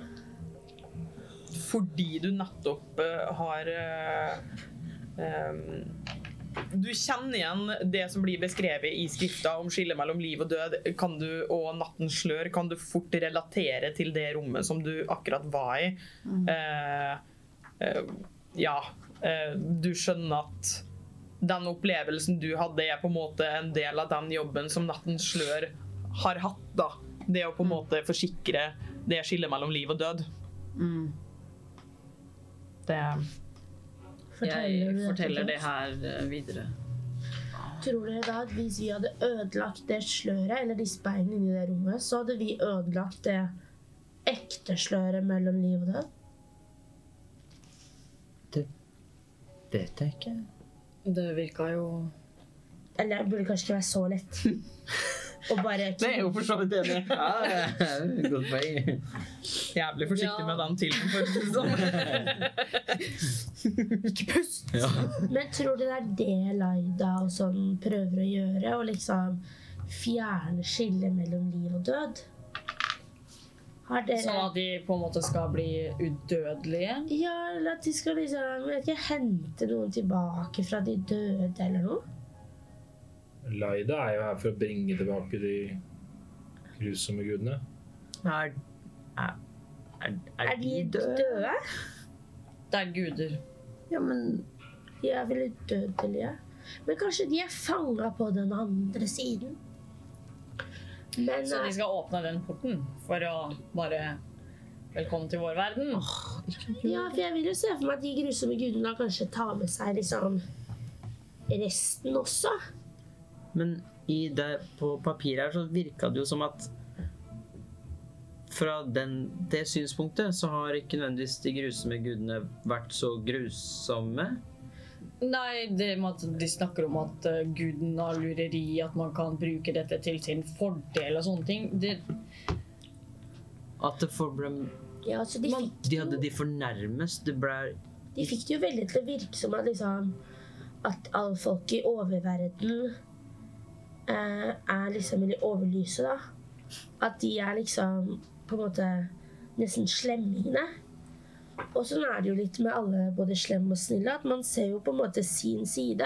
S1: fordi du nettopp eh, har eh, em, Du kjenner igjen det som blir beskrevet i skrifta om skillet mellom liv og død kan du, og nattens slør. Kan du fort relatere til det rommet som du akkurat var i. Eh, eh, ja. eh, du skjønner at den opplevelsen du hadde, er på en måte en del av den jobben som Nattens slør har hatt. da. Det å på en måte forsikre det skillet mellom liv og død. Det
S4: Forteller
S6: Jeg
S4: du
S6: forteller
S4: til
S6: det her eh, videre.
S4: oss? Tror dere da at hvis vi hadde ødelagt det sløret, eller de speilene inni det rommet, så hadde vi ødelagt det ekte sløret mellom liv og død?
S5: Det vet jeg ikke.
S3: Det virka jo
S4: Eller det burde kanskje ikke være så lett. Og bare
S1: Det er jo for så vidt enig.
S5: Ja, det er et Godt poeng.
S1: Jævlig forsiktig med den tilen, for å si det sånn.
S5: Ja.
S4: Men tror du det er det Laida og sånn prøver å gjøre? Å liksom fjerne skillet mellom liv og død? Har
S6: Sånn
S4: dere
S6: at de på en måte skal bli udødelige.
S4: Ja, eller at de skal liksom jeg vet ikke, hente noen tilbake fra de døde eller noe?
S2: Laida er jo her for å bringe tilbake de grusomme gudene.
S5: Er, er, er,
S4: Er de døde?
S6: Det er guder.
S5: Ja, men
S4: De er vel udødelige? Men kanskje de er fanga på den andre siden? Men
S6: Så de
S4: eh,
S6: skal åpne den porten for å bare Velkommen til vår verden.
S4: Ja, for jeg vil jo se for meg at de grusomme gudene kanskje tar med seg liksom resten også.
S5: Men i det, på papiret her så virka det jo som at fra den, det synspunktet så har ikke nødvendigvis de grusomme gudene vært så grusomme.
S6: Nei, det med at de snakker om at eh, guden har lureri, at man kan bruke dette til sin fordel og sånne ting. Det,
S5: At det for ble,
S4: Ja, så de fikk
S5: de hadde de for nærmest. Det ble
S4: De fikk det jo veldig til å virke som at, liksom, at alle folk i oververden eh, er liksom Eller overlyset, da. At de er liksom på en måte nesten slemmingene. Og sånn er det jo litt med alle både slemme og snille, at man ser jo på en måte sin side.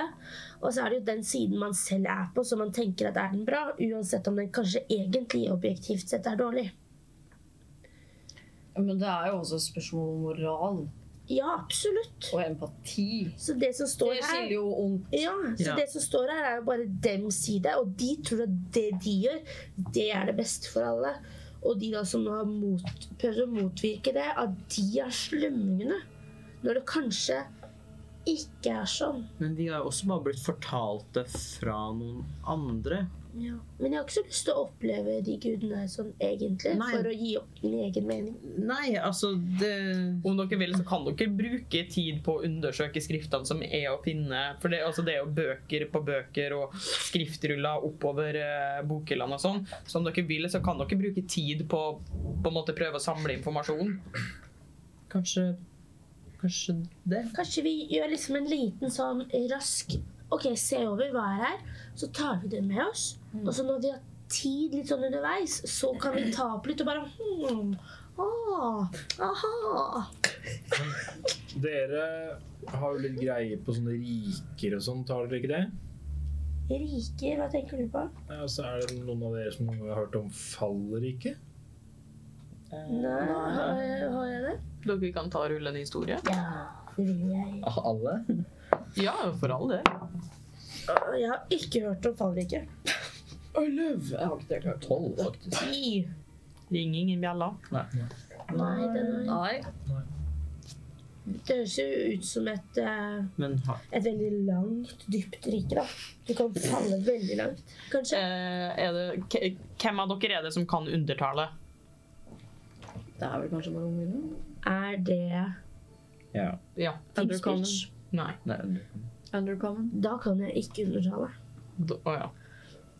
S4: Og så er det jo den siden man selv er på, som man tenker at er den bra, uansett om den kanskje egentlig objektivt sett er dårlig.
S6: men det er jo også et spørsmål om moral
S4: Ja, absolutt.
S6: og empati.
S4: Så det som står
S6: Det
S4: her
S6: skiller jo ondt.
S4: Ja, så
S5: Ja.
S4: det som står her, er jo bare dems side, og de tror at det de gjør, det er det beste for alle. Og de da som har mot, prøvd å motvirke det, at de er slemmingene. Når det kanskje ikke er sånn.
S5: Men vi har også bare blitt fortalt det fra noen andre.
S4: Men jeg har ikke så lyst til å oppleve de gudene sånn egentlig,
S5: Nei.
S4: for å gi opp min egen mening.
S5: Nei, altså det
S1: Om dere vil, så kan dere bruke tid på å undersøke skriftene som er å finne. For det, altså, det er jo bøker på bøker og skriftruller oppover eh, bokhyllene og sånn. Så om dere vil, så kan dere bruke tid på å på en måte prøve å samle informasjon.
S5: Kanskje Kanskje det?
S4: Kanskje vi gjør liksom en liten sånn rask Ok, se over hva er her, så tar vi det med oss. Og så når vi har tid litt sånn underveis, så kan vi ta opp litt og bare hmm, ah, aha.
S2: Dere har jo litt greie på sånne riker og sånt, har dere ikke det?
S4: Rike, hva tenker du på?
S2: Ja, så er det noen av dere som har hørt om fallriket?
S4: Nei, har jeg, har jeg det?
S1: Dere kan ta og rulle en historie.
S4: Ja, det vil jeg.
S5: Alle?
S1: Ja, for all del.
S4: Å, Jeg har ikke hørt om fallrike.
S5: Tolv, faktisk.
S4: Ti.
S1: Ring ingen bjella.
S4: Nei, den er
S6: Nei.
S4: Det høres jo ut som et, eh,
S5: Men ha,
S4: et veldig langt, dypt rike, da. Du kan falle veldig langt, kanskje.
S1: Eh, er det, k- hvem av dere er det som kan undertale?
S6: Det er vel kanskje bare ungene?
S4: Er det
S5: ja.
S1: Ja.
S4: Team Speech?
S1: Nei.
S5: Nei.
S6: Undercommon.
S4: Da kan jeg ikke undertale.
S1: Da, å ja.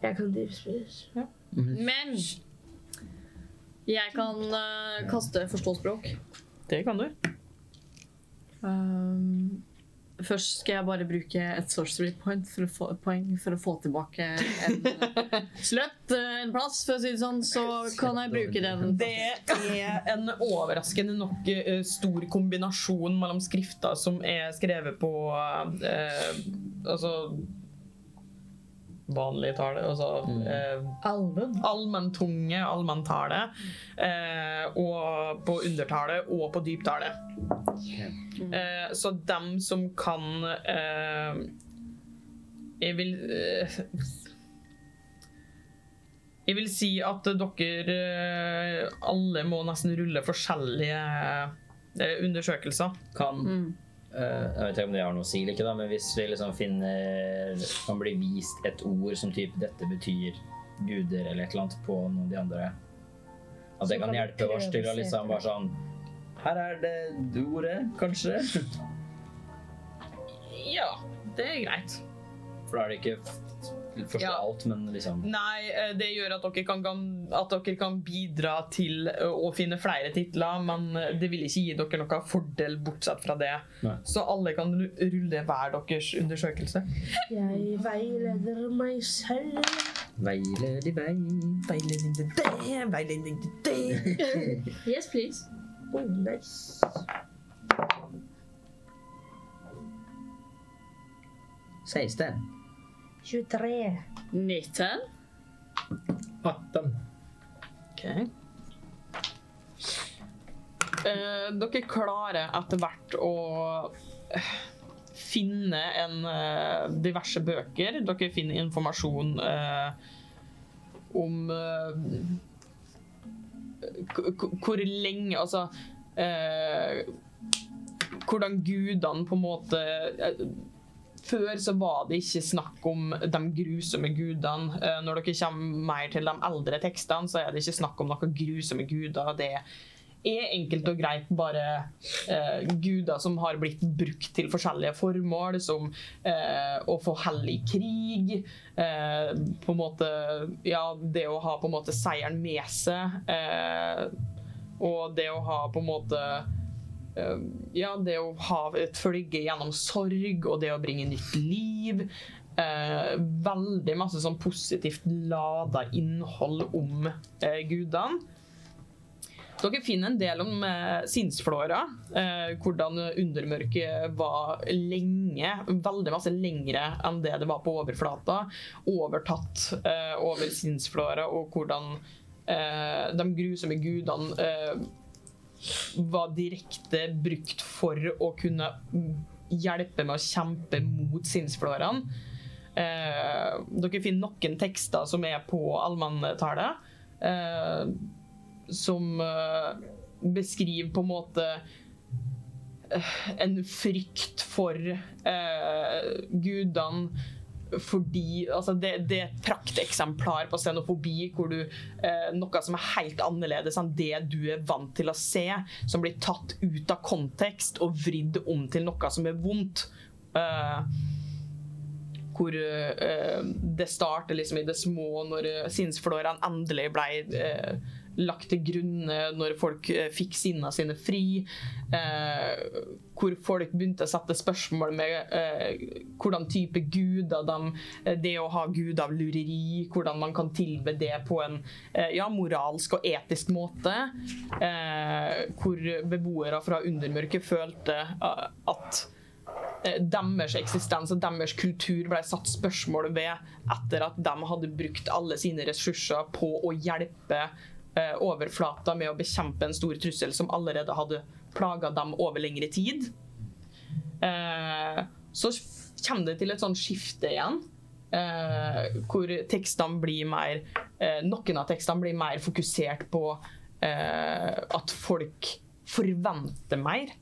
S4: Jeg kan deep speech.
S6: Men jeg kan eh, kaste forståspråk.
S1: Det kan du.
S6: Um, først skal jeg bare bruke et sorcery point for å få, poeng for å få tilbake en eh, sløtt eh, en plass, for å si det sånn. Så kan jeg bruke den.
S1: Det er en overraskende nok eh, stor kombinasjon mellom skrifter som er skrevet på eh, Altså Vanlig tale, altså eh,
S3: Almen.
S1: allmenntunge, allmenntale, eh, og på undertale og på dyptale. Eh, så dem som kan eh, Jeg vil eh, Jeg vil si at dere eh, alle må nesten rulle forskjellige eh, undersøkelser.
S5: Kan
S6: Mm.
S5: eh, Jeg vet ikke om det har noe å si eller ikke, da, men hvis vi liksom finner Kan bli vist et ord som typ 'dette betyr guder' eller et eller annet på noen av de andre At
S3: Så
S5: det kan
S3: kan vi
S5: hjelpe oss til å
S3: prøve å se
S5: liksom bare sånn Her er det ordet, kanskje?
S1: Ja, det er greit.
S5: For da er det ikke f- forstå
S1: Ja.
S5: alt, men liksom
S1: Nei, eh, det gjør at dere kan, kan- at dere kan bidra til eh, å finne flere titler, men eh, det vil ikke gi dere noen fordel bortsett fra det.
S5: Nei.
S1: Så alle kan ru- rulle hver deres undersøkelse.
S4: Jeg veileder meg selv.
S5: Veiler i vei
S1: Veiledning til det, veiledning til det.
S7: Yes, please.
S4: Oh, nice.
S5: Sies det.
S4: 23.
S6: 19.
S2: 18.
S1: Ok. Eh, dere klarer etter hvert å eh, finne en, eh, diverse bøker. Dere finner informasjon eh, om eh, k- k- hvor lenge Altså eh, hvordan gudene på en måte eh, før så var det ikke snakk om de grusomme gudene. Eh, Når dere kommer mer til de eldre tekstene, så er det ikke snakk om noen grusomme guder. Det er enkelt og greit bare eh, guder som har blitt brukt til forskjellige formål, som eh, å få hellig krig, eh, på en måte Ja, det å ha på en måte seieren med seg, eh, og det å ha på en måte Eh, ja, det å ha et følge gjennom sorg og det å bringe nytt liv. Eh, veldig masse sånn positivt lada innhold om eh, gudene. Dere finner en del om eh, sinnsflåra. Eh, hvordan undermørket var lenge, veldig masse lengre enn det det var på overflata. Overtatt eh, over sinnsflåra, og hvordan eh, de grusomme gudene eh, var direkte brukt for å kunne hjelpe med å kjempe mot sinnsflårene. Eh, dere finner noen tekster som er på allmenntallet, eh, som eh, beskriver på en måte eh, en frykt for eh, gudene fordi altså det, det er et prakteksemplar på xenofobi hvor du eh, noe som er helt annerledes enn det du er vant til å se, som blir tatt ut av kontekst og vridd om til noe som er vondt. Eh, hvor eh, det starter liksom i det små når eh, sinnsflårene endelig ble eh, lagt til grunne, når folk eh, fikk sinna sine fri. Eh, hvor folk begynte å sette spørsmål med eh, hvordan type guder de eh, Det å ha gud av lureri, hvordan man kan tilbe det på en eh, ja, moralsk og etisk måte. Eh, hvor beboere fra undermørket følte eh, at eh, deres eksistens og deres kultur ble satt spørsmål ved etter at de hadde brukt alle sine ressurser på å hjelpe eh, overflata med å bekjempe en stor trussel som allerede hadde plaga dem over lengre tid. Eh, så f- kommer det til et sånt skifte igjen. eh, hvor tekstene blir mer eh, Noen av tekstene blir mer fokusert på eh, at folk forventer mer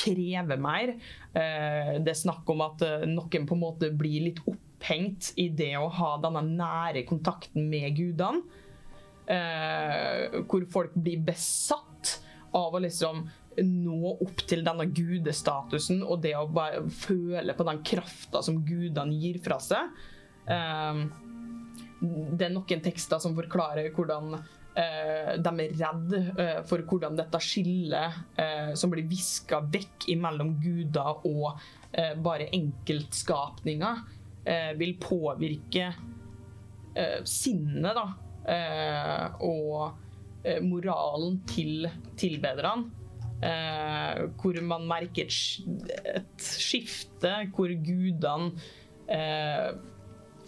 S1: krever mer. Eh, Det er snakk om at eh, noen på en måte blir litt opphengt i det å ha denne nære kontakten med gudene. Eh, Hvor folk blir besatt av å liksom nå opp til denne gudestatusen og det å bare føle på den krafta som gudene gir fra seg. Ehm, det er noen tekster som forklarer hvordan eh, de er redd eh, for hvordan dette skillet eh, som blir viska vekk mellom guder og eh, bare enkeltskapninger, eh, vil påvirke eh, sinnet da, eh, og eh, moralen til tilbederne. Eh, hvor man merker et, sk- et skifte, hvor gudene eh,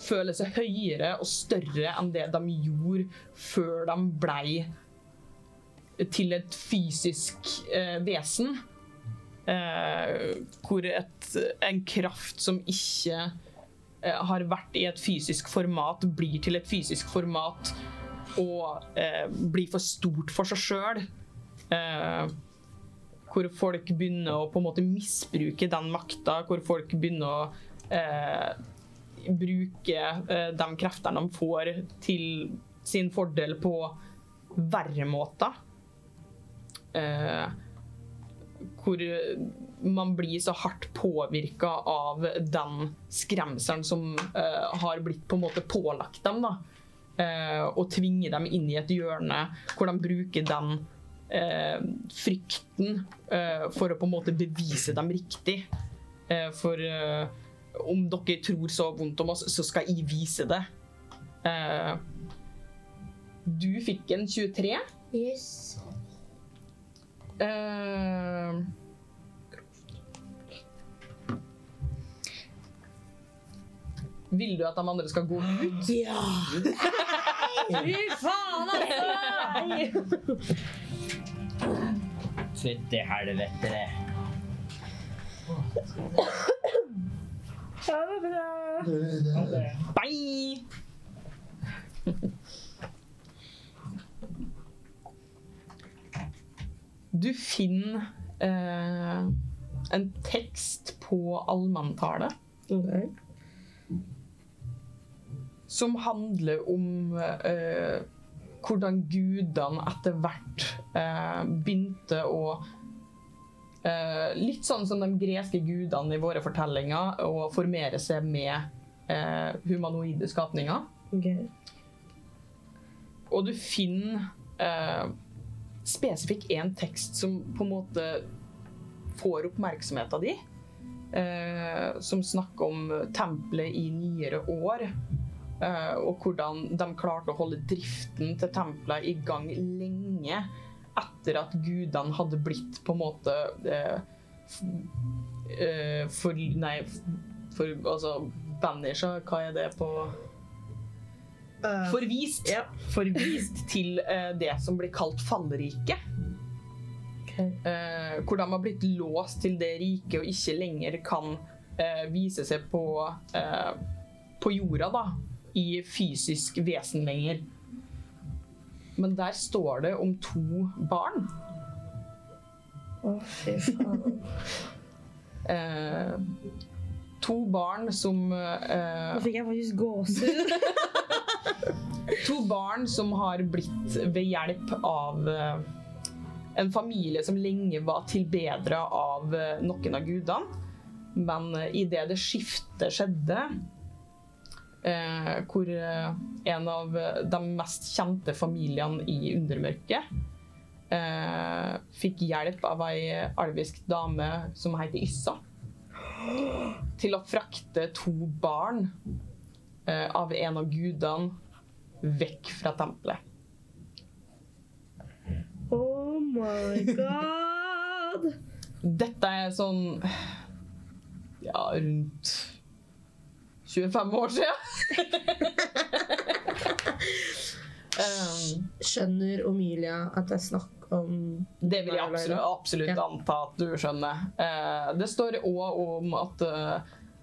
S1: føler seg høyere og større enn det de gjorde før de blei til et fysisk eh, vesen. Eh, hvor et, en kraft som ikke eh, har vært i et fysisk format, blir til et fysisk format og eh, blir for stort for seg sjøl. Eh, hvor folk begynner å på en måte misbruke den makta, hvor folk begynner å eh, bruke eh, de kreftene de får til sin fordel på verre måter. Eh, hvor man blir så hardt påvirka av den skremselen som eh, har blitt på en måte pålagt dem. da. Eh, og tvinger dem inn i et hjørne hvor de bruker den eh, frykten eh, for å på en måte bevise dem riktig. Eh, for eh, om dere tror så vondt om oss, så skal jeg vise det. Eh, du fikk en 23.
S4: Yes.
S1: Eh, vil du at de andre skal gå ut?
S6: Fy faen, altså!
S5: Fytti helvete, det.
S1: Bye! Du finner eh, en tekst på allmanntallet som handler om eh, hvordan gudene etter hvert eh, begynte å eh, Litt sånn som de greske gudene i våre fortellinger, å formere seg med eh, humanoide skapninger. Og du finner eh, spesifikk én tekst som på en måte får oppmerksomheten din. Eh, som snakker om tempelet i nyere år. Eh, og hvordan de klarte å holde driften til tempelet i gang lenge etter at gudene hadde blitt på en måte eh, f- eh, for, Nei, f- for, altså Banisha, hva er det på Forvist. Forvist til eh, det som blir kalt fallriket. Eh, hvor de har blitt låst til det riket og ikke lenger kan eh, vise seg på, eh, på jorda, da. I fysisk vesen lenger. Men der står det om to barn.
S7: Å, fy faen.
S1: Eh, to barn som eh,
S10: Nå fikk jeg faktisk gåsehud.
S1: To barn som har blitt ved hjelp av eh, en familie som lenge var tilbedra av eh, noen av gudene. Men idet det skiftet skjedde, eh, hvor eh, en av eh, de mest kjente familiene i Undermørket eh, fikk hjelp av ei alvisk dame som heter Yssa, til å frakte to barn eh, av en av gudene vekk fra tempelet.
S7: Oh my god!
S1: Dette er sånn ja, rundt 25 år siden. um,
S7: Skjønner Omilia at det er snakk om
S1: det vil jeg
S7: Nei, Leila.
S1: absolutt, absolutt
S7: Ja.
S1: anta at du skjønner. Eh, det står òg om at eh,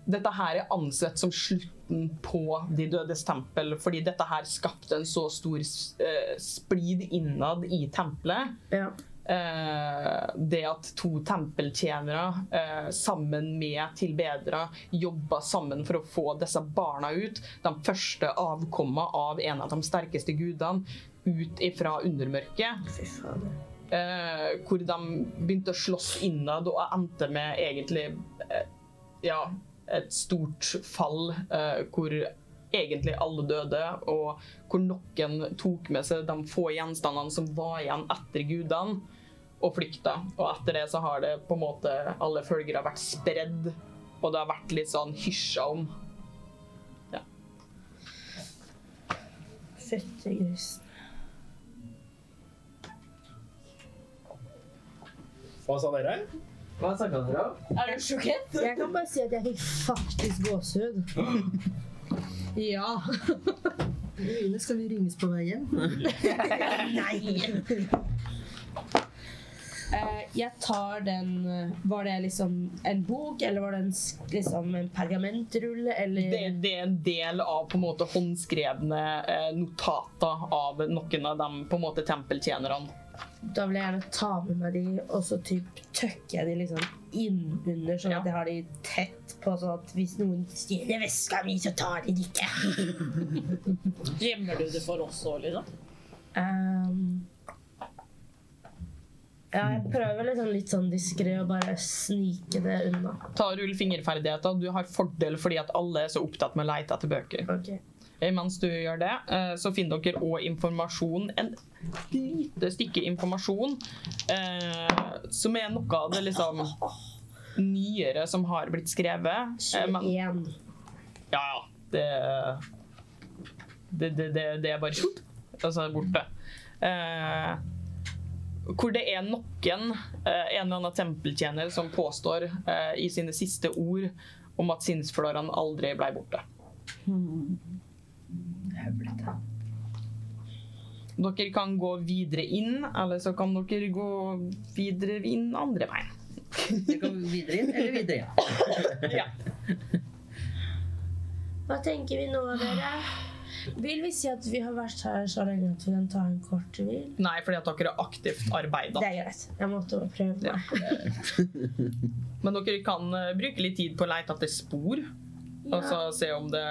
S1: dette her er ansett som slutten på De dødes tempel, fordi dette her skapte en så stor eh, splid innad i tempelet.
S7: Ja.
S1: eh, det at to tempeltjenere eh, sammen med tilbedere jobba sammen for å få disse barna ut, de første avkomma av en av de sterkeste gudene, ut ifra undermørket.
S7: Fy faen.
S1: eh, hvor de begynte å slåss innad og endte med egentlig eh, ja, et stort fall eh, hvor egentlig alle døde, og hvor noen tok med seg de få gjenstandene som var igjen etter gudene, og flykta. Og etter det så har det på en måte alle følgere vært spredd, og det har vært litt sånn hysja om.
S2: Hva sa dere?
S5: Hva snakka dere om?
S6: Er du sjokkert?
S3: Jeg kan bare si at jeg fikk faktisk gåsehud. Ja.
S10: Skal vi ringes på vei hjem?
S7: Eh, jeg tar den eh, Var det liksom en bok, eller var det en, s- liksom en pergamentrulle, eller
S1: Det, det er en del av på en måte håndskrevne eh, notater av noen av de på en måte tempeltjenerne.
S7: Da vil jeg gjerne ta med meg de, og så typ tøkker jeg de liksom innunder, sånn
S1: Ja.
S7: at jeg har de tett på, sånn at hvis noen stjeler veska mi, så tar de det ikke.
S6: Gjemmer du det for oss òg, liksom?
S7: Ehm, ja, jeg prøver liksom litt sånn diskré å bare snike det unna.
S1: Ta rull fingerferdigheter. Du har fordel fordi at alle er så opptatt med å leite etter bøker.
S7: Ok.
S1: Eh, Mens du gjør det, eh, så finner dere òg informasjon, en lite stykke informasjon, eh, som er noe av det liksom nyere som har blitt skrevet. Eh, Men,
S7: 21.
S1: ja, ja. Det, det, det, det, det er bare sjopp, og så er det borte. Eh, hvor det er noen, eh, en eller annen tempeltjener, som påstår eh, i sine siste ord om at sinnsflårene aldri ble borte. Dere kan gå videre inn, eller så kan dere gå videre inn andre veien.
S5: Vi går videre inn eller videre inn?
S4: Hva tenker vi nå, dere?
S7: Vil vi si at vi har vært her så lenge at vi kan ta en kort hvil?
S1: Nei, fordi at dere aktivt arbeider.
S7: Det er greit. Jeg måtte bare prøve.
S1: Ja. Men dere kan eh, bruke litt tid på å leite etter spor, og så se om det,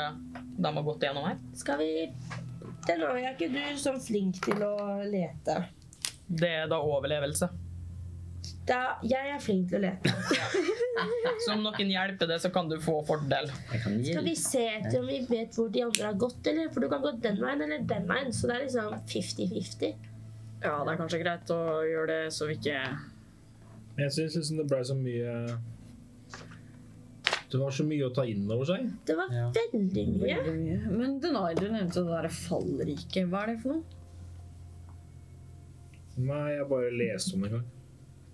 S1: de har gått gjennom her.
S7: Skal vi Den er jeg ikke du som flink til å lete.
S1: Det er da overlevelse.
S7: Da, jeg er flink til å lete.
S1: Så om noen hjelper det, så kan du få fordel.
S5: Jeg kan
S4: Skal
S5: hjelpe.
S4: vi se etter om vi vet hvor de andre har gått, eller? For du kan gå den veien eller den veien, så det er liksom 50-50.
S6: Ja, det er kanskje greit å gjøre det, så vi ikke
S2: Men Jeg syns liksom det ble så mye Det var så mye å ta inn over seg.
S4: Det var
S5: Ja.
S4: veldig mye.
S6: Veldig mye. Men Denai, du nevnte det derre fallriket. Hva er det for noe?
S2: Nei, jeg bare leste om det en gang.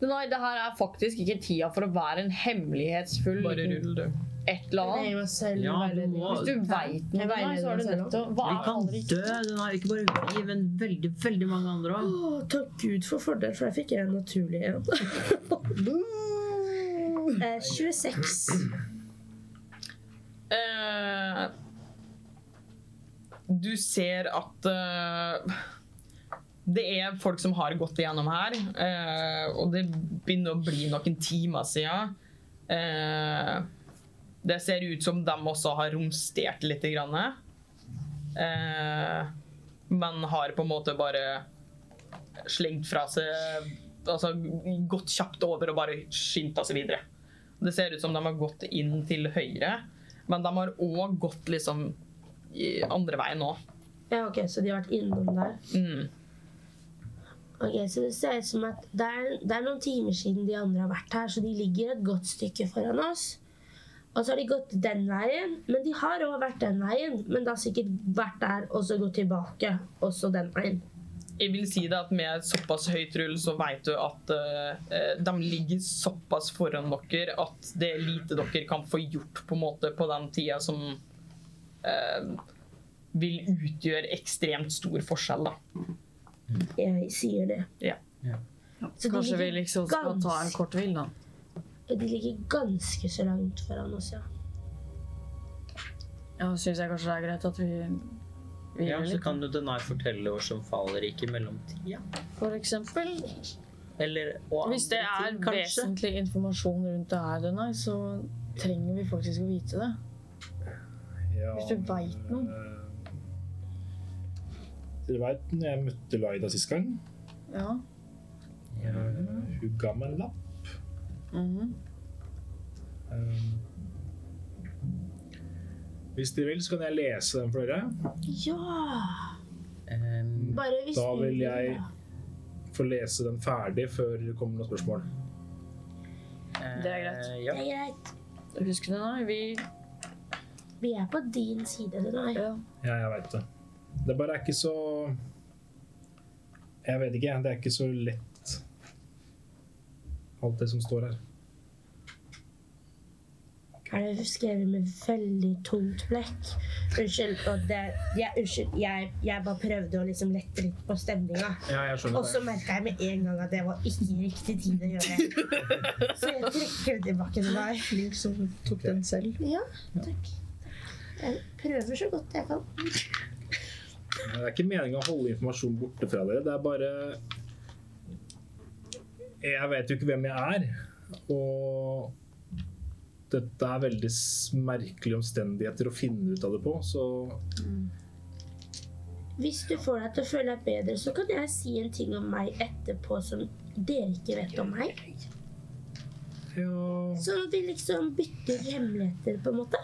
S6: Denai, det her er faktisk ikke tida for å være en hemmelighetsfull
S1: Bare
S6: liten
S1: rull, du.
S6: et eller
S7: Jeg
S6: annet.
S7: gir meg selv
S5: Ja, du
S7: veiledning.
S5: må-
S6: Hvis du veit noe,
S7: Jeg
S6: Denai, så er du
S7: veileder
S6: nødt til å Hva
S14: Vi
S6: er
S14: kan
S6: fallriket?
S14: dø. Den har ikke bare vi, men veldig, veldig mange andre òg.
S7: Å, takk Gud for fordel, for jeg fikk en naturlig en. eh, 26.
S1: Eh, du ser at eh, det er folk som har gått igjennom her, eh, og det begynner å bli noen timer siden. Eh, det ser ut som de også har romstert litt. Grann, eh, men har på en måte bare slengt fra seg Altså gått kjapt over og bare skynda seg videre. Det ser ut som de har gått inn til høyre, men de har òg gått liksom i andre veien nå.
S7: Ja, ok, Så de har vært innom der.
S1: Mm.
S4: Ok, Så det ser ut som at det er, det er noen timer siden de andre har vært her, så de ligger et godt stykke foran oss. Og så har de gått den veien, men de har òg vært den veien. Men da sikkert vært der og så gått tilbake, og så den veien.
S1: Jeg vil si det at med såpass høyt rull så vet du at eh, de ligger såpass foran dere at det er lite dere kan få gjort på en måte på den tida som eh, vil utgjøre ekstremt stor forskjell. da.
S4: Jeg sier det.
S1: Ja.
S5: Ja.
S4: Så de
S6: Kanskje vi
S4: ligger,
S6: liksom skal ta en
S4: ganske-
S6: kort hvil, da.
S4: de ligger ganske så langt foran oss, ja.
S6: Ja, syns jeg kanskje det er greit at vi
S5: Ja,
S6: hviler
S5: så
S6: litt.
S5: kan jo Denai fortelle oss om fallriket i mellomtida.
S6: For eksempel.
S5: Eller og
S6: Hvis det
S5: andre
S6: er
S5: ting, kanskje.
S6: vesentlig informasjon rundt det her, Denai, så trenger vi faktisk å vite det.
S2: Ja,
S6: Hvis du vet noe.
S2: eh, Dere veit når jeg møtte Laida sist gang?
S6: Ja.
S2: Eh, Hun ga meg en lapp.
S6: Mhm.
S2: Eh, Hvis dere vil, så kan jeg lese den for dere.
S4: Ja!
S5: Ehm,
S4: Bare hvis
S2: Da
S4: du
S2: vil jeg
S4: da.
S2: få lese den ferdig før det kommer noen spørsmål.
S6: Det er greit.
S5: eh,
S4: Det
S5: Ja.
S4: er greit.
S6: Husk det, da. Vi
S4: Vi er på din side, Runar.
S2: Ja, jeg veit det. Det bare er ikke så Jeg vet ikke, jeg. Det er ikke så lett, alt det som står her.
S4: Er det skrevet med veldig tungt blekk? Unnskyld. Og det, ja, unnskyld. Jeg, jeg bare prøvde å liksom lette litt på stemninga.
S2: Ja, jeg
S4: Og så merka jeg med en gang at det var ikke riktig tid å gjøre det. Så jeg trekker det tilbake til deg.
S3: Flink som tok den selv.
S4: Ja, takk. Jeg prøver så godt jeg kan.
S2: Det er ikke meningen å holde informasjon borte fra dere. Det er bare Jeg vet jo ikke hvem jeg er. Og dette er veldig s- merkelige omstendigheter å finne ut av det på, så
S4: Hvis du får deg til å føle deg bedre, så kan jeg si en ting om meg etterpå som dere ikke vet om meg.
S2: ja,
S4: Sånn at vi liksom bytter hemmeligheter, på en måte.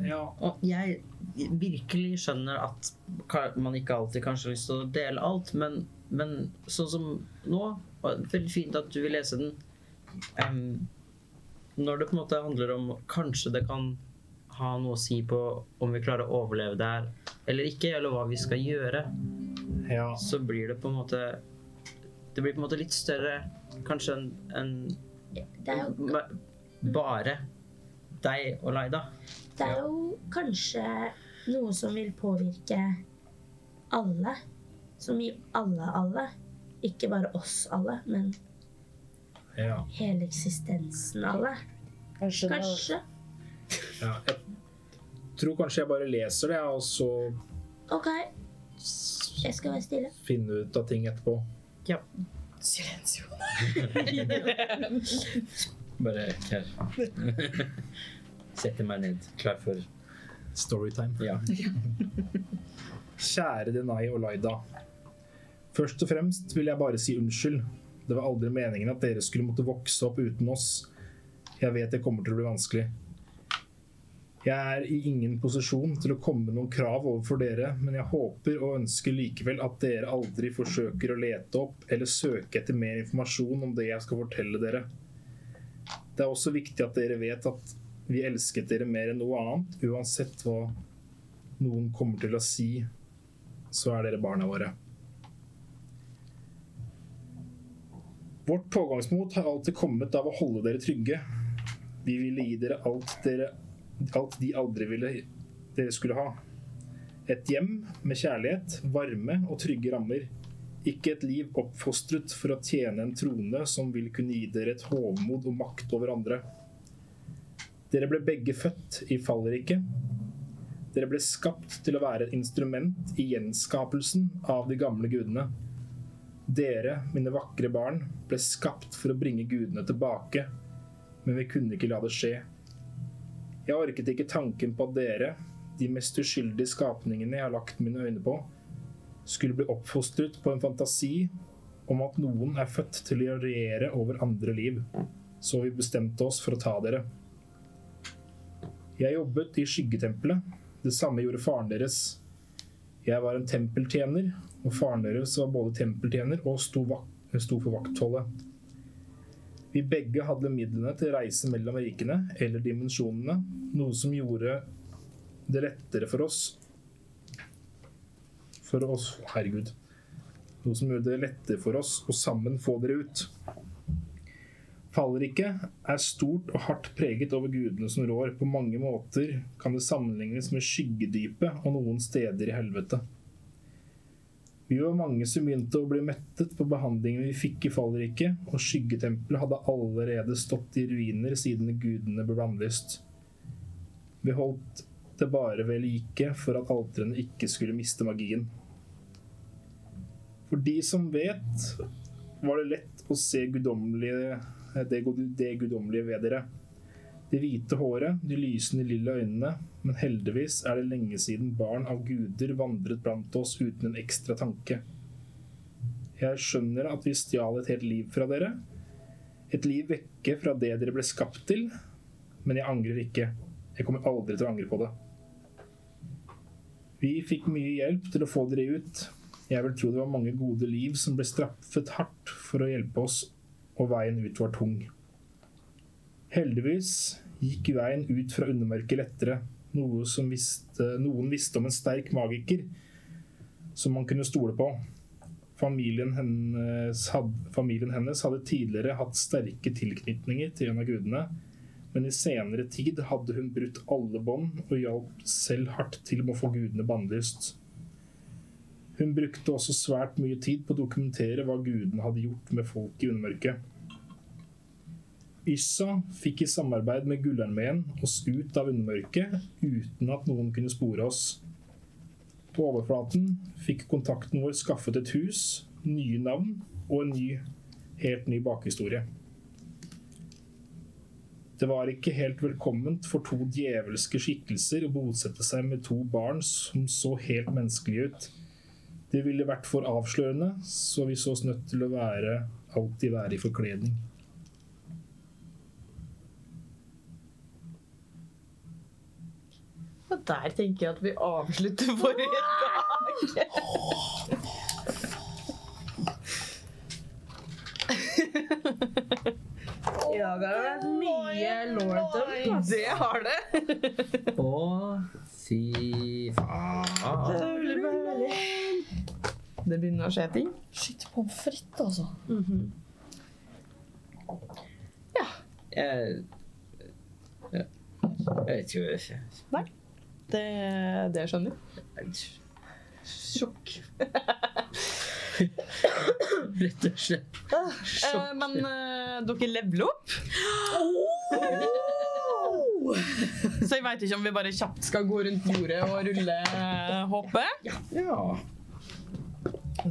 S2: ja.
S5: Og jeg virkelig skjønner at ka- man ikke alltid kanskje har lyst til å dele alt, men, men sånn som nå og det er Veldig fint at du vil lese den. Em, når det på en måte handler om Kanskje det kan ha noe å si på om vi klarer å overleve det her eller ikke, eller hva vi skal gjøre.
S2: ja.
S5: så blir det på en måte Det blir på en måte litt større kanskje enn
S4: Det er jo,
S5: enn bare deg og Laida.
S4: det er jo kanskje noe som vil påvirke alle. Som i alle, alle. Ikke bare oss alle, men
S2: ja.
S4: hele eksistensen alle.
S3: Kanskje,
S4: Kanskje.
S2: ja. Jeg tror kanskje jeg bare leser det, og så
S4: OK, jeg skal være stille.
S2: finne ut av ting etterpå.
S5: Bare her. Setter meg ned, klar for
S2: Storytime.
S5: Ja.
S2: Kjære Denai og Laida. Først og fremst vil jeg bare si unnskyld. Det var aldri meningen at dere skulle måtte vokse opp uten oss. Jeg vet det kommer til å bli vanskelig. Jeg er i ingen posisjon til å komme med noen krav overfor dere, men jeg håper og ønsker likevel at dere aldri forsøker å lete opp eller søke etter mer informasjon om det jeg skal fortelle dere. Det er også viktig at dere vet at vi elsket dere mer enn noe annet, uansett hva noen kommer til å si, så er dere barna våre. Vårt pågangsmot har alltid kommet av å holde dere trygge. Vi ville gi dere alt, dere, alt de aldri ville dere skulle ha. Et hjem med kjærlighet, varme og trygge rammer. Ikke et liv oppfostret for å tjene en trone som vil kunne gi dere et hovmod og makt over andre. Dere ble begge født i fallriket, dere ble skapt til å være et instrument i gjenskapelsen av de gamle gudene. Dere, mine vakre barn, ble skapt for å bringe gudene tilbake, men vi kunne ikke la det skje. Jeg orket ikke tanken på at dere, de mest uskyldige skapningene jeg har lagt mine øyne på, skulle bli oppfostret på en fantasi om at noen er født til å regjere over andre liv. Så vi bestemte oss for å ta dere. Jeg jobbet i skyggetempelet, det samme gjorde faren deres. Jeg var en tempeltjener, og faren deres var både tempeltjener og sto, vak sto for vaktholdet. Vi begge hadde midlene til å reise mellom rikene, eller dimensjonene, noe som gjorde det lettere for oss For oss Herregud. Noe som gjorde det lettere for oss å sammen få dere ut. Fallriket er stort og hardt preget over gudene som rår. På mange måter kan det sammenlignes med skyggedypet og noen steder i helvete. Vi var mange som begynte å bli mettet på behandlingen vi fikk i Fallriket, og skyggetempelet hadde allerede stått i ruiner siden gudene ble bannlyst. Vi holdt det bare ved like for at alterene ikke skulle miste magien. For de som vet, var det lett å se guddommelige, det, gud- det guddommelige ved dere. Det hvite håret, de lysende lilla øynene, men heldigvis er det lenge siden barn av guder vandret blant oss uten en ekstra tanke. Jeg skjønner at vi stjal et helt liv fra dere. Et liv vekke fra det dere ble skapt til. Men jeg angrer ikke. Jeg kommer aldri til å angre på det. Vi fikk mye hjelp til å få dere ut. Jeg vil tro det var mange gode liv som ble straffet hardt for å hjelpe oss, og veien ut var tung. Heldigvis gikk veien ut fra undermørket lettere, noe som visste, noen visste om en sterk magiker som man kunne stole på. Familien hennes, had, familien hennes hadde tidligere hatt sterke tilknytninger til en av gudene, men i senere tid hadde hun brutt alle bånd og hjalp selv hardt til med å få gudene bannlyst. Hun brukte også svært mye tid på å dokumentere hva gudene hadde gjort med folk i undermørket. Yssa fikk i samarbeid med Gullarmeen oss ut av undermørket uten at noen kunne spore oss. På overflaten fikk kontakten vår skaffet et hus, nye navn og en ny, helt ny bakhistorie. Det var ikke helt velkomment for to djevelske skikkelser å bosette seg med to barn som så helt menneskelige ut. Det ville vært for avslørende, så vi så oss nødt til å være, alltid være i forkledning.
S1: Og der tenker jeg at vi avslutter for i dag.
S3: Ja, det har vært mye lordom. ass.
S1: Det har det.
S5: Å, fy faen.
S1: Det begynner å skje ting.
S3: Shit, pommes frites, altså.
S5: Jeg, jeg, jeg vet ikke
S1: Det, eh, det skjønner jeg.
S5: Sjokk. Rett og slett.
S1: Eh, men eh, dere leveler opp.
S5: Oh!
S1: Så jeg veit ikke om vi bare kjapt skal gå rundt bordet og rulle eh, hoppet.
S5: Ja.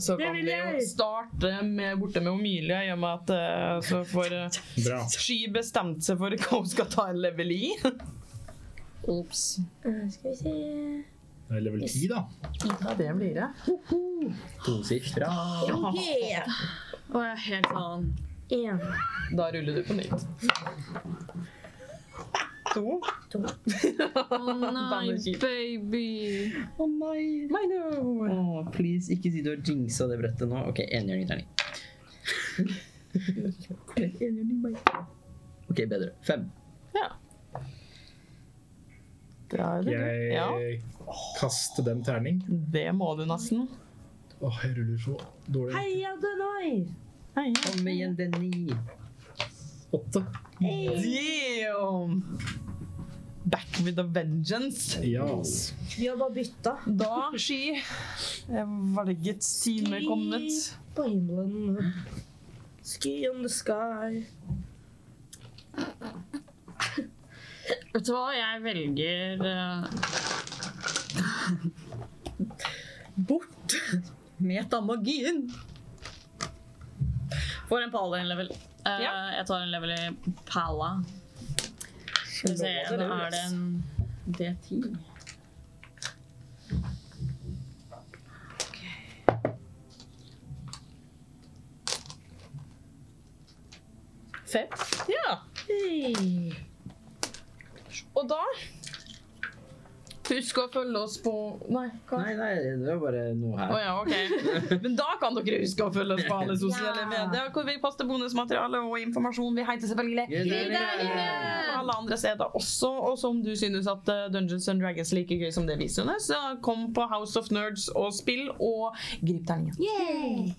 S1: Så kan vi jo starte med, borte med Omilia, i og med at eh, så får eh,
S2: Bra.
S1: Sky bestemt seg for hva hun skal ta en level i.
S3: Ops.
S4: Eh, Skal vi se
S2: Det er level 10, da.
S1: Det blir det.
S5: Tosifra.
S6: Og jeg er helt sånn
S4: Én.
S1: Da ruller du på nytt. To.
S6: Å nei, baby.
S5: Å nei. Å, please, ikke si du har jinxa det brettet nå. OK, enhjørningterning. OK, bedre. Fem.
S1: Da er det du. Ja,
S2: Jeg kaster den terning.
S1: det må du nesten.
S2: Åh, jeg ruller så dårlig.
S10: Heia Denai!
S1: Hei.
S5: Kom igjen, Denny.
S2: Åtte.
S1: Damn! Back with a vengeance.
S2: Ja.
S10: Vi har bare bytta
S1: Da, Sky, eh, valget time kommet.
S10: på himmelen. Sky on the sky.
S6: Vet du hva, jeg velger eh, bort metamagien. For en paladin-level. Eh,
S1: Ja.
S6: Jeg tar en level i pala. Skal vi se, da er det en D10.
S1: Fem. Ja. Og da Husk å følge oss på Nei, hva?
S5: Nei, nei, det var bare
S1: Å
S5: noe her.
S1: ja, ok. Men da kan dere huske å følge oss på alle sosiale medier. Hvor vi poster bonusmateriale og informasjon. Vi heter selvfølgelig på alle andre steder også. Og som du synes at eh, Dungeons and Dragons er like gøy som det vi synes, så kom på House of Nerds og spill og grip terningen.
S4: Yay!